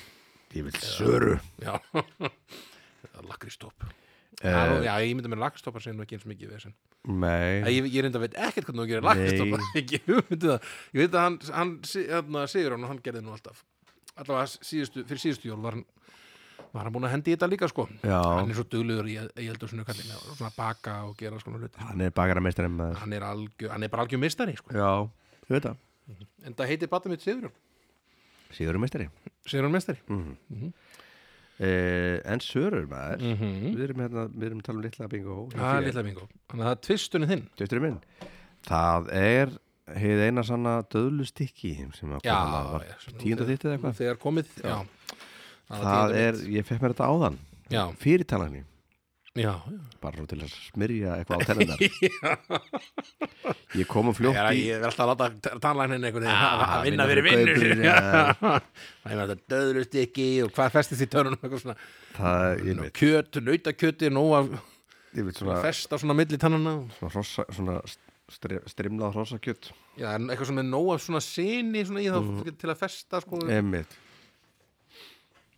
[SPEAKER 1] ég vil söru
[SPEAKER 2] Já <laughs> Lakristopp
[SPEAKER 1] Eh.
[SPEAKER 2] uh, Já, ég myndi með lakristoppar segja nú ekki eins mikið vesen
[SPEAKER 1] nei,
[SPEAKER 2] Ég, ég, ég reynda veit ekkert hvernig þú gerir lakristoppar <laughs> Ekki hugmyndið það Ég veit að hann, hann hérna, sigur hann og hann gerði nú alltaf Allavega síðustu, fyrir síðustu jól var hann var hann búin að hendi í þetta líka sko
[SPEAKER 1] Já.
[SPEAKER 2] hann er svo duglegur í eldursunni kallin og svona baka og gera svona hluti
[SPEAKER 1] hann er bakarameistarinn með
[SPEAKER 2] hann er, algjör, hann er bara algjör mistari sko.
[SPEAKER 1] já, þú veit það,
[SPEAKER 2] en það heitir bata mitt Sigurjón
[SPEAKER 1] síðurumeistari
[SPEAKER 2] Sigurjón mistari
[SPEAKER 1] Uh, Mhm. en sörur maður við, erum hérna, við erum að tala um litla bingo
[SPEAKER 2] það er Hm? litla bingo þannig að það er tvistunni þinn
[SPEAKER 1] Dötturinn minn Það er heið eina sanna döðlustikki sem
[SPEAKER 2] Já,
[SPEAKER 1] að koma að var
[SPEAKER 2] já, svona
[SPEAKER 1] tíund og
[SPEAKER 2] þegar-
[SPEAKER 1] þitt eða eitthvað
[SPEAKER 2] þegar komið já. var
[SPEAKER 1] Það
[SPEAKER 2] tíunda
[SPEAKER 1] er, ég fekk mér þetta áðan
[SPEAKER 2] mitt. já,
[SPEAKER 1] fyrirtalani,
[SPEAKER 2] já,
[SPEAKER 1] bara svo til að smyrja eitthvað á tenninar Ég kom og fljótt
[SPEAKER 2] <laughs> já
[SPEAKER 1] í
[SPEAKER 2] ég er alltaf að láta tannlæknin einhvern veginn
[SPEAKER 1] Ah,
[SPEAKER 2] að- að vinna fyrir
[SPEAKER 1] vinna fyrir
[SPEAKER 2] vinnur
[SPEAKER 1] gaupur, já.
[SPEAKER 2] <laughs> það er þetta döðlust ekki og hvað festist í törunum eitthvað svona
[SPEAKER 1] það, ég veit,
[SPEAKER 2] kjöt, nautakjöti, nóg að
[SPEAKER 1] ég veit svona,
[SPEAKER 2] festa svona milli tannana
[SPEAKER 1] svona, hrossa, svona stri, strimlað hrossakjött
[SPEAKER 2] já, en eitthvað sem er nóg af svona sini svona í
[SPEAKER 1] Mhm.
[SPEAKER 2] þá til að festa sko
[SPEAKER 1] Einmitt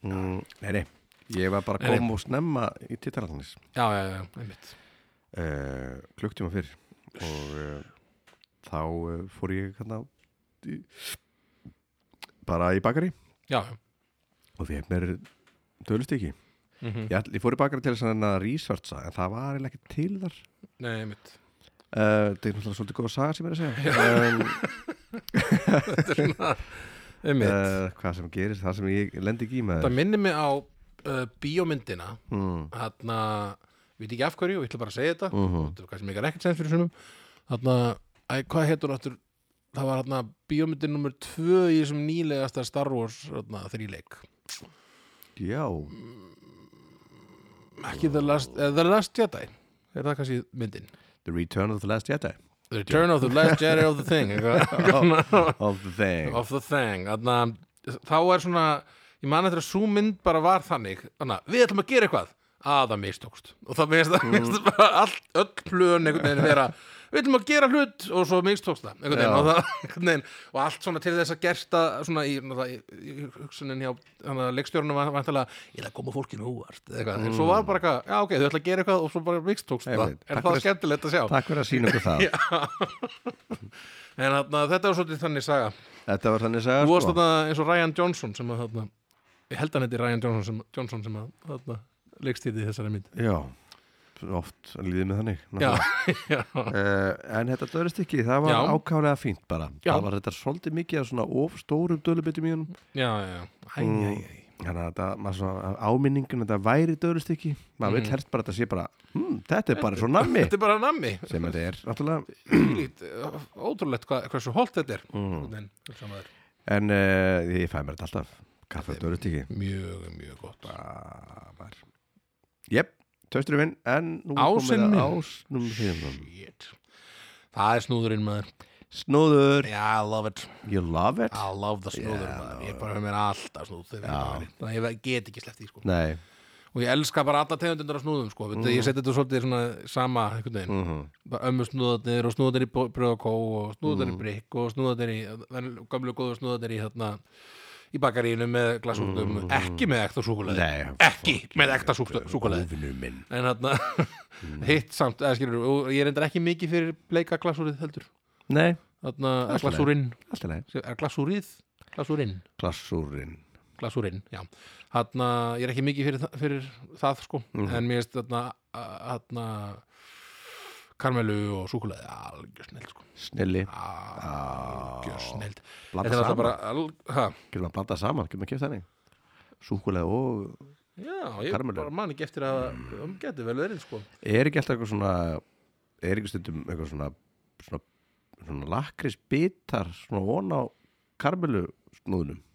[SPEAKER 1] mm, Nei, nei, ég var bara að koma og snemma í titalanis
[SPEAKER 2] já, já, já, einmitt
[SPEAKER 1] uh, klukktíma fyrr og uh, þá uh, fór ég hérna í, bara í bakari
[SPEAKER 2] já,
[SPEAKER 1] og fekk mér dölustiki
[SPEAKER 2] mm
[SPEAKER 1] ég, ætl- ég fór í bakari til þess að reyna að researcha en það var eiginlega ekki til þar
[SPEAKER 2] nei, einmitt
[SPEAKER 1] uh, það er náttúrulega svolítið góð saga sem ég er að
[SPEAKER 2] <laughs>
[SPEAKER 1] segja um,
[SPEAKER 2] einmitt
[SPEAKER 1] uh, hvað sem gerist, það sem ég lendi ekki í með
[SPEAKER 2] það minnir mig á uh, bíómyndina
[SPEAKER 1] mm,
[SPEAKER 2] hérna, við veit ekki af hverju og ég ætla bara að segja þetta
[SPEAKER 1] Mhm.
[SPEAKER 2] þetta er kannski megar ekkert sens fyrir sumum hérna, æ, hvað heitur áttur það var hérna bíómyndin nummer tvö í þessum nýlegasta Star Wars hérna, þríleik
[SPEAKER 1] já,
[SPEAKER 2] ekki The Last, uh, the last Jedi er það kannski myndin
[SPEAKER 1] The Return of the Last
[SPEAKER 2] <laughs>
[SPEAKER 1] Jedi
[SPEAKER 2] The Return of the Last Jedi of the Thing <laughs> eitthvað.
[SPEAKER 1] of the Thing
[SPEAKER 2] of the Thing hérna, þá er svona ég man eftir að sú mynd bara var þannig þannig, við ætlum að gera eitthvað að það mistókst og það veist það mm. bara allt, öll plön einhvern veginn vera við ætlum að gera hlut og svo mistókst það einhvern veginn
[SPEAKER 1] Já.
[SPEAKER 2] og, það, <laughs> einhvern veginn, og allt svona til þess að gersta svona í, náttúrulega í, í hugsunin hjá hana, leikstjórnum var vantilega ég ætla að koma fólkinu úvart eða eitthvað, en svo var bara eitthvað já ok, þau ætla að gera eitthvað og svo bara mistókst það
[SPEAKER 1] Einmitt.
[SPEAKER 2] er
[SPEAKER 1] Takk fyrir-
[SPEAKER 2] það skemmtilegt að sjá
[SPEAKER 1] Takk fyrir að sína
[SPEAKER 2] <laughs>
[SPEAKER 1] okkur það
[SPEAKER 2] en hana, þetta var svolítið þannig saga
[SPEAKER 1] Þetta var þannig að segja
[SPEAKER 2] Þú varst
[SPEAKER 1] sko.
[SPEAKER 2] þarna eins og Ryan Johnson sem að þarna ég held hann heiti Ryan Johnson sem, Johnson sem að þarna leikstýrði þessari mynd
[SPEAKER 1] Já, oft líðið með þannig
[SPEAKER 2] Já,
[SPEAKER 1] náttúrulega.
[SPEAKER 2] <laughs> já,
[SPEAKER 1] Uh, en þetta döðlustykki, það var
[SPEAKER 2] Já.
[SPEAKER 1] ákaflega fínt bara
[SPEAKER 2] Já.
[SPEAKER 1] Það var þetta svolítið mikið af svona of stórum döðlubitum í honum Mm.
[SPEAKER 2] já, já Æ, æ, æ
[SPEAKER 1] Þannig að þetta, maður svona áminningun þetta væri döðlustykki Maður vill helst bara að þetta sé bara hm, Þetta er bara svo nammi
[SPEAKER 2] Mhm. Þetta er bara nammi
[SPEAKER 1] Sem þetta er, náttúrulega
[SPEAKER 2] Þvílíkt, ö, Ótrúlegt hvað, hversu holt þetta er mm.
[SPEAKER 1] En uh, ég fæ mér þetta alltaf Kaffe og döðlustykki
[SPEAKER 2] Mjög, mjög gott
[SPEAKER 1] Jep, tösturinn minn En nú er
[SPEAKER 2] Ásinn
[SPEAKER 1] komið
[SPEAKER 2] minn. hérna.
[SPEAKER 1] að ásnum þínum
[SPEAKER 2] Shit Það er snúðurinn maður
[SPEAKER 1] Snúður,
[SPEAKER 2] Já, I love it
[SPEAKER 1] you love it
[SPEAKER 2] I love the snúður maður Ég bara höfum mér alltaf snúð þegar ég var í. Þannig að ég get ekki sleft í sko
[SPEAKER 1] Nei,
[SPEAKER 2] Og ég elska bara alla tegundundar af snúðum sko mm. Ég seti þetta svolítið svona sama einhvern veginn
[SPEAKER 1] mm -hmm.
[SPEAKER 2] Bara Ömmu snúðarnir og snúðarnir í bröðakó og snúðarnir í brikk og snúðarnir í venjuleg- gömlu góðu snúðarnir í þarna í bakarínu með glasúktum ekki með ekta súkulega
[SPEAKER 1] Nei,
[SPEAKER 2] ekki með ekta súkulega
[SPEAKER 1] Óvinu minn
[SPEAKER 2] en þarna <laughs> hitt samt, eða skilur og ég er reyndar ekki mikið fyrir bleika glasúrið heldur
[SPEAKER 1] Nei,
[SPEAKER 2] þarna
[SPEAKER 1] er
[SPEAKER 2] er glasúrin
[SPEAKER 1] allt er leið
[SPEAKER 2] er glasúrið, glasúrin
[SPEAKER 1] Glassúrin
[SPEAKER 2] glasúrin, já þarna, ég er ekki mikið fyrir, þa- fyrir það sko, en mér finnst þarna a- þarna karmelu og súkulega algjör snill sko,
[SPEAKER 1] Snilli,
[SPEAKER 2] algjör snill
[SPEAKER 1] blanda
[SPEAKER 2] þetta er alltaf
[SPEAKER 1] saman
[SPEAKER 2] bara al, ha,
[SPEAKER 1] Getum að blanda saman, getum að kemta þannig Súkulega og
[SPEAKER 2] já, ég
[SPEAKER 1] Karmelu.
[SPEAKER 2] bara man ekki eftir að um geti vel verið sko
[SPEAKER 1] Er ekki alltaf eitthvað svona Er ekki stundum eitthvað svona Svona, svona lakris bitar Svona von á karmelu snúðunum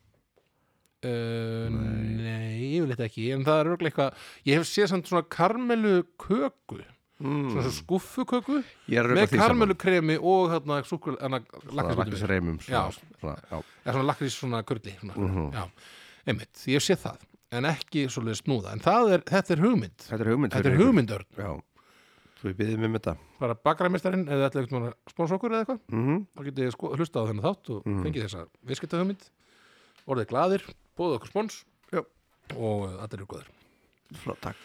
[SPEAKER 2] Uh, nei. yfirleitt ekki en það er örglega eitthvað, ég hef séð samt svona karmelu köku svona svona skúffuköku
[SPEAKER 1] Ég er að rugla
[SPEAKER 2] Mm. með
[SPEAKER 1] því saman.
[SPEAKER 2] karmelu kremi og þarna súkul, hana,
[SPEAKER 1] Svona
[SPEAKER 2] lakkrísbútum.
[SPEAKER 1] Lakrisreimum svona-
[SPEAKER 2] Já.
[SPEAKER 1] svona- já.
[SPEAKER 2] eða svona lakrís svona kurli svona. já, einmitt, ég sé það en ekki svolítið snúða, en það er, þetta er hugmynd
[SPEAKER 1] Þetta er hugmynd
[SPEAKER 2] þetta
[SPEAKER 1] fyrir
[SPEAKER 2] er
[SPEAKER 1] ykkur.
[SPEAKER 2] hugmyndörn,
[SPEAKER 1] Já, þú er byggðið mér með þetta
[SPEAKER 2] bara bakarameistarinn eða ætlaðu eitthvað að spóns okkur eða eitthvað
[SPEAKER 1] mm -hmm.
[SPEAKER 2] þá getið þið sko, hlusta á þennan þátt og
[SPEAKER 1] Mhm.
[SPEAKER 2] fengið þessa viðskipta hugmynd orðið glaðir, bóðið okkur spóns
[SPEAKER 1] Já.
[SPEAKER 2] og eh, allir eru góðir
[SPEAKER 1] Flott, takk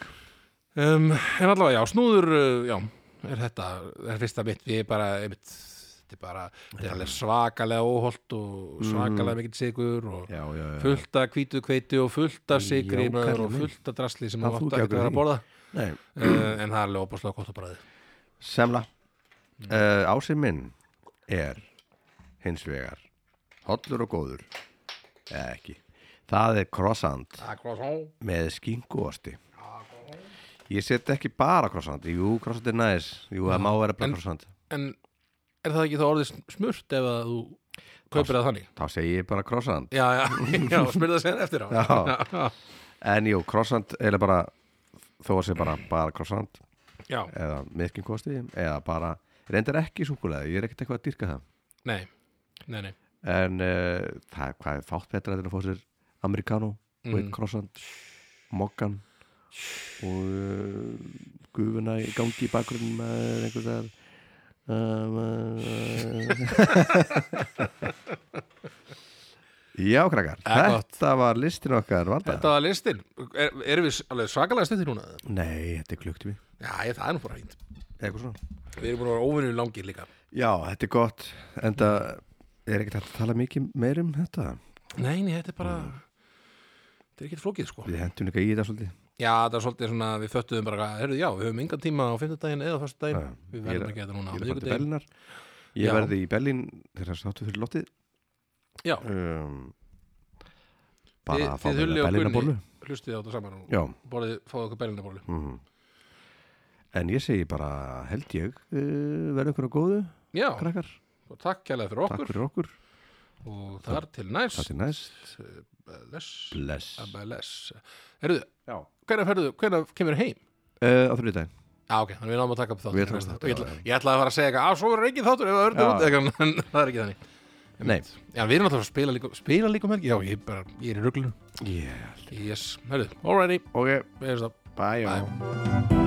[SPEAKER 2] um, en allavega, já, snúður uh, já, er þetta, er fyrsta mitt við bara, einmitt þetta er bara, þetta er alveg svakalega óholt og svakalega mikill sigur og
[SPEAKER 1] Mhm. Já, já, já
[SPEAKER 2] fullt af hvítu kveiti og fullt af sigri
[SPEAKER 1] Já,
[SPEAKER 2] maður, og
[SPEAKER 1] kallinn minn.
[SPEAKER 2] fullt af drasli sem
[SPEAKER 1] Það
[SPEAKER 2] það
[SPEAKER 1] þú
[SPEAKER 2] áttu
[SPEAKER 1] ekki
[SPEAKER 2] ekki að
[SPEAKER 1] ákveður
[SPEAKER 2] vera að
[SPEAKER 1] <clears throat>
[SPEAKER 2] borða
[SPEAKER 1] Nei,
[SPEAKER 2] uh, en það er alveg opaslega gott að bræði
[SPEAKER 1] semla uh, Ásinn minn er hins vegar hollur og góður eða ekki það er croissant með skinkuosti ég set ekki bara croissant jú, croissant er næs, jú, það má vera bara
[SPEAKER 2] En-
[SPEAKER 1] croissant
[SPEAKER 2] en er það ekki þá orðið smurt ef að þú kaupir það þannig
[SPEAKER 1] þá segi ég bara
[SPEAKER 2] <laughs>
[SPEAKER 1] croissant
[SPEAKER 2] já, já, já, smurð það sér eftir á
[SPEAKER 1] Já. en jú, croissant er bara þó að sé bara, bara croissant
[SPEAKER 2] já,
[SPEAKER 1] eða með skinkuosti eða bara, reyndar ekki súkulega ég er ekkert eitthvað að dýrka það
[SPEAKER 2] nei, nei, nei
[SPEAKER 1] en uh, það, hvað er fátt betra en að fá sér americano mm. og eitt croissant mokkan og uh, gufuna í gangi í bakgrunn með einhvers <laughs> að um, uh, Já, krakkar
[SPEAKER 2] Ja, gott.
[SPEAKER 1] þetta var listin okkar valda
[SPEAKER 2] þetta var listin, er, erum við alveg svakalega stuttir núna? eða?
[SPEAKER 1] Nei, þetta er klukkt við
[SPEAKER 2] já, ég, það er nú bara fínt
[SPEAKER 1] eitthvað svona
[SPEAKER 2] við erum búin að vera óvinnum langir líka
[SPEAKER 1] Já, þetta er gott en það er ekkert hægt að tala mikið meir um þetta
[SPEAKER 2] nei, nei, þetta er bara þetta er ekkert flókið sko
[SPEAKER 1] Mm. Við hentum líka í þetta svolítið
[SPEAKER 2] Já, það er svolítið svona, við föttuðum bara, heyrðu, já, við höfum engan tíma á fimmtudaginn eða fyrstudaginn, við
[SPEAKER 1] Ég er-
[SPEAKER 2] verðum að gera þetta núna á
[SPEAKER 1] ég er að fara til
[SPEAKER 2] miðvikudaginn.
[SPEAKER 1] Berlínar ég
[SPEAKER 2] Já.
[SPEAKER 1] verði í Berlín þegar þáttu fyrir lottið
[SPEAKER 2] Já,
[SPEAKER 1] um, bara
[SPEAKER 2] Þið-
[SPEAKER 1] að fá
[SPEAKER 2] þið
[SPEAKER 1] mér
[SPEAKER 2] Hulli og
[SPEAKER 1] Berlínar bólu
[SPEAKER 2] hlustið á þetta saman og
[SPEAKER 1] já,
[SPEAKER 2] borðið, fáðu okkur berlina borlu.
[SPEAKER 1] mhm. en ég segi bara held ég uh, verði ykkur á góðu
[SPEAKER 2] Já,
[SPEAKER 1] krakkar,
[SPEAKER 2] og takk kærlega fyrir
[SPEAKER 1] takk
[SPEAKER 2] okkur
[SPEAKER 1] fyrir okkur
[SPEAKER 2] og þar til næst.
[SPEAKER 1] það til næst,
[SPEAKER 2] Bless,
[SPEAKER 1] bless
[SPEAKER 2] bless. Heyrðu,
[SPEAKER 1] já.
[SPEAKER 2] hvenær ferðu, hvenær kemur þér heim?
[SPEAKER 1] Uh, á þrjóðu dag,
[SPEAKER 2] Já, ok, þannig við náum að taka upp þátt.
[SPEAKER 1] Við tökum þátt,
[SPEAKER 2] Ég ætla- ég ætlaði að fara að segja eitthvað, að svo verður ekki þáttur ef það
[SPEAKER 1] Já.
[SPEAKER 2] verður út, eitthvað, <laughs> en það er ekki þannig.
[SPEAKER 1] nei
[SPEAKER 2] Já, við erum alltaf að spila líka, spila líka um helgi, já, ég, bara, ég er í ruglunum.
[SPEAKER 1] yeah.
[SPEAKER 2] Yes, heyrðu, alrighty,
[SPEAKER 1] ok,
[SPEAKER 2] við erum það.
[SPEAKER 1] bye,
[SPEAKER 2] Bye.
[SPEAKER 1] bye.